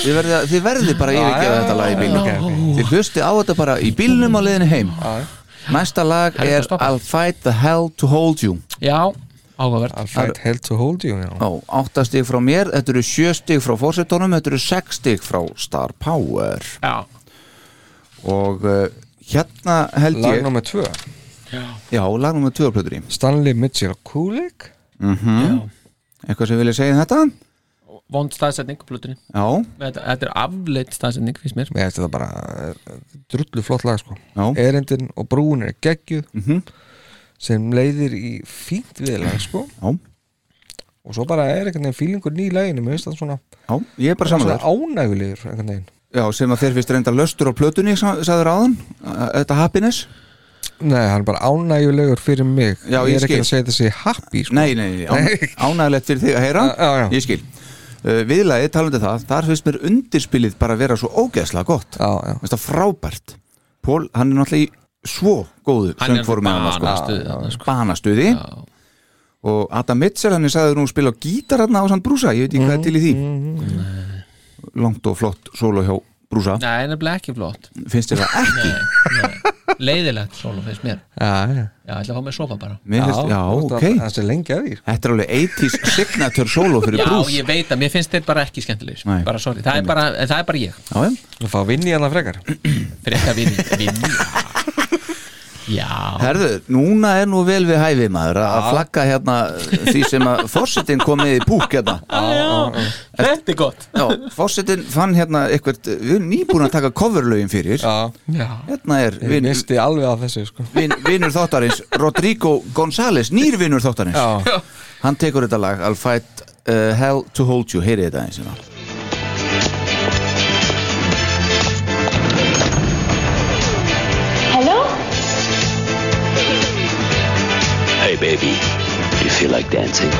Speaker 2: Þið verðið, að- þið verðið bara að yfirgefa þetta lag í bílnum
Speaker 3: ok, ok.
Speaker 2: Þið hlusti á þetta bara í bílnum á leiðinu heim Næsta lag
Speaker 4: Hægt að
Speaker 2: er
Speaker 4: stoppa.
Speaker 2: I'll fight the hell to hold you
Speaker 4: já, áhugavert
Speaker 3: I'll fight hell to hold you já.
Speaker 2: Ó, átta stig frá mér, þetta eru sjö stig frá fórsetunum, þetta eru sex stig frá Star Power
Speaker 4: já,
Speaker 2: og uh, hérna held
Speaker 3: lag
Speaker 2: ég
Speaker 3: nummer 2
Speaker 2: Já, lag nummer 2 plötur í
Speaker 3: Stanley Mitchell Kulik
Speaker 2: Eitthvað sem vilja segja um þetta?
Speaker 4: vond staðsetning á plötunni.
Speaker 2: Já,
Speaker 4: þetta, þetta er afleitt staðsetning finnst mér
Speaker 3: mér finnst þetta bara eh, drullu flott lag sko
Speaker 2: Já. Mhm.
Speaker 3: erindin og brúin er geggjuð -hmm. sem leiðir í fínt viðlag sko
Speaker 2: já,
Speaker 3: og svo bara er einhvern veginn fílingur ný læginu mér finnst það svona,
Speaker 2: já, ég er bara saman
Speaker 3: svona
Speaker 2: þér
Speaker 3: ánægulegur einhvern veginn
Speaker 2: Já, sem að þér finnst reynda löstur á plötunni, sa- sagður áðan uh, Þetta happiness
Speaker 3: Nei, hann er bara ánægulegur fyrir mig
Speaker 2: Já,
Speaker 3: Ég
Speaker 2: ég
Speaker 3: er ekki
Speaker 2: skil.
Speaker 3: að segja þetta sé happy sko.
Speaker 2: Nei, nei, nei, án, ánægilegt fyrir þig að heyra
Speaker 3: Já, já.
Speaker 2: Ég skil uh, Viðlagið talandi það, þar finnst mér undirspilið bara að vera svo ógeðslega gott
Speaker 3: Já, já.
Speaker 2: Veist það frábært Pól, hann er náttúrulega í svo góðu
Speaker 4: Hann er
Speaker 2: söngformi hann, sko.
Speaker 4: banastuði þarna, sko.
Speaker 2: Banastuði Og Adam Mitchell, hann er sagður nú að spila á gítar hann á sann brúsa, ég veit ekki hvað er til í því Langt og flott sólo hjá brúsa
Speaker 4: nei, nefnilega ekki flott
Speaker 2: Finnst þér það ekki?
Speaker 4: leiðilegt solo finnst mér
Speaker 3: já, já,
Speaker 4: já, ég ætla að fá mér sofa bara
Speaker 2: Mér finnst, já,
Speaker 3: þú
Speaker 2: ok
Speaker 3: ert að- það er lengi að því sko.
Speaker 2: Þetta er alveg 80s signature solo fyrir
Speaker 4: já,
Speaker 2: brús
Speaker 4: ég veit að mér finnst þeir bara ekki skemmtilegir
Speaker 2: Nei.
Speaker 4: bara sorry, það er bara, en það er bara ég
Speaker 2: Já, já
Speaker 3: Þú fá vinn í hana frekar
Speaker 4: fyrir eitthvað vinn vin, já,
Speaker 2: Herðu, núna er nú vel við hæfi maður að- að flagga hérna því sem að fórsetin kom með í búk hérna
Speaker 4: þetta er gott
Speaker 2: Já, fórsetin fann hérna eitthvað við erum nýbúin að taka coverlögin fyrir
Speaker 3: Já,
Speaker 4: já,
Speaker 2: Hérna er
Speaker 3: ég
Speaker 2: vin,
Speaker 3: misti alveg af þessu sko
Speaker 2: vin, vinur þáttarins Rodrigo González, nýr vinur þáttarins
Speaker 3: Já,
Speaker 2: Hann tekur þetta lag I'll fight uh, hell to hold you Heyrið þetta hérna. eins og það
Speaker 6: Hello?
Speaker 7: Hey, baby, do you feel like dancing?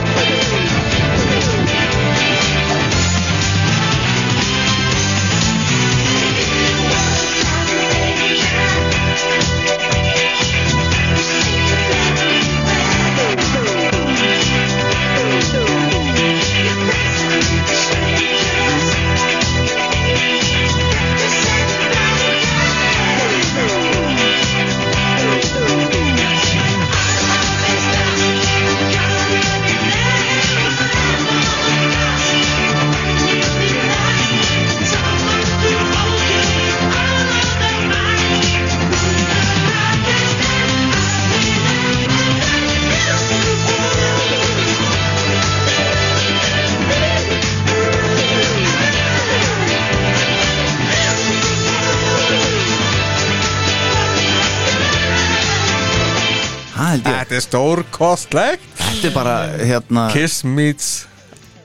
Speaker 2: Það held ég,
Speaker 3: þetta er stórkostlegt
Speaker 2: þetta er bara hérna
Speaker 3: Kiss meets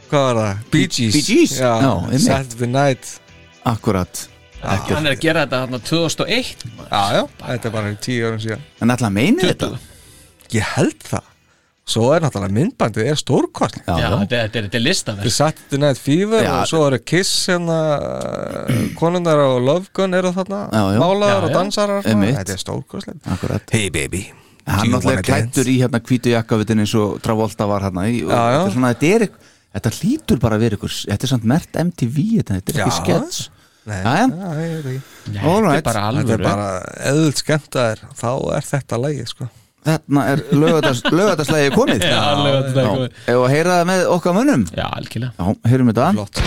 Speaker 3: Hvað var það? Bee Gees
Speaker 2: Bee Gees?
Speaker 3: Já,
Speaker 2: Já, einmitt.
Speaker 3: Saturday Night
Speaker 2: Akkurat
Speaker 4: hann er að gera þetta þarna 2001
Speaker 3: Já, já, þetta er bara í tíu árum síðan
Speaker 2: En alltaf meinið þetta
Speaker 3: Ég held það Svo er náttúrulega myndbandið er stórkostlegt
Speaker 4: já,
Speaker 2: já.
Speaker 4: þetta er- þetta er- þetta er
Speaker 3: Þetta
Speaker 4: listaverk
Speaker 3: er Saturday Night Fever
Speaker 2: Já.
Speaker 3: og svo eru Kiss hérna konundar og Love Gun eru þarna
Speaker 2: Já, já.
Speaker 3: málaðar
Speaker 4: Já,
Speaker 3: og
Speaker 4: já.
Speaker 3: dansarar þarna.
Speaker 2: Einmitt.
Speaker 3: Þetta er stórkostlegt
Speaker 2: Akkurat
Speaker 3: Hey baby
Speaker 2: hann náttúrulega er klættur í hérna hvítu jakkavitin eins og Travolta var hérna í, og
Speaker 3: Já, já.
Speaker 2: þetta, er svona, þetta, er, ekk- þetta hlýtur bara að vera ykkur þetta er samt mert MTV þetta, þetta er ekki
Speaker 3: Já.
Speaker 2: skets
Speaker 3: Nei,
Speaker 2: Já, já.
Speaker 3: Eh, já, ég veit ekki.
Speaker 4: Nei,
Speaker 2: all right.
Speaker 4: þetta er bara
Speaker 3: Þetta er
Speaker 4: alvöru
Speaker 3: bara eðult skemmt að þér þá er þetta lægið sko
Speaker 2: þarna er lögatarslægi komið
Speaker 4: Já, laugardagsslagið komið.
Speaker 2: ef að heyra það með okkar mönnum
Speaker 4: já, algjörlega
Speaker 2: já, heyrum þetta
Speaker 3: Flott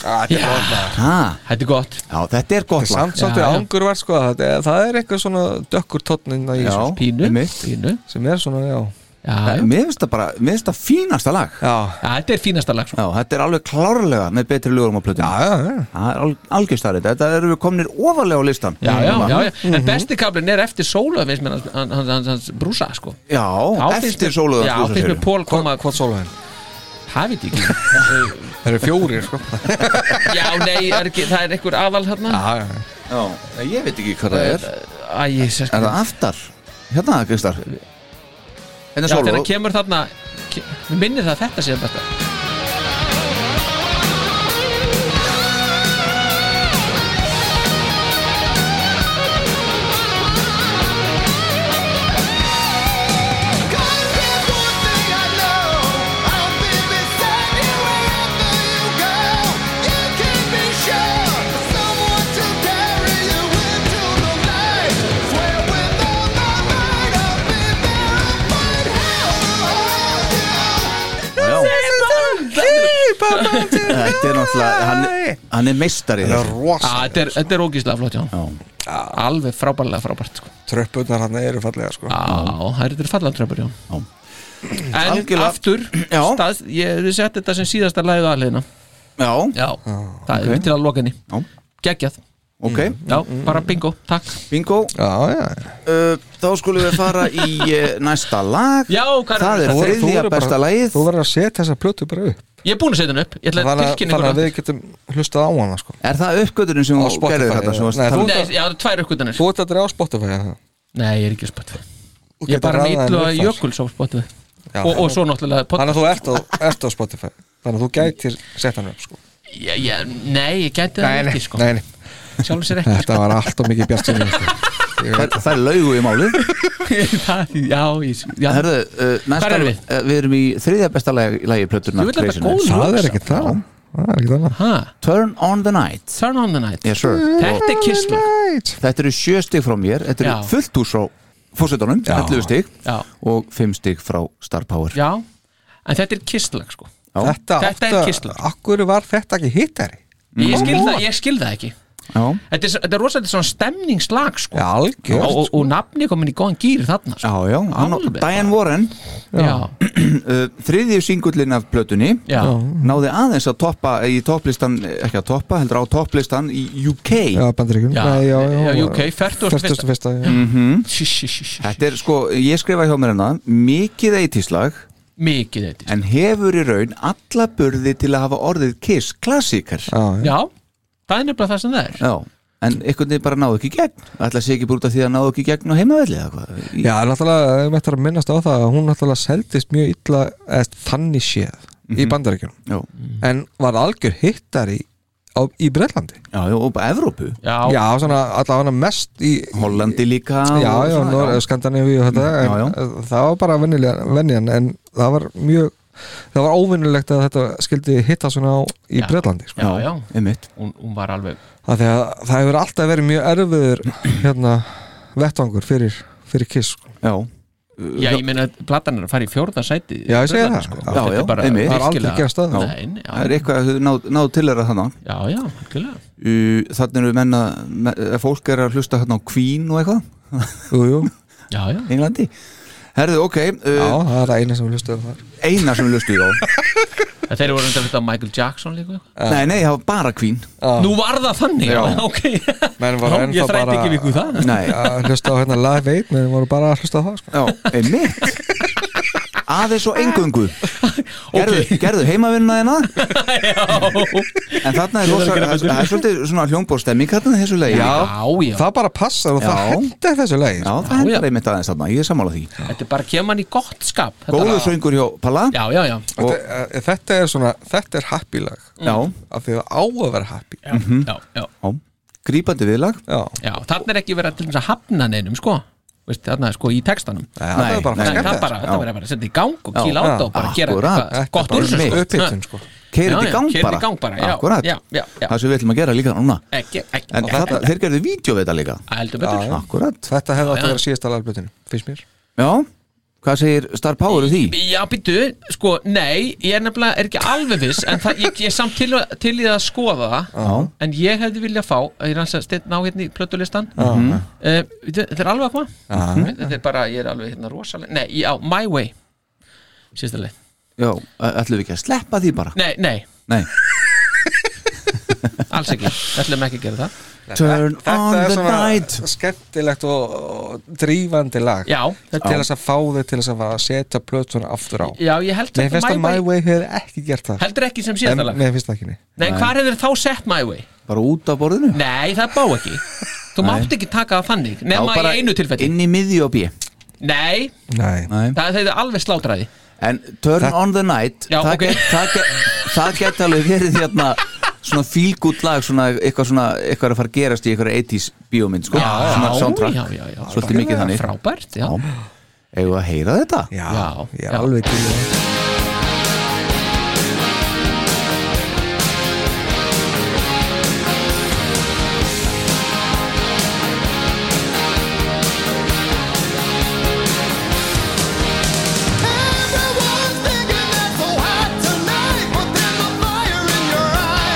Speaker 3: Þetta er gott lag
Speaker 2: ha,
Speaker 4: þetta er gott
Speaker 2: já, þetta er gott lag
Speaker 3: samt svolítið
Speaker 4: Já, já.
Speaker 3: ángur var sko það er, það er eitthvað svona dökkur tónnin í
Speaker 2: Já.
Speaker 3: þessu
Speaker 4: pínu,
Speaker 2: einmitt.
Speaker 4: pínu.
Speaker 3: sem er svona, já
Speaker 4: Já,
Speaker 2: Það-
Speaker 4: já.
Speaker 2: mér finnst það bara, mér finnst það fínasta lag
Speaker 3: já,
Speaker 4: Já, þetta er fínasta lag sko.
Speaker 2: já, þetta er alveg klárlega með betri lögum á plötinu
Speaker 3: já, já.
Speaker 2: það er algjörstærið, þetta erum við komnir ofarlega á listan
Speaker 4: já, já, já, já.
Speaker 2: Mhm.
Speaker 4: en besti kablin er eftir sólu hans, hans, hans, hans, hans brúsa sko.
Speaker 2: já
Speaker 4: Þá finnst
Speaker 2: eftir
Speaker 4: mér-
Speaker 2: sóluðan
Speaker 4: já, finnst mér Pól koma
Speaker 3: hvað sóla henn?
Speaker 4: það veit ég ekki
Speaker 3: það eru fjórir sko
Speaker 4: já, nei, er ekki, það er einhver aðal hérna
Speaker 3: já, já, já.
Speaker 2: já, ég veit ekki hvað það er
Speaker 4: Æ, ég sé
Speaker 2: Er
Speaker 4: sko
Speaker 2: það aftar? Hérna, Kristar Hérna
Speaker 4: Já,
Speaker 2: sólu
Speaker 4: þegar hann kemur þarna ke- Mér minnir það að þetta sé þetta
Speaker 5: Someone to carry you into the night. Swear with all
Speaker 2: Þetta er náttúrulega, hann, hann er meistari
Speaker 3: Það er
Speaker 2: þessu.
Speaker 4: Á,
Speaker 3: rosa
Speaker 4: þetta er, þetta er ógíslega flott hjá hann
Speaker 2: Já,
Speaker 4: alveg frábærlega frábært sko.
Speaker 3: Tröppunar hann eru fallega sko
Speaker 4: á, það eru þetta fallantröpur hjá
Speaker 2: Já.
Speaker 4: hann en
Speaker 2: Algjörlega.
Speaker 4: aftur
Speaker 2: Já.
Speaker 4: stað, ég hefði sett þetta sem síðasta lagið á aðliðina
Speaker 2: já
Speaker 4: já, það er til að loka henni
Speaker 2: Já.
Speaker 4: geggjað,
Speaker 2: ok,
Speaker 4: já, bara bingo, takk
Speaker 2: bingo
Speaker 3: Já, já,
Speaker 2: uh, Þá skulum við fara í uh, næsta lag
Speaker 4: já, hvað
Speaker 2: Það
Speaker 4: er
Speaker 2: er
Speaker 3: Þú- þú
Speaker 2: þriðja
Speaker 3: verður bara-
Speaker 2: besta lagið
Speaker 3: þú verður að setja þessa plötu bara upp
Speaker 4: ég er búin að setja henni upp, ég ætla að
Speaker 3: Þannig að-
Speaker 4: tilkynningur
Speaker 3: þannig að við getum hlustað á hana sko
Speaker 2: Er það uppgötunin sem
Speaker 3: Á
Speaker 2: þú
Speaker 3: Spotify,
Speaker 2: gerðir þetta?
Speaker 3: já.
Speaker 2: sem varst
Speaker 3: Nei,
Speaker 2: að tala
Speaker 3: þú-
Speaker 2: um?
Speaker 4: Nei, já, það eru tvær uppgötanir
Speaker 3: Þú ert aldrei á Spotify eða?
Speaker 4: Nei, ég er ekki á Spotify Ég er
Speaker 3: getur
Speaker 4: bara
Speaker 3: raðað þeim
Speaker 4: nýtlu
Speaker 3: upp
Speaker 4: að
Speaker 3: þar.
Speaker 4: jökul svo á Spotify
Speaker 3: Já,
Speaker 4: og, og svo náttúrulega pod...
Speaker 3: Þannig að þú ert á, ert á Spotify Þannig að þú gætir sett hann upp sko
Speaker 4: ég, ég, Nei, ég gæti það ekki sko
Speaker 3: nei, nei.
Speaker 4: Sjálfum sér ekki sko.
Speaker 3: Þetta var allt og mikið bjart sinni sko.
Speaker 2: Það það er laugu í málið
Speaker 4: Það- Já, ég, já.
Speaker 2: Herðu, uh, næsta,
Speaker 4: Hvar erum
Speaker 2: við?
Speaker 4: við?
Speaker 2: Uh, við erum í þriðja besta lagi, lagi plötuna
Speaker 4: Ég vil þetta góð lög.
Speaker 3: Það er ekki það Það er ekki það
Speaker 4: Ha,
Speaker 2: Turn on the night
Speaker 4: Turn on the night
Speaker 2: yes, sir.
Speaker 3: Mm.
Speaker 4: Þetta er kissla
Speaker 2: Þetta eru sjö stig frá mér Þetta eru
Speaker 4: Já.
Speaker 2: fullt úr svo fórsetunum, 11 stig
Speaker 4: Já.
Speaker 2: og 5 stig frá Star Power
Speaker 4: Já, en þetta er kissla sko
Speaker 2: Já.
Speaker 3: Þetta,
Speaker 4: Þetta er
Speaker 3: átti að- Mm.
Speaker 4: kisla.
Speaker 3: Akkur var þetta ekki hittari
Speaker 4: Ég skil,
Speaker 3: Come
Speaker 4: það,
Speaker 3: on.
Speaker 4: ég skil það ekki
Speaker 2: Já.
Speaker 4: Þetta er, þetta er rosalega svona stemningslag sko
Speaker 3: Já, algjör
Speaker 4: og, og, og nafni komin í góðan gýr þarna
Speaker 2: Já,
Speaker 4: sko.
Speaker 2: já, hann,
Speaker 4: Alveg.
Speaker 2: Diane Warren
Speaker 4: Já,
Speaker 2: uh, þriðju singullin af plötunni
Speaker 4: já,
Speaker 2: náði aðeins að toppa í topplistan, ekki að toppa, heldur á topplistan í UK
Speaker 3: Já, bandaríkjum
Speaker 4: Já,
Speaker 3: Nei,
Speaker 4: já, UK, 41st.
Speaker 3: 41st, já.
Speaker 4: Mm. sí, sí, sí, sí.
Speaker 2: Þetta er sko, ég skrifa hjá mér hennar mikið eittíslag
Speaker 4: Mikið þetta sko.
Speaker 2: en hefur í raun alla burði til að hafa orðið Kiss klassíkar
Speaker 3: Já, já.
Speaker 4: Já, það er nefnilega það sem það er
Speaker 2: Já, en einhvern veginn bara náðu ekki í gegn ætla sé ekki bara út af því að náðu ekki í gegn á heimavelli eða hvað Í-
Speaker 3: Já, náttúrulega, ef þetta er að minnast á það að hún náttúrulega seldist mjög illa eða þannig séð í bandaríkjum
Speaker 2: Já,
Speaker 3: en var algjör hittari á, í Breitlandi
Speaker 2: já, já, og bara Evrópu
Speaker 4: Já,
Speaker 3: Já, svona allavega mest í
Speaker 2: Hollandi líka og
Speaker 3: Já, já,
Speaker 2: svona,
Speaker 3: Norr, Skandinavíu og þetta
Speaker 2: Já, já.
Speaker 3: en, það var bara venjulega- venjan en það var mjög það var óvinnulegt að þetta skildi hitta svona á í
Speaker 4: Já.
Speaker 3: Breitlandi sko.
Speaker 4: já, já.
Speaker 2: einmitt
Speaker 4: Hún, hún var alveg
Speaker 3: Af því að það hefur alltaf verið mjög erfiður hérna vettvangur fyrir, fyrir kiss sko.
Speaker 2: Já,
Speaker 4: Já, ég meina að platan er að fara í fjórða sæti
Speaker 3: Já, ég segi
Speaker 4: Bretlands,
Speaker 3: það.
Speaker 2: Já,
Speaker 4: Þetta er
Speaker 2: já,
Speaker 4: bara
Speaker 2: einmitt.
Speaker 3: það er aldrei
Speaker 4: virkilega-
Speaker 3: ekki að staða
Speaker 4: Nei, nei,
Speaker 2: það er
Speaker 4: já,
Speaker 2: eitthvað að þau náðu náð til þeirra þannig
Speaker 4: já, já, algjörlega
Speaker 2: Þannig eru menna, fólk er að hlusta hérna á Queen og eitthvað
Speaker 3: Jú, jú,
Speaker 4: Já, já,
Speaker 2: Englandi Herðu, ok,
Speaker 3: já,
Speaker 2: uh,
Speaker 3: það er það eina sem við hlustuðum þar
Speaker 2: eina sem hlustu ég á
Speaker 4: En þeir voru undan þetta Michael Jackson líka eitthvað.
Speaker 2: Nei, nei, það var bara Queen
Speaker 4: Nú var það þannig, já,
Speaker 2: Já.
Speaker 4: ok
Speaker 3: Menn var
Speaker 4: Já, Ég
Speaker 3: ennþá
Speaker 4: þrætti
Speaker 3: bara-
Speaker 4: ekki við ykkur það
Speaker 2: Nei,
Speaker 3: að hlusta á hérna live 8 menn voru bara að hlusta á það sko.
Speaker 2: já, einmitt Aðeins og engöngu Gerðu,
Speaker 4: Ok.
Speaker 2: gerðu heimavinna þeirna
Speaker 4: Já,
Speaker 2: En þarna er
Speaker 4: Ég þarf
Speaker 2: rosa,
Speaker 4: að gera
Speaker 2: það
Speaker 4: betur.
Speaker 2: það er svolítið svona hljómbórstemming hérna í þessu leið
Speaker 4: já, já.
Speaker 3: það bara passar og
Speaker 2: Já.
Speaker 3: það hendur þessu leið
Speaker 2: Já,
Speaker 3: sko.
Speaker 2: það
Speaker 4: já.
Speaker 2: hendur einmitt aðeins þarna, ég er sammála því
Speaker 4: Þetta er bara að kemur hann í gott skap Þetta
Speaker 2: Góðu
Speaker 4: lag.
Speaker 2: söngur hjá Palla
Speaker 4: Já, já, já,
Speaker 2: Og-
Speaker 3: Þetta- eh, þetta er svona, þetta er happy lag
Speaker 2: Já,
Speaker 3: af því að það á að vera happy
Speaker 4: já, Mhm. já, já,
Speaker 2: já. grípandi viðlag
Speaker 3: já,
Speaker 4: já. Þannig er ekki verið að til þess að hafna neinum, sko Veist, þarna, sko, í textanum
Speaker 3: Nei, það er bara
Speaker 2: nei,
Speaker 3: að
Speaker 4: Nei,
Speaker 3: skemmta
Speaker 4: það bara,
Speaker 3: þessu.
Speaker 4: þetta verður bara að setja í gang og
Speaker 2: Já,
Speaker 4: kýla á
Speaker 3: já,
Speaker 4: þetta og bara gera
Speaker 2: akkurat.
Speaker 3: Þetta
Speaker 4: eitthvað
Speaker 3: er
Speaker 4: gott
Speaker 3: bara
Speaker 4: úr þessu, sko.
Speaker 3: upphitun, sko.
Speaker 2: Keirið
Speaker 4: Já,
Speaker 2: þetta í
Speaker 4: já,
Speaker 2: gang
Speaker 4: keyrið
Speaker 2: bara
Speaker 4: í gang bara, já,
Speaker 2: Akkúrat.
Speaker 4: já, já, já.
Speaker 2: Það sem við ætlum að gera líka núna
Speaker 4: Ekki, ekki
Speaker 2: En þarna,
Speaker 4: þetta-
Speaker 2: þeir gerðu vídeo við þetta líka
Speaker 4: Heldur betur
Speaker 3: Já.
Speaker 2: Akkurat
Speaker 3: þetta hefði átt
Speaker 4: já.
Speaker 3: að vera síðasta lagbötinu finnst mér
Speaker 2: Já, hvað segir Star Power um því?
Speaker 4: Já, býtu, sko, nei, ég er nefnilega er ekki alveg viss, en það, ég, ég er samt til, til í það að skoða það en ég hefði viljað fá, ég er hans að steinn ná hérna í plötulistan uh, þetta er alveg að koma Mhm. þetta er bara, ég er alveg hérna rosalega nei, já, My Way síðstilega,
Speaker 2: Já, ætlum við ekki að sleppa því bara
Speaker 4: nei, nei,
Speaker 2: Nei,
Speaker 4: alls ekki ætlum ekki að gera það
Speaker 2: Turn on
Speaker 3: þetta er
Speaker 2: the
Speaker 3: svona
Speaker 2: night
Speaker 3: skemmtilegt og, og drífandi lag
Speaker 4: já, þetta
Speaker 3: til
Speaker 4: er,
Speaker 3: þess að fá þig til þess að fara að setja plötuna aftur á
Speaker 4: já, ég held
Speaker 3: mér
Speaker 4: samt
Speaker 3: finnst
Speaker 4: að
Speaker 3: að My Way hefði ekki gert það
Speaker 4: heldur ekki sem
Speaker 3: en
Speaker 4: síðstilega,
Speaker 3: mér finnst það ekki nei.
Speaker 4: nei, hvar hefur þá sett My Way?
Speaker 2: Bara út af borðinu
Speaker 4: Nei, það bá ekki Þú mátt ekki taka það þannig nema
Speaker 2: Já, bara
Speaker 4: í einu tilfelli
Speaker 2: Inn í miðju og bí
Speaker 4: Nei,
Speaker 3: Nei.
Speaker 2: Nei
Speaker 4: það er alveg slátræði
Speaker 2: En Turn
Speaker 3: Það-
Speaker 2: on the night
Speaker 4: Já,
Speaker 2: það,
Speaker 4: ok.
Speaker 2: get, það, get, það get alveg verið hérna svona fílgút lag svona eitthvað, svona eitthvað er að fara að gerast í eitthvað 80s bíómynd sko, svona soundtrack
Speaker 4: já, já, já
Speaker 2: svolítið mikið þannig
Speaker 4: Frábært, já
Speaker 2: Já. Eigum við að heyra þetta?
Speaker 3: já,
Speaker 4: Já,
Speaker 3: ég
Speaker 4: já.
Speaker 3: er alveg til í það.
Speaker 5: Everyone's thinking that's so hot tonight, but then the fire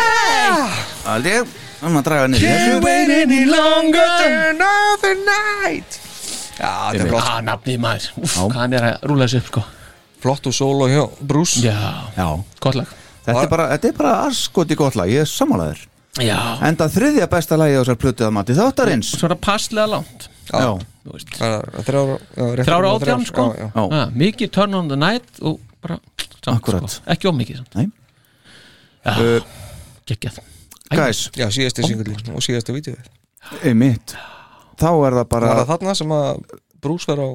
Speaker 2: held ég Þannig að draga niður þessu.
Speaker 3: wait any longer than another night Já, þetta er flott,
Speaker 4: ah, nafnið maður, Úff,
Speaker 2: Já.
Speaker 4: hvað hann er að rúla þessu upp sko
Speaker 3: flott og solo hjá Bruce
Speaker 4: já,
Speaker 2: Já,
Speaker 4: gott lag
Speaker 2: þetta er bara, þetta er bara arskoti gott lag, ég er sammálaður
Speaker 4: já,
Speaker 2: Enda þriðja besta lagi á þessar plötu að mati þáttarins
Speaker 4: svona passlega langt
Speaker 2: Já,
Speaker 4: þú veist.
Speaker 3: Þrjára
Speaker 4: þrjára átján sko
Speaker 3: já, já.
Speaker 2: já,
Speaker 4: ja, mikið turn on the night og bara samt,
Speaker 2: Akkúrat.
Speaker 4: sko. ekki ómikið samt
Speaker 2: Nei.
Speaker 4: já,
Speaker 2: Uh,
Speaker 4: geggjað
Speaker 2: guys,
Speaker 3: já síðasti singullin og síðasta vídeoið
Speaker 2: einmitt Þá er það bara,
Speaker 3: Var það þarna sem að Bruce var á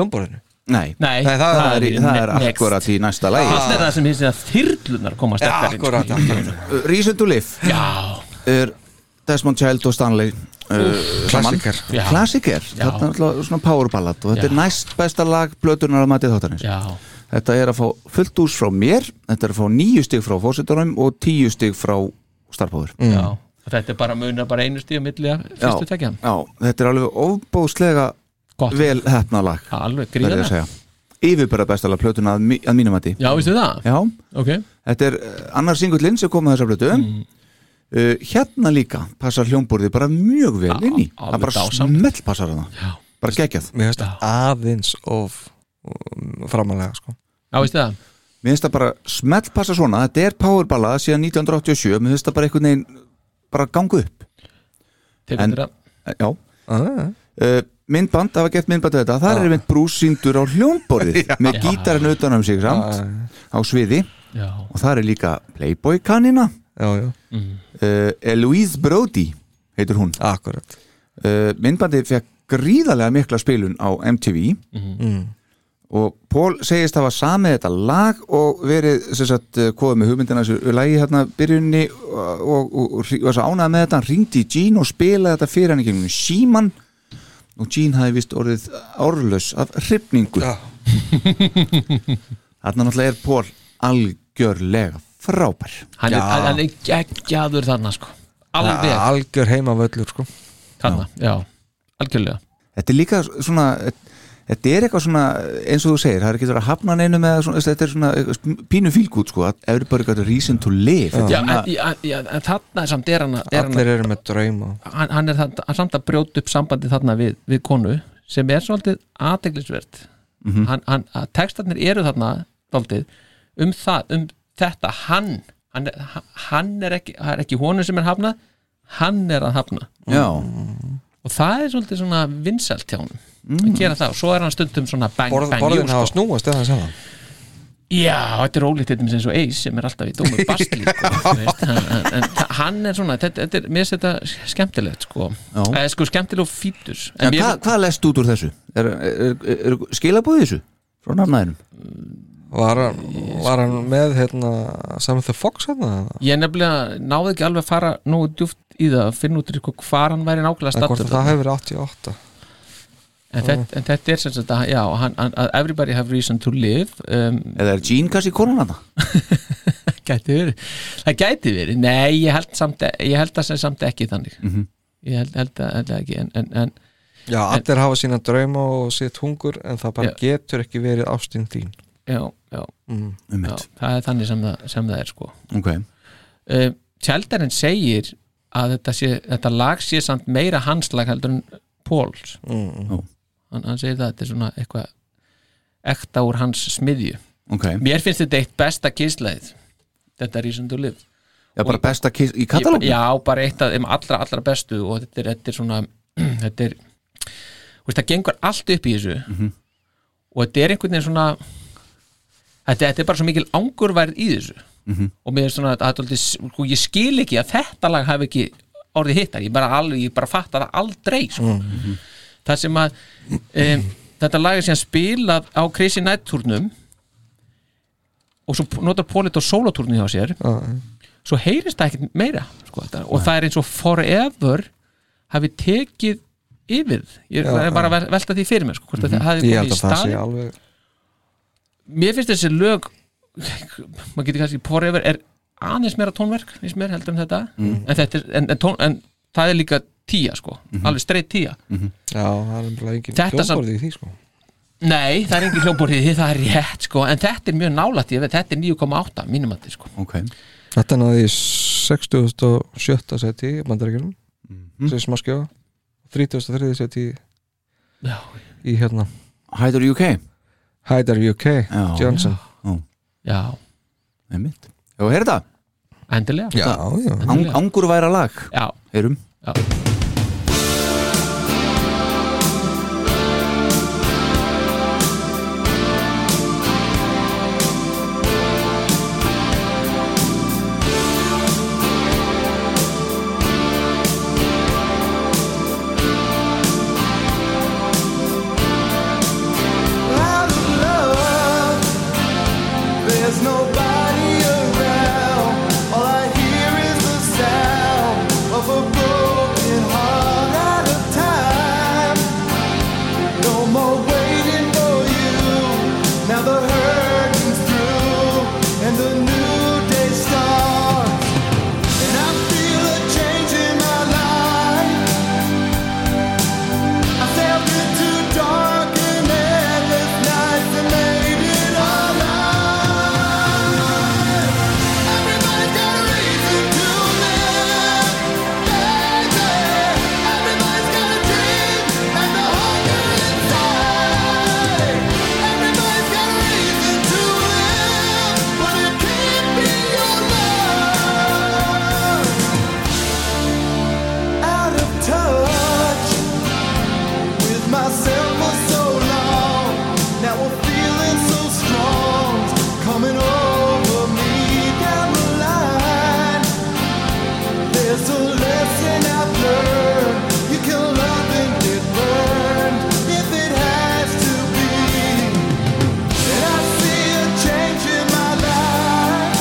Speaker 3: hljómborðinu?
Speaker 2: nei,
Speaker 4: nei,
Speaker 3: Nei, það-
Speaker 2: það er, í- það er
Speaker 4: next.
Speaker 2: akkurat í næsta lagi
Speaker 4: Þarna er það sem hins að þyrlunar koma sterkar inn, sko.
Speaker 3: akkurat, akkurat.
Speaker 2: Reason to Live
Speaker 4: já,
Speaker 2: er Desmond Child og Stanley uh, saman.
Speaker 3: klassiker.
Speaker 4: Já.
Speaker 2: Klassiker,
Speaker 4: Já.
Speaker 2: þetta er alltaf svona power ballad og þetta
Speaker 4: Já.
Speaker 2: er næst besta lag blötunar að matið þáttanins
Speaker 4: já,
Speaker 2: þetta er að fá fullt ús frá mér þetta er að fá nýju stig frá fórsetunum og tíu stig frá starfbóður mm.
Speaker 4: já Og þetta er bara munar bara einu stíu milli að fyrstu tekja
Speaker 2: já, þetta er alveg ofbóðslega
Speaker 4: gott,
Speaker 2: vel hefna lag verður
Speaker 4: alveg
Speaker 2: ég
Speaker 4: gríðan
Speaker 2: að segja yfirbæra besta lag blötuna að, mi- að mínum mati
Speaker 4: já, veistu það,
Speaker 2: já,
Speaker 4: ok
Speaker 2: þetta er eh, annar singullinn sem kom með þessa blötu
Speaker 4: Mm.
Speaker 2: uh, hérna líka passar hljómborðið bara mjög vel inn í
Speaker 4: alveg
Speaker 2: það bara
Speaker 4: dásamlegt.
Speaker 2: smelt passar það
Speaker 4: já,
Speaker 2: bara geggjað
Speaker 3: Mér finnst
Speaker 4: Já.
Speaker 3: aðeins of um, framalega sko.
Speaker 4: já veistu það
Speaker 2: Mér finnst það bara smelt passa svona Þetta er powerballað síðan 1987 Mér finnst það bara einhvern veginn bara gangu upp
Speaker 4: Tekur
Speaker 2: En-
Speaker 4: þetta-
Speaker 2: Já
Speaker 3: ah,
Speaker 2: uh, Myndband, það var gett myndband af þetta Þar er mynd brús síndur á hljómborðið Með gítarinn utan um sig samt Á sviði
Speaker 4: já,
Speaker 2: Og þar er líka Playboy kanina
Speaker 3: Já, já,
Speaker 2: uh, Eloise Brody heitur hún
Speaker 3: akkurat
Speaker 2: uh, Myndbandið fekk gríðarlega mikla spilun á MTV
Speaker 4: Mhm.
Speaker 2: Og Pól segist hafa samið þetta lag og verið, sem sagt, eh, komið með hugmyndina þessu lagi hérna byrjunni og, og, og, og var svo ánægð með þetta, hann ringdi í Gene og spilaði þetta fyrir hann í gegnum síman og Gene hafi vist orðið árlaus af hrifningu.
Speaker 3: Já.
Speaker 2: Þarna náttúrulega er Pól algjörlega frábær.
Speaker 4: hann er, hann- hann er geggjaður þarna sko alveg,
Speaker 3: Algjör heimavöllur sko.
Speaker 4: þarna, já, algjörlega
Speaker 2: Þetta er líka svona, þetta er eitthvað svona eins og þú segir, það er ekki verið að hafna neinu með svona, þetta er svona pínu fílgút sko, að Everybody got a reason to live. Þetta er
Speaker 4: já,
Speaker 2: svona-
Speaker 4: en, já, já, en þarna er samt er hann, að- er hann,
Speaker 3: Allir eru með drauma
Speaker 4: að- hann, hann er þarna, hann samt að brjóta upp sambandi þarna við, við konu sem er svolítið aðteglisvert
Speaker 3: Mhm.
Speaker 4: hann, hann, að textarnir eru þarna svolítið um það, um þetta hann, hann, er- hann er ekki það er ekki honum sem er hafnað hann er að hafna
Speaker 2: Já,
Speaker 4: og það er svolítið svona vinsælt hjá hann að gera það og svo er hann stundum svona bang,
Speaker 3: Mhm. Borð,
Speaker 4: bang,
Speaker 3: Borðin
Speaker 4: jú,
Speaker 3: hafa
Speaker 4: sko.
Speaker 3: snúast eða saman
Speaker 4: Já, þetta er ólíkt þetta eins og Ace sem er alltaf í dómur bastli sko, þú veist, en, en- en þa- hann er svona þetta, þetta er, mér finnst þetta skemmtilegt sko,
Speaker 2: Já.
Speaker 4: eh, sko skemmtileg og fítus
Speaker 2: En hvað, hvað lest út úr þessu? Er, er, er, er skilabúið þessu? Frá nafnaðinum?
Speaker 3: Var hann, var hann með hérna, Samantha Fox hérna?
Speaker 4: ég nefnilega náði ekki alveg að fara nógu djúft í það að finna út sko, hvað hann væri nákvæmlega
Speaker 3: Eða hvort
Speaker 4: stattur
Speaker 3: að það hefur verið 88
Speaker 4: en, þetta, en þetta er sem sagt að já, hann, hann, að everybody have reason to live um,
Speaker 2: Eða er Jean kannski konan hann?
Speaker 4: gæti verið, það gæti verið nei, ég held, samt, e, ég held að sem samt ekki þannig ég held, held, að, held að ekki en, en, en
Speaker 3: Já, allir hafa sína drauma og sitt hungur en það bara
Speaker 4: Já.
Speaker 3: getur ekki verið ástinn þín
Speaker 4: já, já, já,
Speaker 2: Ummitt,
Speaker 4: það er þannig sem það, sem það er sko
Speaker 2: ok
Speaker 4: uh, Tjaldarinn segir að þetta, sé, þetta lag sé samt meira hans lag heldur en Póls
Speaker 2: Ó.
Speaker 4: hann, hann segir það, þetta er svona eitthvað ekta úr hans smiðju
Speaker 2: Ok,
Speaker 4: mér finnst þetta eitt besta kíslaðið þetta er í sem þú lif
Speaker 2: já bara besta kiss í katalógum
Speaker 4: já, bara eitt af þeim allra, allra bestu og þetta er, þetta er svona þetta er, þú veist, það gengur allt upp í þessu og þetta er einhvern veginn svona þetta, þetta er bara svo mikil angurværð í þessu og mér er svona að þetta er aldrei, sko, ég skil ekki að þetta lag hafi ekki orðið hittar, ég bara alveg, ég bara fatta það aldrei sko. það sem að um, þetta lag er síðan spilað á Crazy Night turnum og svo notar Pólit og Sólotúrnu hjá sér svo heyrist það ekkert meira sko, þetta, og það er eins og forever hafi tekið yfir ég er bara að velta því fyrir mér sko, hvort að það hafi
Speaker 3: Mhm. Ég
Speaker 4: komið
Speaker 3: held að
Speaker 4: í
Speaker 3: það
Speaker 4: staðinn.
Speaker 3: sé alveg
Speaker 4: mér finnst þessi lög maður getur kannski forever er aðeins meira tónverk eins meira heldur en þetta,
Speaker 3: Mhm.
Speaker 4: en, þetta er, en, en, tón, en það er líka tía sko alveg streitt tía
Speaker 3: Já, það er bara engin
Speaker 4: Þetta samt-
Speaker 3: hljómborði í því sko
Speaker 4: nei, það er engin hljómborðið, það er rétt sko en þetta er mjög nálætt, ég veit, þetta er 9,8 mínum að þetta sko
Speaker 2: Ok,
Speaker 3: Þetta náði í 67. seti í bandaríkjunum
Speaker 2: Mhm.
Speaker 3: sem smá skjóða 33. seti í-
Speaker 4: Já.
Speaker 3: í hérna
Speaker 2: Hættur UK
Speaker 3: Hædar UK
Speaker 2: Já.
Speaker 3: Johnson
Speaker 4: já,
Speaker 2: Einmitt. Hefur að heyra það?
Speaker 4: endilega
Speaker 3: Já, já,
Speaker 2: Ang, angurværa lag
Speaker 4: já,
Speaker 2: Heyrum
Speaker 4: já.
Speaker 5: Out of love, there's nobody around. All I hear is the sound of a broken heart at a time. No more waiting for you. Now the hurting's through, and the new day starts. And I feel a change in my life. I stepped into dark and endless nights and made it alive. Everybody's got a reason to live, Everybody's got a dream and the hunger inside. Everybody's got a reason to live, but it can't be your love. Out of touch with myself for so long. Now I'm feeling so strong, coming over me down the line. There's a lesson I've learned. You can love and get burned if it has to be. And I see a change in my life.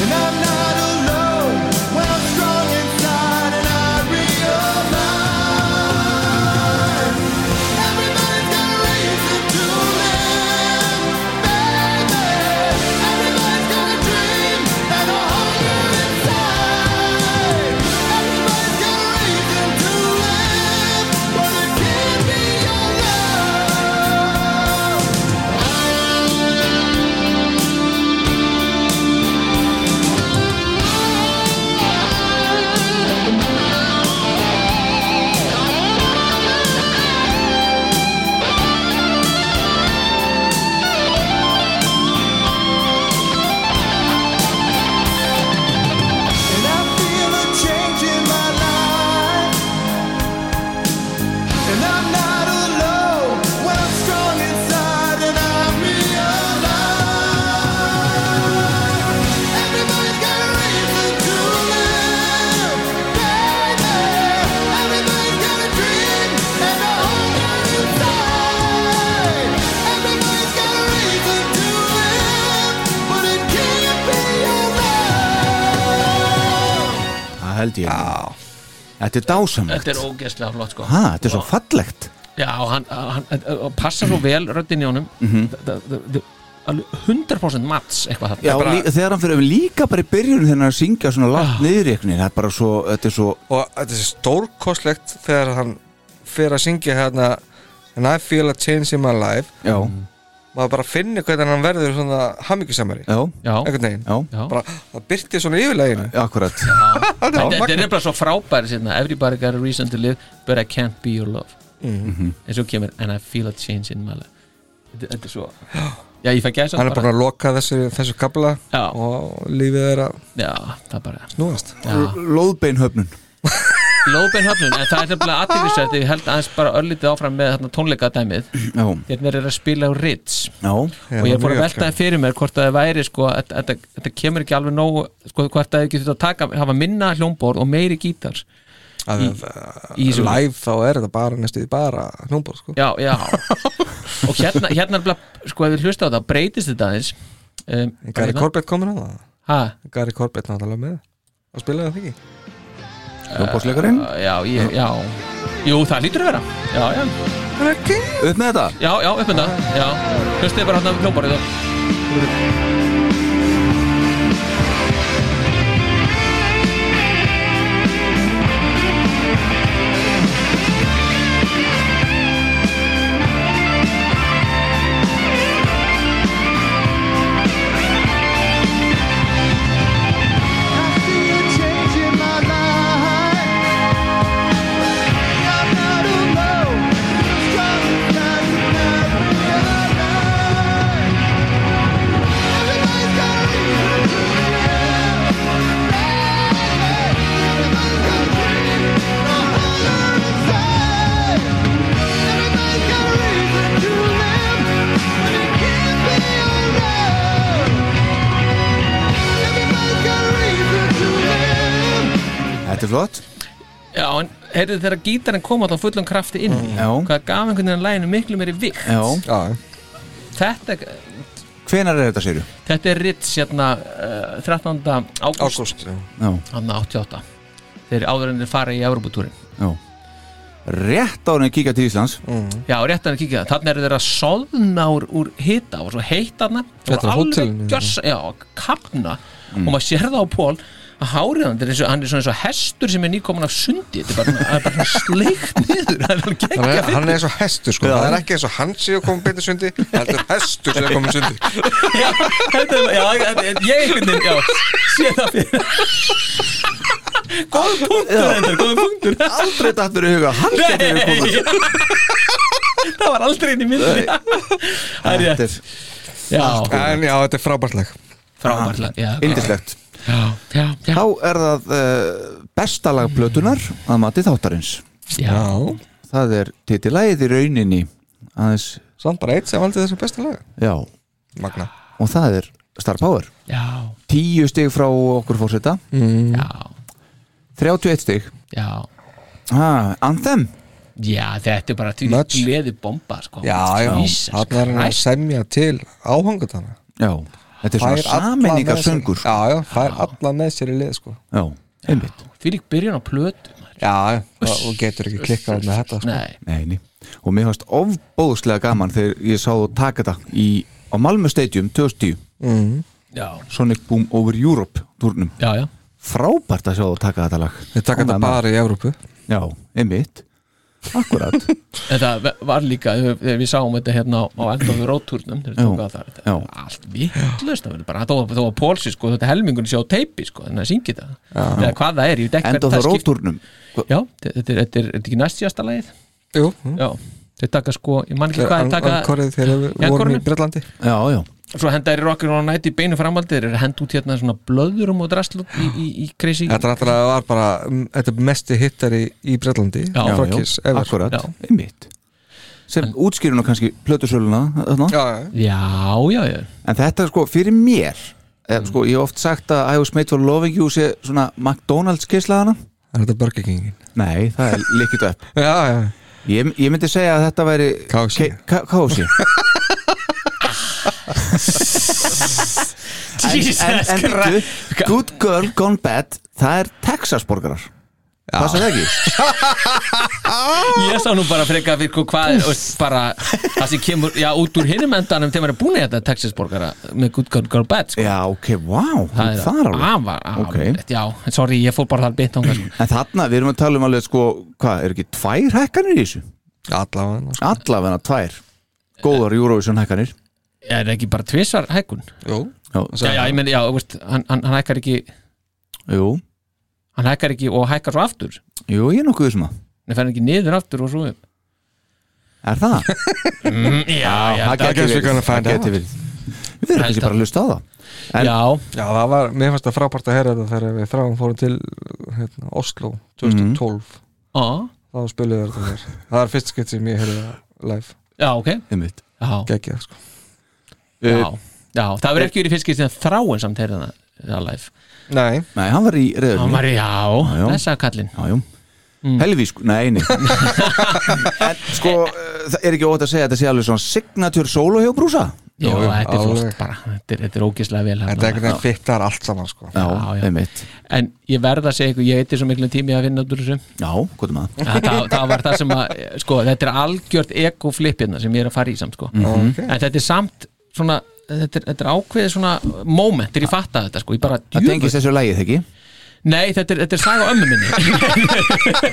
Speaker 5: And I'm not alone when I'm strong inside and I realize Everybody's got a reason to live, baby. Everybody's got a dream and a hunger inside. Everybody's got a reason to live, but it can't be your love. And I feel a change in my life. And I'm not alone when I'm strong inside and I realize everybody's got a reason to live, baby. Everybody's got a dream and a hunger inside. Everybody's got a reason to live, but it can't be your love.
Speaker 2: Það held ég Þetta er dásamlegt
Speaker 4: þetta er ógeðslega flott sko
Speaker 2: Ha, þetta er svo fallegt
Speaker 4: já, og hann, hann, hann passa svo vel röddin í honum mm -hmm. 100% mats eitthvað
Speaker 2: Já,
Speaker 4: þarna
Speaker 2: bara... lí, þegar hann fyrir líka bara í byrjun þegar hann er að syngja svona látt niður í einhvernig það er bara svo, þetta er svo
Speaker 3: og þetta er stórkostlegt þegar hann fer að syngja hérna And I feel a change in my life
Speaker 2: Já,
Speaker 3: maður bara finnir hvernig hann verður svona hammingjusamari,
Speaker 2: já,
Speaker 4: já,
Speaker 3: einhvern veginn
Speaker 2: já,
Speaker 4: já.
Speaker 3: bara, það byrti svona yfirleginu
Speaker 2: akkurat
Speaker 4: þetta þetta er nefnilega svo frábæri sérna Everybody got a reason to live but I can't be your love en svo kemur and I feel a change in my life þetta, þetta er svo já, ég fæ gæsa
Speaker 3: hann er búin að loka þessu, þessu kabla
Speaker 4: Já.
Speaker 3: og lífið er að
Speaker 4: já, það er bara
Speaker 3: snúast
Speaker 4: já.
Speaker 2: Lóðbeinhöfnun
Speaker 4: Lóbein höfnun, en það er nefnilega aðtilvísvært ég held aðeins bara örlítið áfram með þarna tónleikadæmið
Speaker 2: Já,
Speaker 4: hérna er að spila á Ritz
Speaker 2: já,
Speaker 4: og ég er búin að velta það fyrir mér hvort að það væri sko, að- að- að- þetta kemur ekki alveg nógu sko, hvort að þau getur að taka, hafa minna hljómborð og meiri gítar
Speaker 3: að, uh,
Speaker 4: í þessu-
Speaker 3: live þá er þetta bara næstuði bara hljómbor sko.
Speaker 4: já, já og hérna, hérna er bara, sko ef við hlusta á það breytist þetta aðeins um,
Speaker 3: Gary Corbett komur á það
Speaker 4: ha,
Speaker 3: Gary Corbett náttúrulega með og spilaði það ekki
Speaker 2: hljómbásleikarinn
Speaker 4: já, ég, já jú, það lítur að vera já, já,
Speaker 2: Upp með þetta
Speaker 4: já, já upp með það já, hlustaði bara hann að hljómborðið og-
Speaker 5: Everybody's got a reason to live, baby. Everybody's got a dream and a hunger inside.
Speaker 2: Þetta er flott
Speaker 4: Já, en heyrðu þegar gítarinn kom alltaf fullum krafti inn mm.
Speaker 2: Já.
Speaker 4: Hvað gaf einhvern veginn læginu miklu meiri vikt
Speaker 2: Já.
Speaker 3: já,
Speaker 4: Þetta,
Speaker 2: Hvenær er þetta, segir
Speaker 4: þetta er ritt hérna uh, 13. ágúst
Speaker 3: ágúst já.
Speaker 2: Já,
Speaker 4: hann 88 þeir áður en þeir fara í Evropatúrin
Speaker 2: já Rétt ára en kíkja til Íslands
Speaker 4: já, rétt hann að kíkja það, þannig eru þeir að soðna úr, úr hita og svo heitt hann
Speaker 3: Þetta er hótelinu, já.
Speaker 4: gjörs, já, kapna og maður sér það á Pól að hárið hann, þetta er eins og, hann er svona eins og hestur sem er nýkomin af sundi þetta er bara, það er bara sleikt niður það er alveg
Speaker 3: Hann er,
Speaker 4: geggja
Speaker 3: hann er eins og hestur sko, það er ekki eins og hann sé að koma beint í sundi heldur hestur sé að koma í sundi
Speaker 4: já, þetta er, já, þetta er- ég einhvern veginn, já, sé það fyrir góð punktur þetta, góð punktur
Speaker 2: Aldrei dættur í huga, hann getur við komað
Speaker 4: Nei. það var aldrei inn í myndinni það er
Speaker 2: Þetta
Speaker 4: rétt
Speaker 2: er
Speaker 4: já,
Speaker 3: En já, þetta er frábært lag
Speaker 4: frábært lag, já,
Speaker 2: indislegt
Speaker 4: já, já, já,
Speaker 2: Þá er það uh, besta lag plötunar að mati þáttarins
Speaker 4: já.
Speaker 2: Það er titillægið í rauninni aðeins,
Speaker 3: Samt bara eitt sem valdi þessu besta lag
Speaker 2: já,
Speaker 3: Magna
Speaker 2: og það er Star Power
Speaker 4: já,
Speaker 2: Tíu stig frá okkur fórseta
Speaker 4: já,
Speaker 2: 31 stig
Speaker 4: já
Speaker 2: ha, Anthem
Speaker 4: já, þetta er bara til
Speaker 3: Nuts.
Speaker 4: gleði bomba sko.
Speaker 3: Já, já,
Speaker 4: Jesus
Speaker 3: hann er hann að
Speaker 4: Christ.
Speaker 3: semja til áhangatana
Speaker 2: Já, þetta er svona sammenningar söngur
Speaker 3: Já, sko. já, fær alla með sér í lið sko
Speaker 2: Já, einmitt
Speaker 4: fyrir byrjun á plötu maður.
Speaker 3: Já, já, og og getur ekki klikkað með þetta sko
Speaker 4: nei,
Speaker 2: Nei, nei. og mér fannst ofbóðslega gaman þegar ég sá þú taka þetta í, á Malmö Stadium 2010
Speaker 4: já,
Speaker 2: Sonic Boom Over Europe turnum
Speaker 4: já, já
Speaker 2: frábært að sjá þú taka þetta lag
Speaker 3: Þeir taka þetta
Speaker 2: Ánægður.
Speaker 3: bara í Evrópu
Speaker 2: Já, einmitt Akkurat
Speaker 4: Þetta var líka, þegar þegar við sáum þetta hérna á endaðu róttúrnum þegar við
Speaker 2: Já.
Speaker 4: tókum að það, þetta
Speaker 2: Já.
Speaker 4: var allt vittlust þó þó að Pólsi, sko, þetta helmingun sé á teipi sko, þannig að syngja þetta eða hvað það er, ég veit ekki
Speaker 2: Enda á
Speaker 4: hvernig
Speaker 2: það
Speaker 4: það skipt
Speaker 2: róttúrnum
Speaker 4: Já, þetta er, þetta er, þetta er ekki næst síðasta lagið
Speaker 3: Jú,
Speaker 4: Já, þeir taka sko, ég man ekki hvað þeir taka
Speaker 3: Ankorið þegar
Speaker 4: Já,
Speaker 3: við vorum í
Speaker 4: Ankorinu.
Speaker 3: Breitlandi
Speaker 2: Já, já,
Speaker 4: svo henda þeir rockin og nætti í beinu framhaldi þeir eru hend út hérna svona blöðurum og drasl í, í, í crazy
Speaker 3: Þetta er náttúrulega var bara mm, Þetta er mesti hittari í Breitlandi
Speaker 4: Já.
Speaker 2: já, já.
Speaker 3: Frakkis, ever.
Speaker 2: akkurat,
Speaker 4: Já.
Speaker 2: einmitt sem útskýrur nú kannski plötusöluna þarna.
Speaker 3: Já, já,
Speaker 4: Já, já, já,
Speaker 2: en þetta er sko fyrir mér mm. sko, ég hef oft sagt að I was made for loving you sé svona McDonalds kislaðana
Speaker 3: er þetta Burger Kingin?
Speaker 2: nei, það er líkkið upp
Speaker 3: Já, já,
Speaker 2: ég, ég myndi segja að þetta væri
Speaker 3: KFC.
Speaker 2: Ke- K- KFC
Speaker 4: Jesus
Speaker 2: en, en
Speaker 4: Christ.
Speaker 2: bíddu, Good Girl Gone Bad það er Texas borgarar passa það ekki
Speaker 4: Ég sá nú bara freka fyrir hvað- hvað og bara það sem kemur já, út úr hinum endanum þegar maður er búin í þetta Texasborgara með Good Girl Girl Bad sko.
Speaker 2: já ok, wow, það er Ah. alveg
Speaker 4: afar, afar
Speaker 2: Ok.
Speaker 4: rétt, Já, sorry, ég fór bara þar beint ánga sko.
Speaker 2: en þarna, við erum að tala um alveg sko hvað, er ekki tvær hækkanir í þessu?
Speaker 3: allavega sko.
Speaker 2: allavega tvær góðar Eurovision hækkanir
Speaker 4: Er ekki bara tvisvar hækkun?
Speaker 3: Jú,
Speaker 2: já,
Speaker 4: Já, já, ég meni, já, þú veist, hann, hann, hann hækkar ekki
Speaker 2: jú,
Speaker 4: hann hækkar ekki og hækkar svo aftur
Speaker 2: jú, ég er nokkuð um sem að
Speaker 4: Nei, fer hann ekki niður aftur og svo upp
Speaker 2: er það?
Speaker 4: mm, Já, já,
Speaker 2: það
Speaker 3: I guess
Speaker 2: geti
Speaker 3: we're
Speaker 2: verið
Speaker 3: gonna find
Speaker 2: það geti verið. við erum kannski
Speaker 4: Held að-
Speaker 2: bara að hlusta á það en-
Speaker 4: já,
Speaker 3: já, það var, mér fannst það frábært að heyra þetta þegar við þráum fórum til hérna, Oslo 2012
Speaker 4: á,
Speaker 3: þá spiluðu þetta þér það er fyrst skipt sem ég heyrði það live
Speaker 4: já, ok
Speaker 2: einmitt
Speaker 4: Já,
Speaker 3: geggjað sko
Speaker 4: já, já, það verður ekki verið fyrst skiptið að þráin samt heyrði það, það live
Speaker 3: Nei,
Speaker 2: nei, hann var í
Speaker 4: Hann
Speaker 2: reyðunni
Speaker 4: var, já,
Speaker 2: já.
Speaker 4: þessa kallinn
Speaker 2: Jájú Mm. Helvísku, nei, nei En sko, eh, það er ekki ótt að segja að Þetta sé alveg svona signature solo hjá brúsa
Speaker 4: Já,
Speaker 3: Jú, jú,
Speaker 4: þetta er
Speaker 3: alveg.
Speaker 4: flott bara Þetta er, þetta er ógislega vel
Speaker 3: þetta er
Speaker 4: hérna.
Speaker 3: einhvern veginn fittar allt saman sko
Speaker 2: Já,
Speaker 4: Já, já.
Speaker 2: einmitt
Speaker 4: En ég verð að segja ykkur, ég eitthvað svo miklu tími að vinna út úr þessu
Speaker 2: Já, um hvað er maður?
Speaker 4: það, það, það var það sem að, sko, þetta er algjört ekoflip hérna sem ég er að fara í samt sko.
Speaker 3: Ok.
Speaker 4: En þetta er samt svona Þetta er, þetta er ákveðið svona moment þegar ég fatta þetta sko, ég bara
Speaker 2: Það
Speaker 4: djöfull.
Speaker 2: tengist þessu lægið, ekki?
Speaker 4: Nei, þetta er, þetta er saga ömmu minni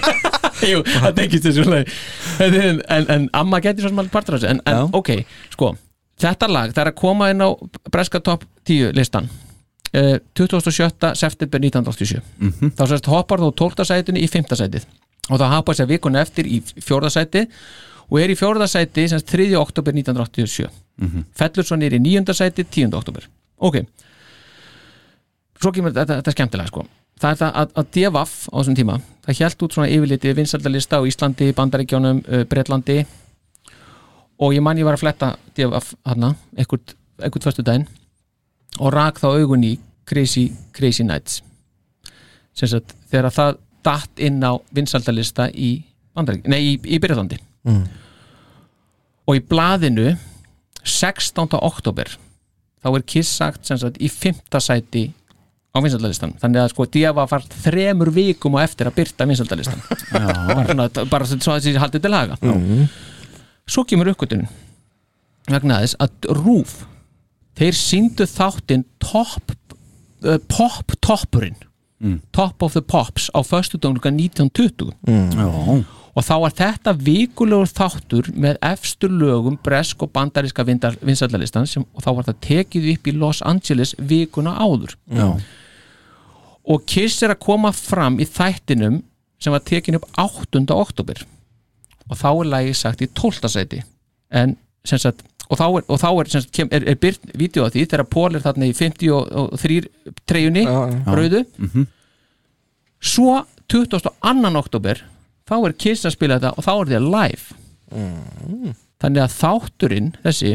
Speaker 4: Jú, það tengist þessu lag Þetta er- en, en amma geti svo sem alveg partur á þessu en,
Speaker 2: Já.
Speaker 4: en ok, sko, þetta lag það er að koma inn á Breska Top 10 listan uh, 27. september 1987 þá sérst hoppar þú 12. sætinu í 5. sætið og það hapa sér vikun eftir í 4. sæti og er í 4. sæti sem sagt 3. oktober 1987 fellur svo nýr í 9. sæti 10. oktober ok, svo kemur þetta, þetta er skemmtilega sko það er það að, að DFF á þessum tíma það hjælt út svona yfirliti vinsaldalista á Íslandi, Bandaríkjónum, uh, Breitlandi og ég man ég var að fletta DFF hana, einhvert einhvert fyrstu daginn og rak þá augun í Crazy, Crazy Nights sem sagt, þegar að það datt inn á vinsaldalista í, Bandarík- nei, í, í Byrjölandi
Speaker 3: Mm.
Speaker 4: og í blaðinu 16. oktober þá er Kiss sagt sem sagt í fymta sæti á vinsaldalistan þannig að sko Diava var þremur vikum og eftir að byrta vinsaldalistan bara, svona, bara svo þessi haldið til haga svo kemur uppgötun vegna þess að Rúf þeir síndu þáttinn top, uh, pop toppurinn top of the pops á föstudagunga 1920
Speaker 2: Já,
Speaker 4: og þá var þetta vikulegur þáttur með efstu lögum bresk og bandaríska vinsallalistan sem, og þá var það tekið upp í Los Angeles vikuna áður
Speaker 2: já,
Speaker 4: og Kiss er að koma fram í þættinum sem var tekin upp 8. oktober og þá er lagið sagt í 12. sæti en sem sagt og þá er, og þá er, sem sagt, kem, er, er byrt vídeo af því þegar Paul er þarna í 53 treyjunni,
Speaker 3: Já, já.
Speaker 4: rauðu svo 22. oktober þá er Kiss að spila þetta og þá er þetta live
Speaker 3: Mm.
Speaker 4: þannig að þátturinn þessi,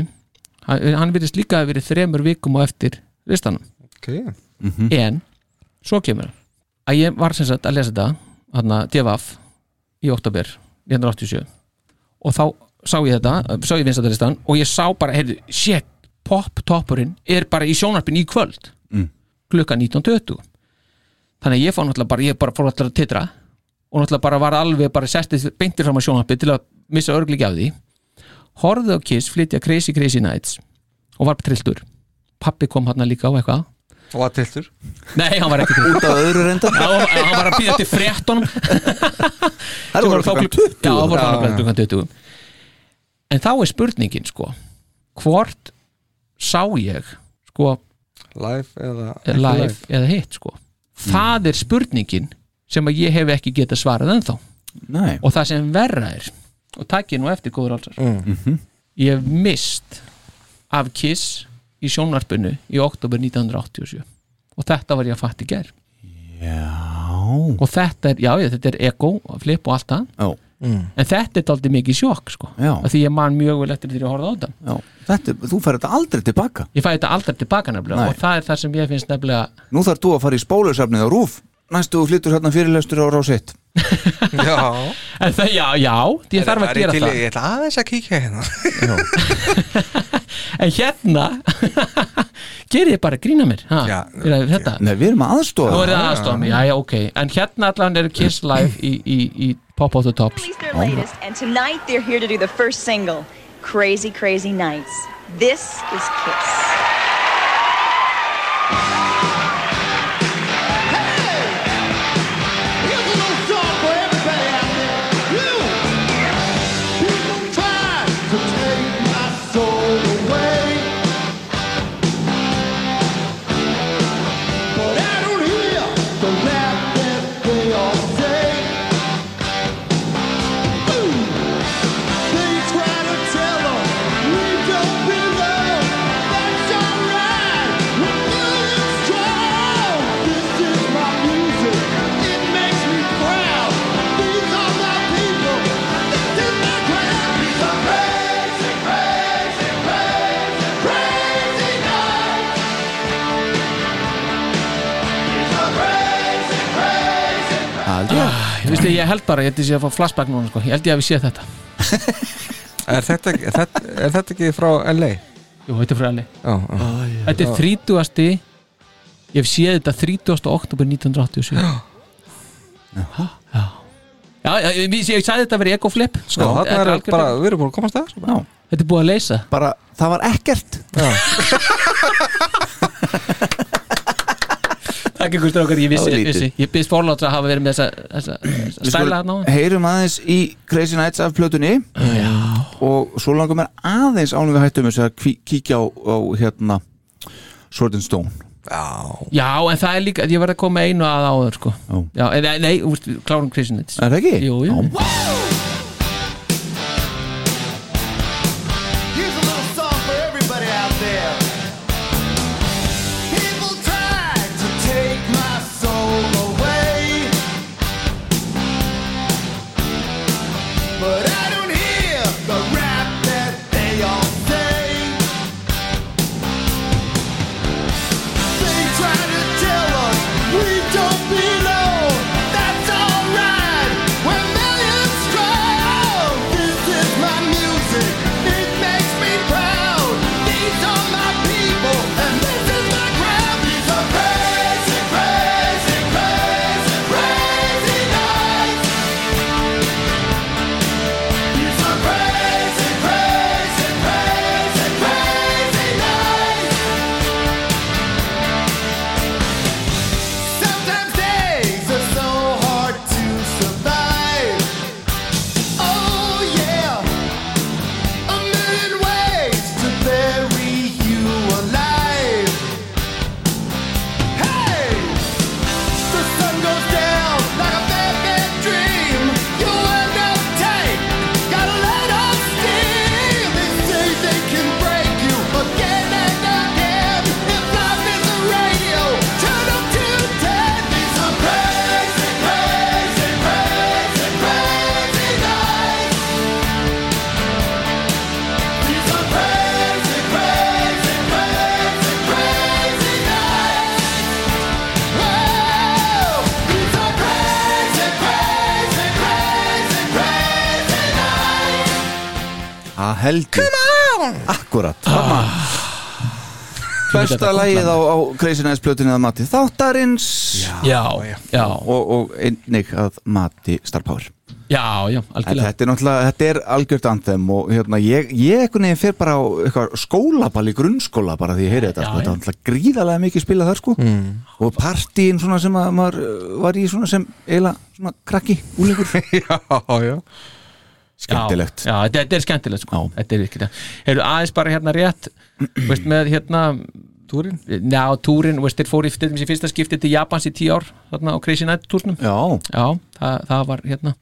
Speaker 4: hann, hann virðist líka að verið þremur vikum og eftir listanum
Speaker 3: ok
Speaker 4: en svo kemur að ég var sem sagt að lesa þetta þarna DFF í oktober 1987 og þá sá ég þetta, sá ég vinstættalistan og ég sá bara, heyrðu, shit pop toppurinn er bara í sjónarpin í kvöld klukka 19.20 þannig að ég fór náttúrulega bara ég bara fór náttúrulega að titra og náttúrulega bara var alveg bara sestið beintir fram á sjónarpin til að missa örglíki af því horfði á Kiss flytja Crazy Crazy Nights og var trilltur pappi kom hann líka á eitthvað
Speaker 3: og að tiltur
Speaker 4: Nei, hann var ekki til
Speaker 2: út af öðru reynda
Speaker 4: Já, hann var að býða til fréttunum
Speaker 2: Það voru klokkan 20
Speaker 4: Já, það voru
Speaker 3: Já,
Speaker 4: hann
Speaker 3: já.
Speaker 4: að klukkan 20 En þá er spurningin sko Hvort sá ég sko
Speaker 3: live eða ekki
Speaker 4: live eða hitt sko Það er spurningin sem að ég hef ekki getað svarað ennþá
Speaker 2: Nei,
Speaker 4: og það sem verra er og takk ég nú eftir góður allsar ég hef mist af Kiss í sjónvarpinu í oktober 1987 og þetta var ég að fatta í ger já. og þetta er, já, já, þetta er ego og flip og allt það
Speaker 2: já,
Speaker 4: en þetta er aldrei mikið sjokk sko
Speaker 2: Já.
Speaker 4: Af því ég man mjög vel eftir því að horfa á þetta
Speaker 2: já Þetta, þú færi þetta aldrei tilbaka
Speaker 4: ég fæ þetta aldrei tilbaka nefnilega
Speaker 2: Nei.
Speaker 4: og það er það sem ég finnst nefnilega
Speaker 2: Nú þarf þú að fara í spólusafnið á rúf Næstu þú flyttur hérna fyrirlestur á rásitt
Speaker 3: live já
Speaker 4: en það, já, já, ég þarf að
Speaker 3: Er ég
Speaker 4: gera
Speaker 3: til-
Speaker 4: það
Speaker 3: ég ætla aðeins að kíkja hérna
Speaker 4: en hérna gerir ég bara grína mér ha,
Speaker 3: Já,
Speaker 4: fyrir að- þetta
Speaker 2: Nei, við erum að
Speaker 4: Nú
Speaker 2: aðstofa
Speaker 4: er það aðstofan, já, já, ok En hérna allan er Kiss Live í, í, í Pop of the Tops
Speaker 8: released their latest, and tonight they're here to do the first single, Crazy Crazy Nights. This is Kiss.
Speaker 4: ah, Ég veist ég, ég held bara, ég held ég sé að fá flashback núna sko. Ég held ég að við sé þetta
Speaker 3: er þetta, ekki- er þetta, er þetta ekki frá LA
Speaker 4: Jú, þetta er fræðileg
Speaker 3: já, já.
Speaker 4: Þetta er 30. Ég hef séð þetta 30. oktober 1987 Já Já, já, já ég, ég, ég sagði þetta að vera ekoflip
Speaker 3: sko þarna er bara við erum búin að komast það
Speaker 2: Já.
Speaker 4: Þetta er búið að leysa
Speaker 2: Bara, það var ekkert
Speaker 4: Takk ykkur strákar, ég
Speaker 2: Það
Speaker 4: vissi,
Speaker 2: var
Speaker 4: ég
Speaker 2: lítið.
Speaker 4: vissi Ég byrst fórláts að hafa verið með þessa, þessa, þessa
Speaker 2: Við
Speaker 4: stæla þarna á
Speaker 2: skulum- Heyrum aðeins í Crazy Nights af plötunni
Speaker 4: Já,
Speaker 2: Og svo langar mér aðeins ánum við hættum þess að kví- kíkja á, á hérna Sword and Stone
Speaker 3: já
Speaker 4: já, en það er líka, ég verði að koma einu að áður sko
Speaker 2: Já.
Speaker 4: Já, en, nei, nei, úrst, klárum Kristinits
Speaker 2: Er það ekki?
Speaker 4: Jú, jú.
Speaker 2: Já.
Speaker 5: Here's a little song for everybody out there. People try to take my soul away. But I don't hear the rap that they all say. They try to tell us we don't belong. That's all
Speaker 2: það held ég Akkurat, mamma Besta
Speaker 4: þetta kom
Speaker 2: lagið
Speaker 4: fram.
Speaker 2: á, á Crazy Nights plötunni að mati þáttarins
Speaker 4: já, já,
Speaker 2: og, og einnig að mati Star Power
Speaker 4: já, já,
Speaker 2: En
Speaker 4: algjörlega
Speaker 2: þetta er náttúrulega, þetta er algjört anthem og hérna, ég, ég einhvern veginn fer bara á eitthvað skólaball í grunnskóla bara því ég heyri þetta,
Speaker 4: Já,
Speaker 2: sko, þetta
Speaker 4: já.
Speaker 2: er náttúrulega gríðarlega mikið spilað þar sko mm. og partíin svona sem að maður uh, var í svona sem eiginlega svona krakki, úlingur
Speaker 3: já, já
Speaker 2: skemmtilegt
Speaker 4: já, já, þetta, þetta er skemmtilegt sko. þetta er virkilega hefur aðeins bara hérna rétt veist, með hérna túrin já, túrin, veist, þeir fóru í, til dæmis í fyrsta skipti til Japans í tíu ár þarna á Crazy Night túrnum
Speaker 2: Já,
Speaker 4: já, það, það var hérna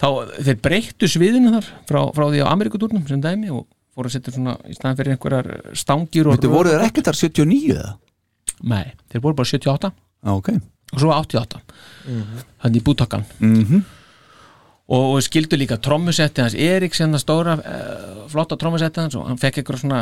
Speaker 4: þá þeir breyttu sviðinu þar frá, frá því á Amerikutúrnum sem dæmi og fóru að setja svona í staðan fyrir einhverjar stangir og
Speaker 2: þetta voru þeir ekkert þar 79 eða?
Speaker 4: nei, þeir voru bara 78
Speaker 2: Já, ok
Speaker 4: og svo 88 þannig í bútakkan
Speaker 2: mm
Speaker 4: og, og skildu líka trommusetti hans Eriks hérna stóra, uh, flotta trommusetti hans og hann fekk einhverja svona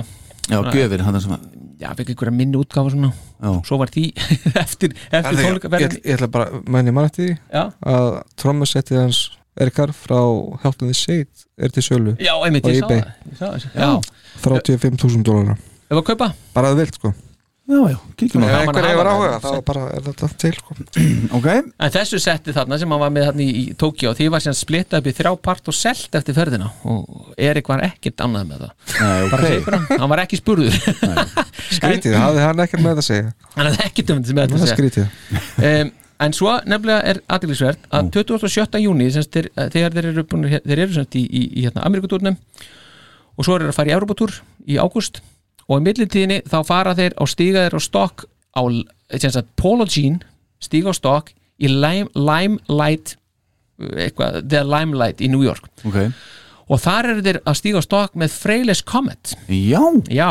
Speaker 2: Já, gjöfin, hann sem að
Speaker 4: já, fekk einhverja minni útgáfa svona
Speaker 2: Já.
Speaker 4: svo var því eftir, eftir
Speaker 3: Herðu, ég,
Speaker 4: tónleika
Speaker 3: ég, ég ætla bara, menn ég mann eftir því
Speaker 4: já,
Speaker 3: að trommusettið hans Erkar frá Help in the Shade er til sölu
Speaker 4: já, einmitt, ég
Speaker 3: Og
Speaker 4: sá
Speaker 3: eBay.
Speaker 4: það ég sá það, já,
Speaker 3: 35.000 dólarar
Speaker 4: ef að kaupa
Speaker 3: bara að vilt sko
Speaker 2: Já, já, kíkjum
Speaker 3: ef
Speaker 2: að
Speaker 4: gaman að
Speaker 3: einhver hefur
Speaker 4: hafa
Speaker 3: áhuga
Speaker 4: það.
Speaker 3: þá bara er þetta til sko
Speaker 2: Ok,
Speaker 4: En þessu setti þarna sem hann var með þarna í, í Tókjó því var síðan splittað upp í þrjá part og selt eftir ferðina og Erik var ekkert annað með það
Speaker 2: Nei, ok
Speaker 4: bara segur hann, hann var ekki spurður
Speaker 3: skrítið, það hafði hann ekkert með þetta að segja
Speaker 4: hann hafði ekkert um þetta
Speaker 3: það
Speaker 4: með
Speaker 3: er
Speaker 4: þetta
Speaker 3: skrítið
Speaker 4: um, en svo nefnilega er aðeinsverð að 27. júni þeir, eh, þegar þeir eru, búinir, þeir eru semst í, í, í hérna, Amerikutúrnum og svo eru þeir að fara í Europatúr í ágúst og í millitíðinni þá fara þeir á stíga þeir á stokk á semst að Polo Jean stíga á stokk í Lime, Limelight eh, eitthvað, The Limelight í New York
Speaker 2: Ok,
Speaker 4: og þar eru þeir að stíga á stokk með Freyles Comet
Speaker 2: já,
Speaker 4: Já,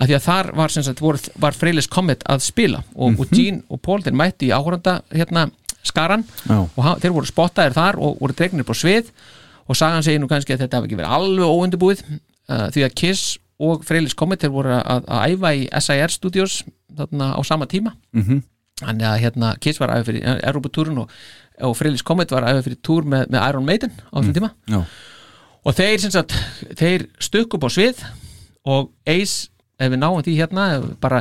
Speaker 4: af því að þar var, sem sagt, voru, var Freylis Comet að spila og, og Gene og Paul þeir mætti í áhóranda hérna skaran
Speaker 2: Já.
Speaker 4: og hann, þeir voru spottaðir þar og voru dregnir upp á svið og sagan segir nú kannski að þetta hafi ekki verið alveg óundubúið uh, því að Kiss og Freylis Comet þeir voru að, að æfa í SIR Studios þarna á sama tíma Þannig að hérna, Kiss var aðeins fyrir Europatúrun og, og Freylis Comet var aðeins fyrir túr með, með Iron Maiden á þessum tíma
Speaker 2: já
Speaker 4: og þeir sem sagt þeir stukku upp á svið og Ace, ef við náum því hérna ef við bara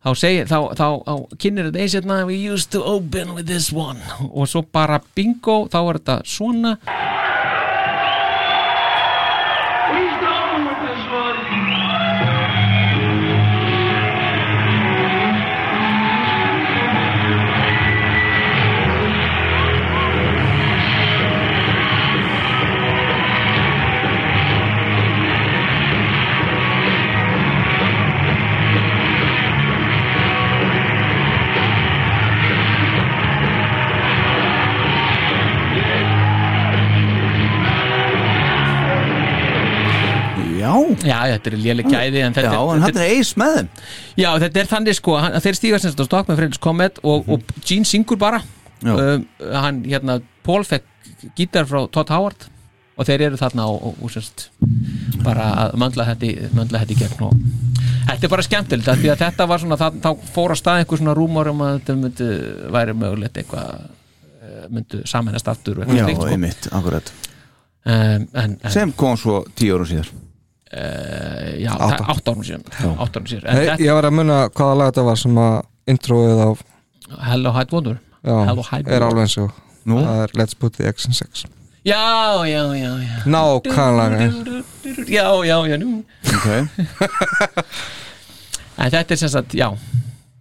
Speaker 4: þá, segir, þá, þá, þá kynir þetta Ace hérna we used to open with this one og svo bara bingo, þá er þetta svona
Speaker 2: Já,
Speaker 4: já, þetta er léleg gæði en þetta,
Speaker 2: já, en hann
Speaker 4: þetta,
Speaker 2: er eis með þeim
Speaker 4: já, þetta er þannig sko hann, þeir stíga sem þetta stokk með Freylis Comet og, og Gene syngur bara
Speaker 2: Mhm. Já.
Speaker 4: um, hann hérna, Paul fekk gítar frá Todd Howard og þeir eru þarna og, og, og sérst bara að möndla þetta, í- möndla þetta í gegn og þetta er bara skemmtilegt af því að þetta var svona, það, þá fór að stað einhver svona rúmor um að þetta myndi væri mögulegt eitthvað eh, myndu samennast aftur
Speaker 2: Já,
Speaker 4: og eitthvað slíkt, sko.
Speaker 2: einmitt, akkurat
Speaker 4: um, en, en
Speaker 2: Sem kom svo tíu árum síðar
Speaker 4: eh, já, það er átt árum síðan átt árum síðan, en
Speaker 3: Nei, ég var að munna hvaða lag þetta var sem að introið á
Speaker 4: þetta, Hello Hide Wonder Hello,
Speaker 3: já,
Speaker 4: hi,
Speaker 3: er alveg eins og
Speaker 2: Nú?
Speaker 3: það er Let's Put the X in Sex
Speaker 4: já, já, já, já
Speaker 3: nákvæmlega
Speaker 4: já, já, já, nú
Speaker 2: Ok,
Speaker 4: En þetta er sem sagt, já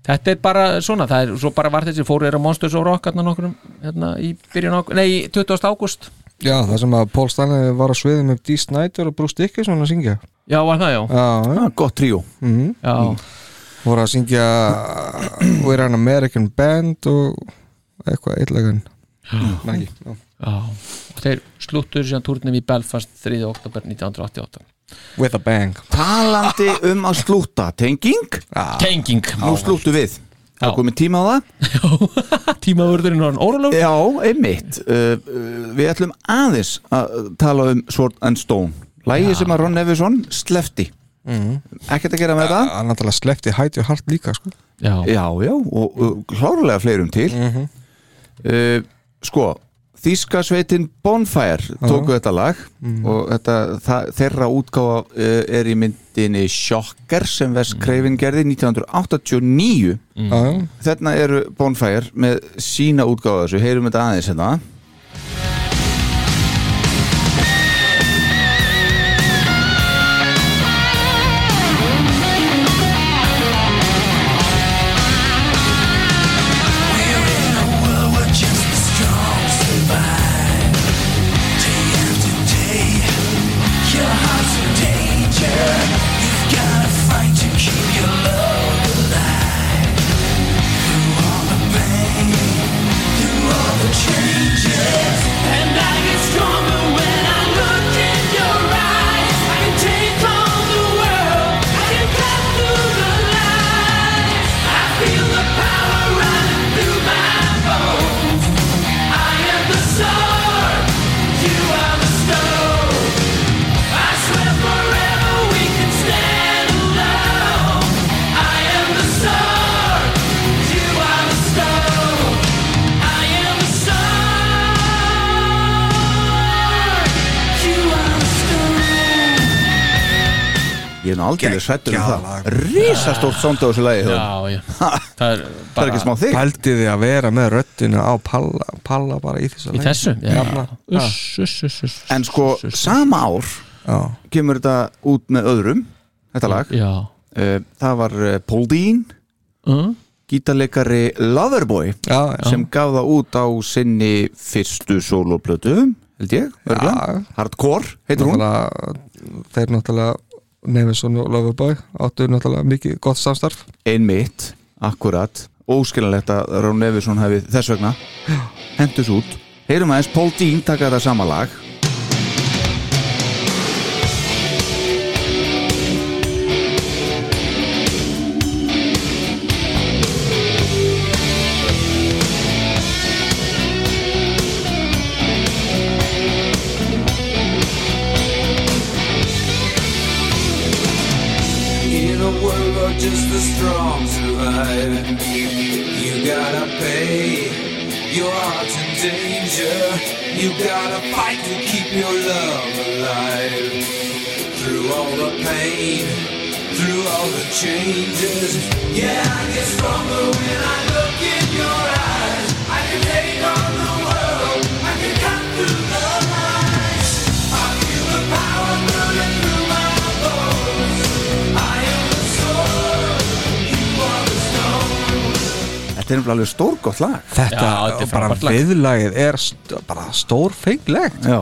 Speaker 4: Þetta er bara svona, það er, svo bara var þessi fóru er á Monsters og Rock hérna nokkrum hérna í byrjun ágúst, nei, í 20. ágúst
Speaker 3: já, það sem að Paul Stanley var á sviði með Dee Snider og Bruce Dickinson að syngja
Speaker 4: Já, var það, já,
Speaker 3: já, já.
Speaker 2: ah, gott tríó
Speaker 4: já,
Speaker 3: voru að syngja uh, We're an American Band og eitthvað eitlagan nægi, já
Speaker 4: já Og þeir slúttur síðan túrnum í Belfast 3. oktober 1988
Speaker 3: With a bang
Speaker 2: Talandi um að slúta, tenging
Speaker 4: Tenging
Speaker 2: Nú slúttu við Það er
Speaker 4: Já.
Speaker 2: komið tíma á það
Speaker 4: Tímaðurðurinn var hann órólegur
Speaker 2: Já, einmitt uh, uh, Við ætlum aðeins að tala um Sword and Stone Lægi sem að Ron Nevison slefti
Speaker 4: Mhm.
Speaker 2: Ekkert að gera með það
Speaker 3: hann náttúrulega sleppti hætti og hart líka sko.
Speaker 4: Já, Mhm.
Speaker 2: Já, já, og uh, klárlega fleirum til uh, Eh, Sko, Þíska sveitin Bonfire tóku þetta lag
Speaker 4: Mhm.
Speaker 2: og þetta, það, þeirra útgáfa uh, er í myndinni Shocker sem
Speaker 4: Mhm.
Speaker 2: Wes Craven gerði 1989
Speaker 4: Mm.
Speaker 3: Já.
Speaker 2: Þarna eru Bonfire með sína útgáfa af þessu, heyrum þetta aðeins hérna Ég er nú aldrei sættur um það Rísastórt sound á þessu lagi Hjón.
Speaker 4: já, já það er,
Speaker 2: Það er ekki smá þig
Speaker 3: Pældi þið að vera með röddina á palla, palla bara í þessu
Speaker 4: í
Speaker 3: leik?
Speaker 4: þessu já.
Speaker 3: Jafna.
Speaker 4: uss, uss, uss, uss,
Speaker 2: En sko,
Speaker 4: uss, uss, uss.
Speaker 2: sama ár
Speaker 3: Já.
Speaker 2: kemur þetta út með öðrum Þetta lag
Speaker 4: já
Speaker 2: uh, Það var uh, Paul Dean
Speaker 4: Mm.
Speaker 2: Gítarleikari Loverboy
Speaker 3: Uh-huh. Já, já.
Speaker 2: sem gaf það út á sinni fyrstu soloplötu held ég, örgulega
Speaker 3: Já.
Speaker 2: Hardcore, heitir hún
Speaker 3: náttúrulega, þeir náttúrulega Nevinson og Loverboy áttu náttúrulega mikið gott samstarf
Speaker 2: Einmitt, akkurat Óskilanlegt að Rón Nevisson hefði þess vegna Hendus út Heyrum aðeins, Paul Dean taka þetta sama lag
Speaker 5: In a world where just the strong survive, you gotta pay your heart in danger. You gotta fight to keep your love alive. Through all the pain, through all the changes. Yeah, I get stronger when I look in your eyes. I can take on the world, I can cut through the lies. I feel the power burning through my bones. I am the sword, you are the stone.
Speaker 2: Þetta er nefnilega alveg stórgott lag
Speaker 3: Þetta,
Speaker 4: Já, þetta er
Speaker 3: og bara
Speaker 4: frábært lag.
Speaker 3: viðlagið er st bara stórfenglegt
Speaker 2: Já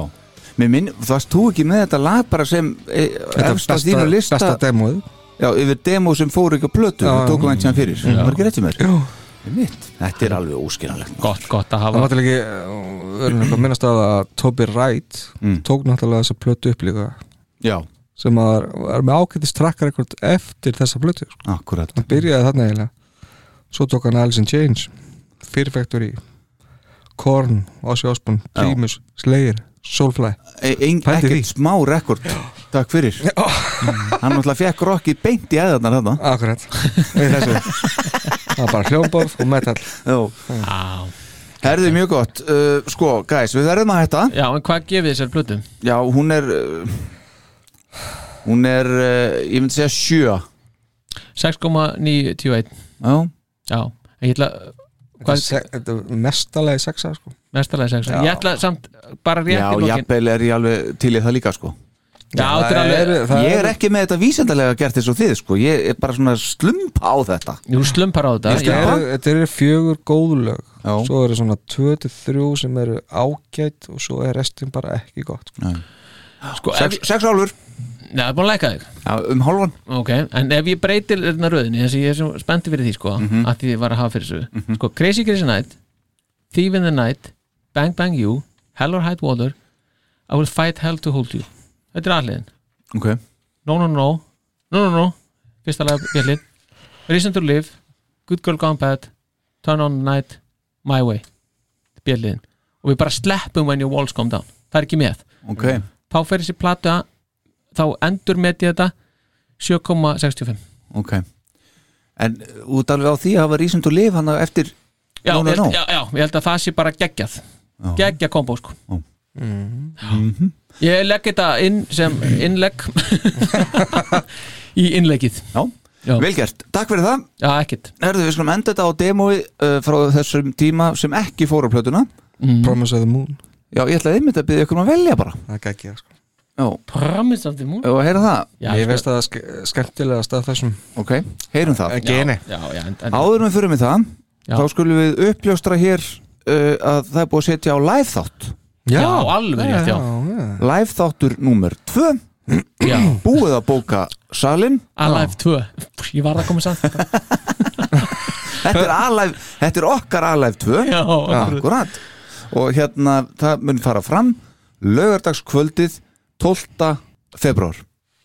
Speaker 2: Mér minn, varst þú ekki með þetta lag bara sem e, efst á þínu lista
Speaker 3: besta demóð
Speaker 2: Já, yfir demo sem fóru ekki á plötu
Speaker 3: Já,
Speaker 2: og tókum einn sem fyrir, það var ekki rétt í mér
Speaker 3: Já.
Speaker 2: Mitt, þetta er alveg óskilanlegt
Speaker 4: gott, gott að
Speaker 3: Það var
Speaker 4: hafa
Speaker 3: náttúrulega ekki, við erum eitthvað að minnast á það að Toby Wright
Speaker 4: Mm.
Speaker 3: tók náttúrulega þessa plötu upp líka
Speaker 2: Já,
Speaker 3: sem að er, er með ákveðist trakkar eitthvað eftir þessa plötu sko.
Speaker 2: akkurat
Speaker 3: hann byrjaði þarna eiginlega svo tók hann Alice in Chains Fear Factory Korn, Ozzy Osbourne,
Speaker 2: Já.
Speaker 3: Primus Slayer, Soulfly
Speaker 2: e, ein,
Speaker 3: Pældi
Speaker 2: Ekkert
Speaker 3: því.
Speaker 2: smá rekord Takk fyrir Hann náttúrulega fekk rokkið beint í æðarnar þarna
Speaker 3: akkurat í þessu það var bara hljómborð og metal
Speaker 2: Já,
Speaker 4: já,
Speaker 2: herðu mjög gott uh, Sko, guys, við verðum að hætta
Speaker 4: já, en hvað gefið þessar plötu?
Speaker 2: Já, hún er uh, Hún er, uh, ég myndi segja sjö
Speaker 4: 6,921
Speaker 2: Já,
Speaker 4: já, en ég ætla
Speaker 3: Þetta
Speaker 4: Hvað-
Speaker 3: er se- þetta er mestalagi sexa sko.
Speaker 4: mestalega 6
Speaker 3: Já.
Speaker 4: ég ætla samt bara rétt
Speaker 2: já
Speaker 4: í lokin
Speaker 2: jafnvel er ég alveg til í það líka sko
Speaker 4: já, þetta er alveg
Speaker 3: það
Speaker 2: Ég er ekki með þetta vísendalega gert eins og þið sko Ég er bara svona slumpa á þetta
Speaker 4: þú slumpar á þetta
Speaker 2: Ég
Speaker 3: Þetta
Speaker 4: já,
Speaker 2: slumpa.
Speaker 3: eru- þetta eru fjögur góð lög
Speaker 2: Já.
Speaker 3: svo eru svona 2-3 sem eru ágætt og svo er restin bara ekki gott sko.
Speaker 4: sko, ef,
Speaker 2: Sex, sex álfur,
Speaker 4: neða, það er búin að læka þig
Speaker 2: já, um hálfan
Speaker 4: Ok, en ef ég breytir þarna röðinni þess að ég er svo spennti fyrir því sko
Speaker 2: Mhm.
Speaker 4: að því ég var að hafa fyrir þessu sko, Crazy Crazy Night, Thief in the Night Bang Bang You, Hell or High Water I Will Fight Hell to Hold You Þetta er aðliðin,
Speaker 2: okay.
Speaker 4: No No No No No No, fyrsta lag bjallin Reason to Live, Good Girl Gone Bad Turn on the Night, My Way bjallin, og við bara sleppum When Your Walls Come Down, það er ekki með
Speaker 2: ok
Speaker 4: þá fer þessi platu að þá endur með þetta 7,65
Speaker 2: Ok En uh, út alveg á því að hafa rísund og lif hann á eftir
Speaker 4: já,
Speaker 2: No, no,
Speaker 4: ég held-
Speaker 2: no.
Speaker 4: Já, já, ég held að það sé bara geggjað geggja kombo sko
Speaker 3: Mhm.
Speaker 4: Mm-hmm. ég legg þetta inn sem innlegg í innleggið
Speaker 2: Já,
Speaker 4: Já.
Speaker 2: vel gert, takk fyrir það
Speaker 4: Já, ekkert
Speaker 2: Herðu, við skulum enda þetta á demói uh, frá þessum tíma sem ekki fór á plötuna
Speaker 4: Mhm.
Speaker 3: Promise of the Moon
Speaker 2: Já, ég ætlaði einmitt að byggja ykkur um að velja bara
Speaker 3: Það gekk ég sko
Speaker 2: Já,
Speaker 4: Promise of the moon
Speaker 2: og heyra það,
Speaker 4: Já,
Speaker 3: Ég
Speaker 4: sko.
Speaker 3: veist að það ske skemmtilega stað þessum
Speaker 2: ok, heyrum það
Speaker 3: Ekki eini
Speaker 4: Já, já, en, en,
Speaker 2: Áður en við fyrir með það,
Speaker 4: Já.
Speaker 2: þá skulum við uppljóstra hér uh, að það er búið að setja á live þátt
Speaker 4: já, alveg rétt, já,
Speaker 2: Live þáttur númer 2
Speaker 4: já.
Speaker 2: Búið að bóka salin
Speaker 4: Alive 2 Ég var að koma samt
Speaker 2: Þetta er, alive, þetta er okkar alive 2
Speaker 4: Já, akkurat.
Speaker 2: Akkurat Og hérna, það mun fara fram Laugardagskvöldið 12. februar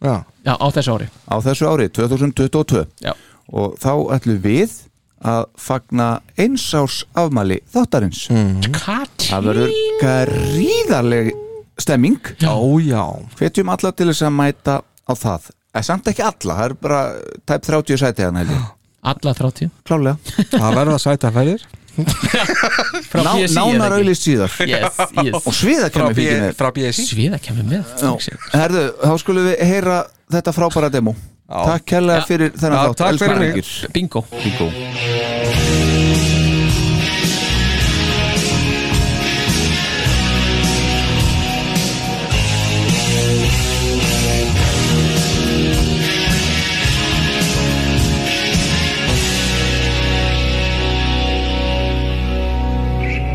Speaker 3: Já,
Speaker 4: já, á þessu ári
Speaker 2: á þessu ári, 2022
Speaker 4: Já.
Speaker 2: og þá ætlum við að fagna einsás afmæli þáttarins
Speaker 4: Kati
Speaker 2: það verður gríðarleg stemming
Speaker 3: já, já.
Speaker 2: hvetjum alla til þess að mæta á það eða samt ekki alla, það er bara tæp 30 sæti hann held ég,
Speaker 4: Alla 30
Speaker 2: klálega
Speaker 3: Það verða sæta ferðir
Speaker 4: Frá
Speaker 2: Ná,
Speaker 4: BSI, er
Speaker 2: nánar
Speaker 4: það ekki?
Speaker 2: auðlist síðar
Speaker 4: Yes, yes
Speaker 2: og sviða kemur fyrir mér
Speaker 3: frá BSI
Speaker 4: Sviða kemur með
Speaker 2: herðu, þá skulum við heyra þetta frábæra demo takk kærlega
Speaker 4: Já.
Speaker 2: fyrir
Speaker 3: Já,
Speaker 2: þennan
Speaker 3: takk fyrir mig.
Speaker 2: Engir.
Speaker 4: Bingo
Speaker 2: Bingo.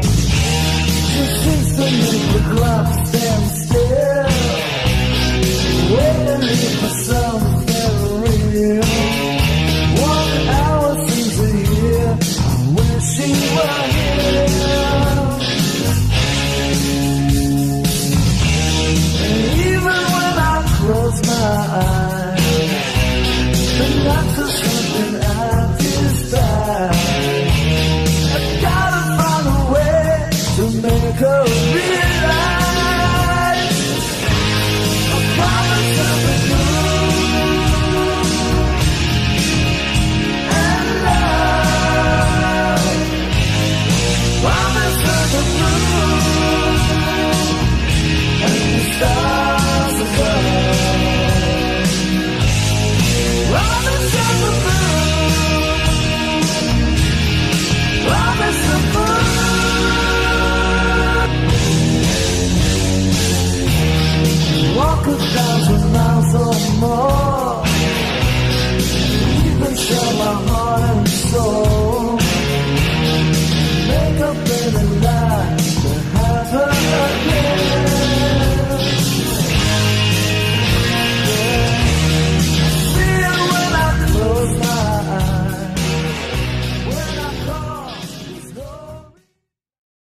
Speaker 5: She sees the new gloves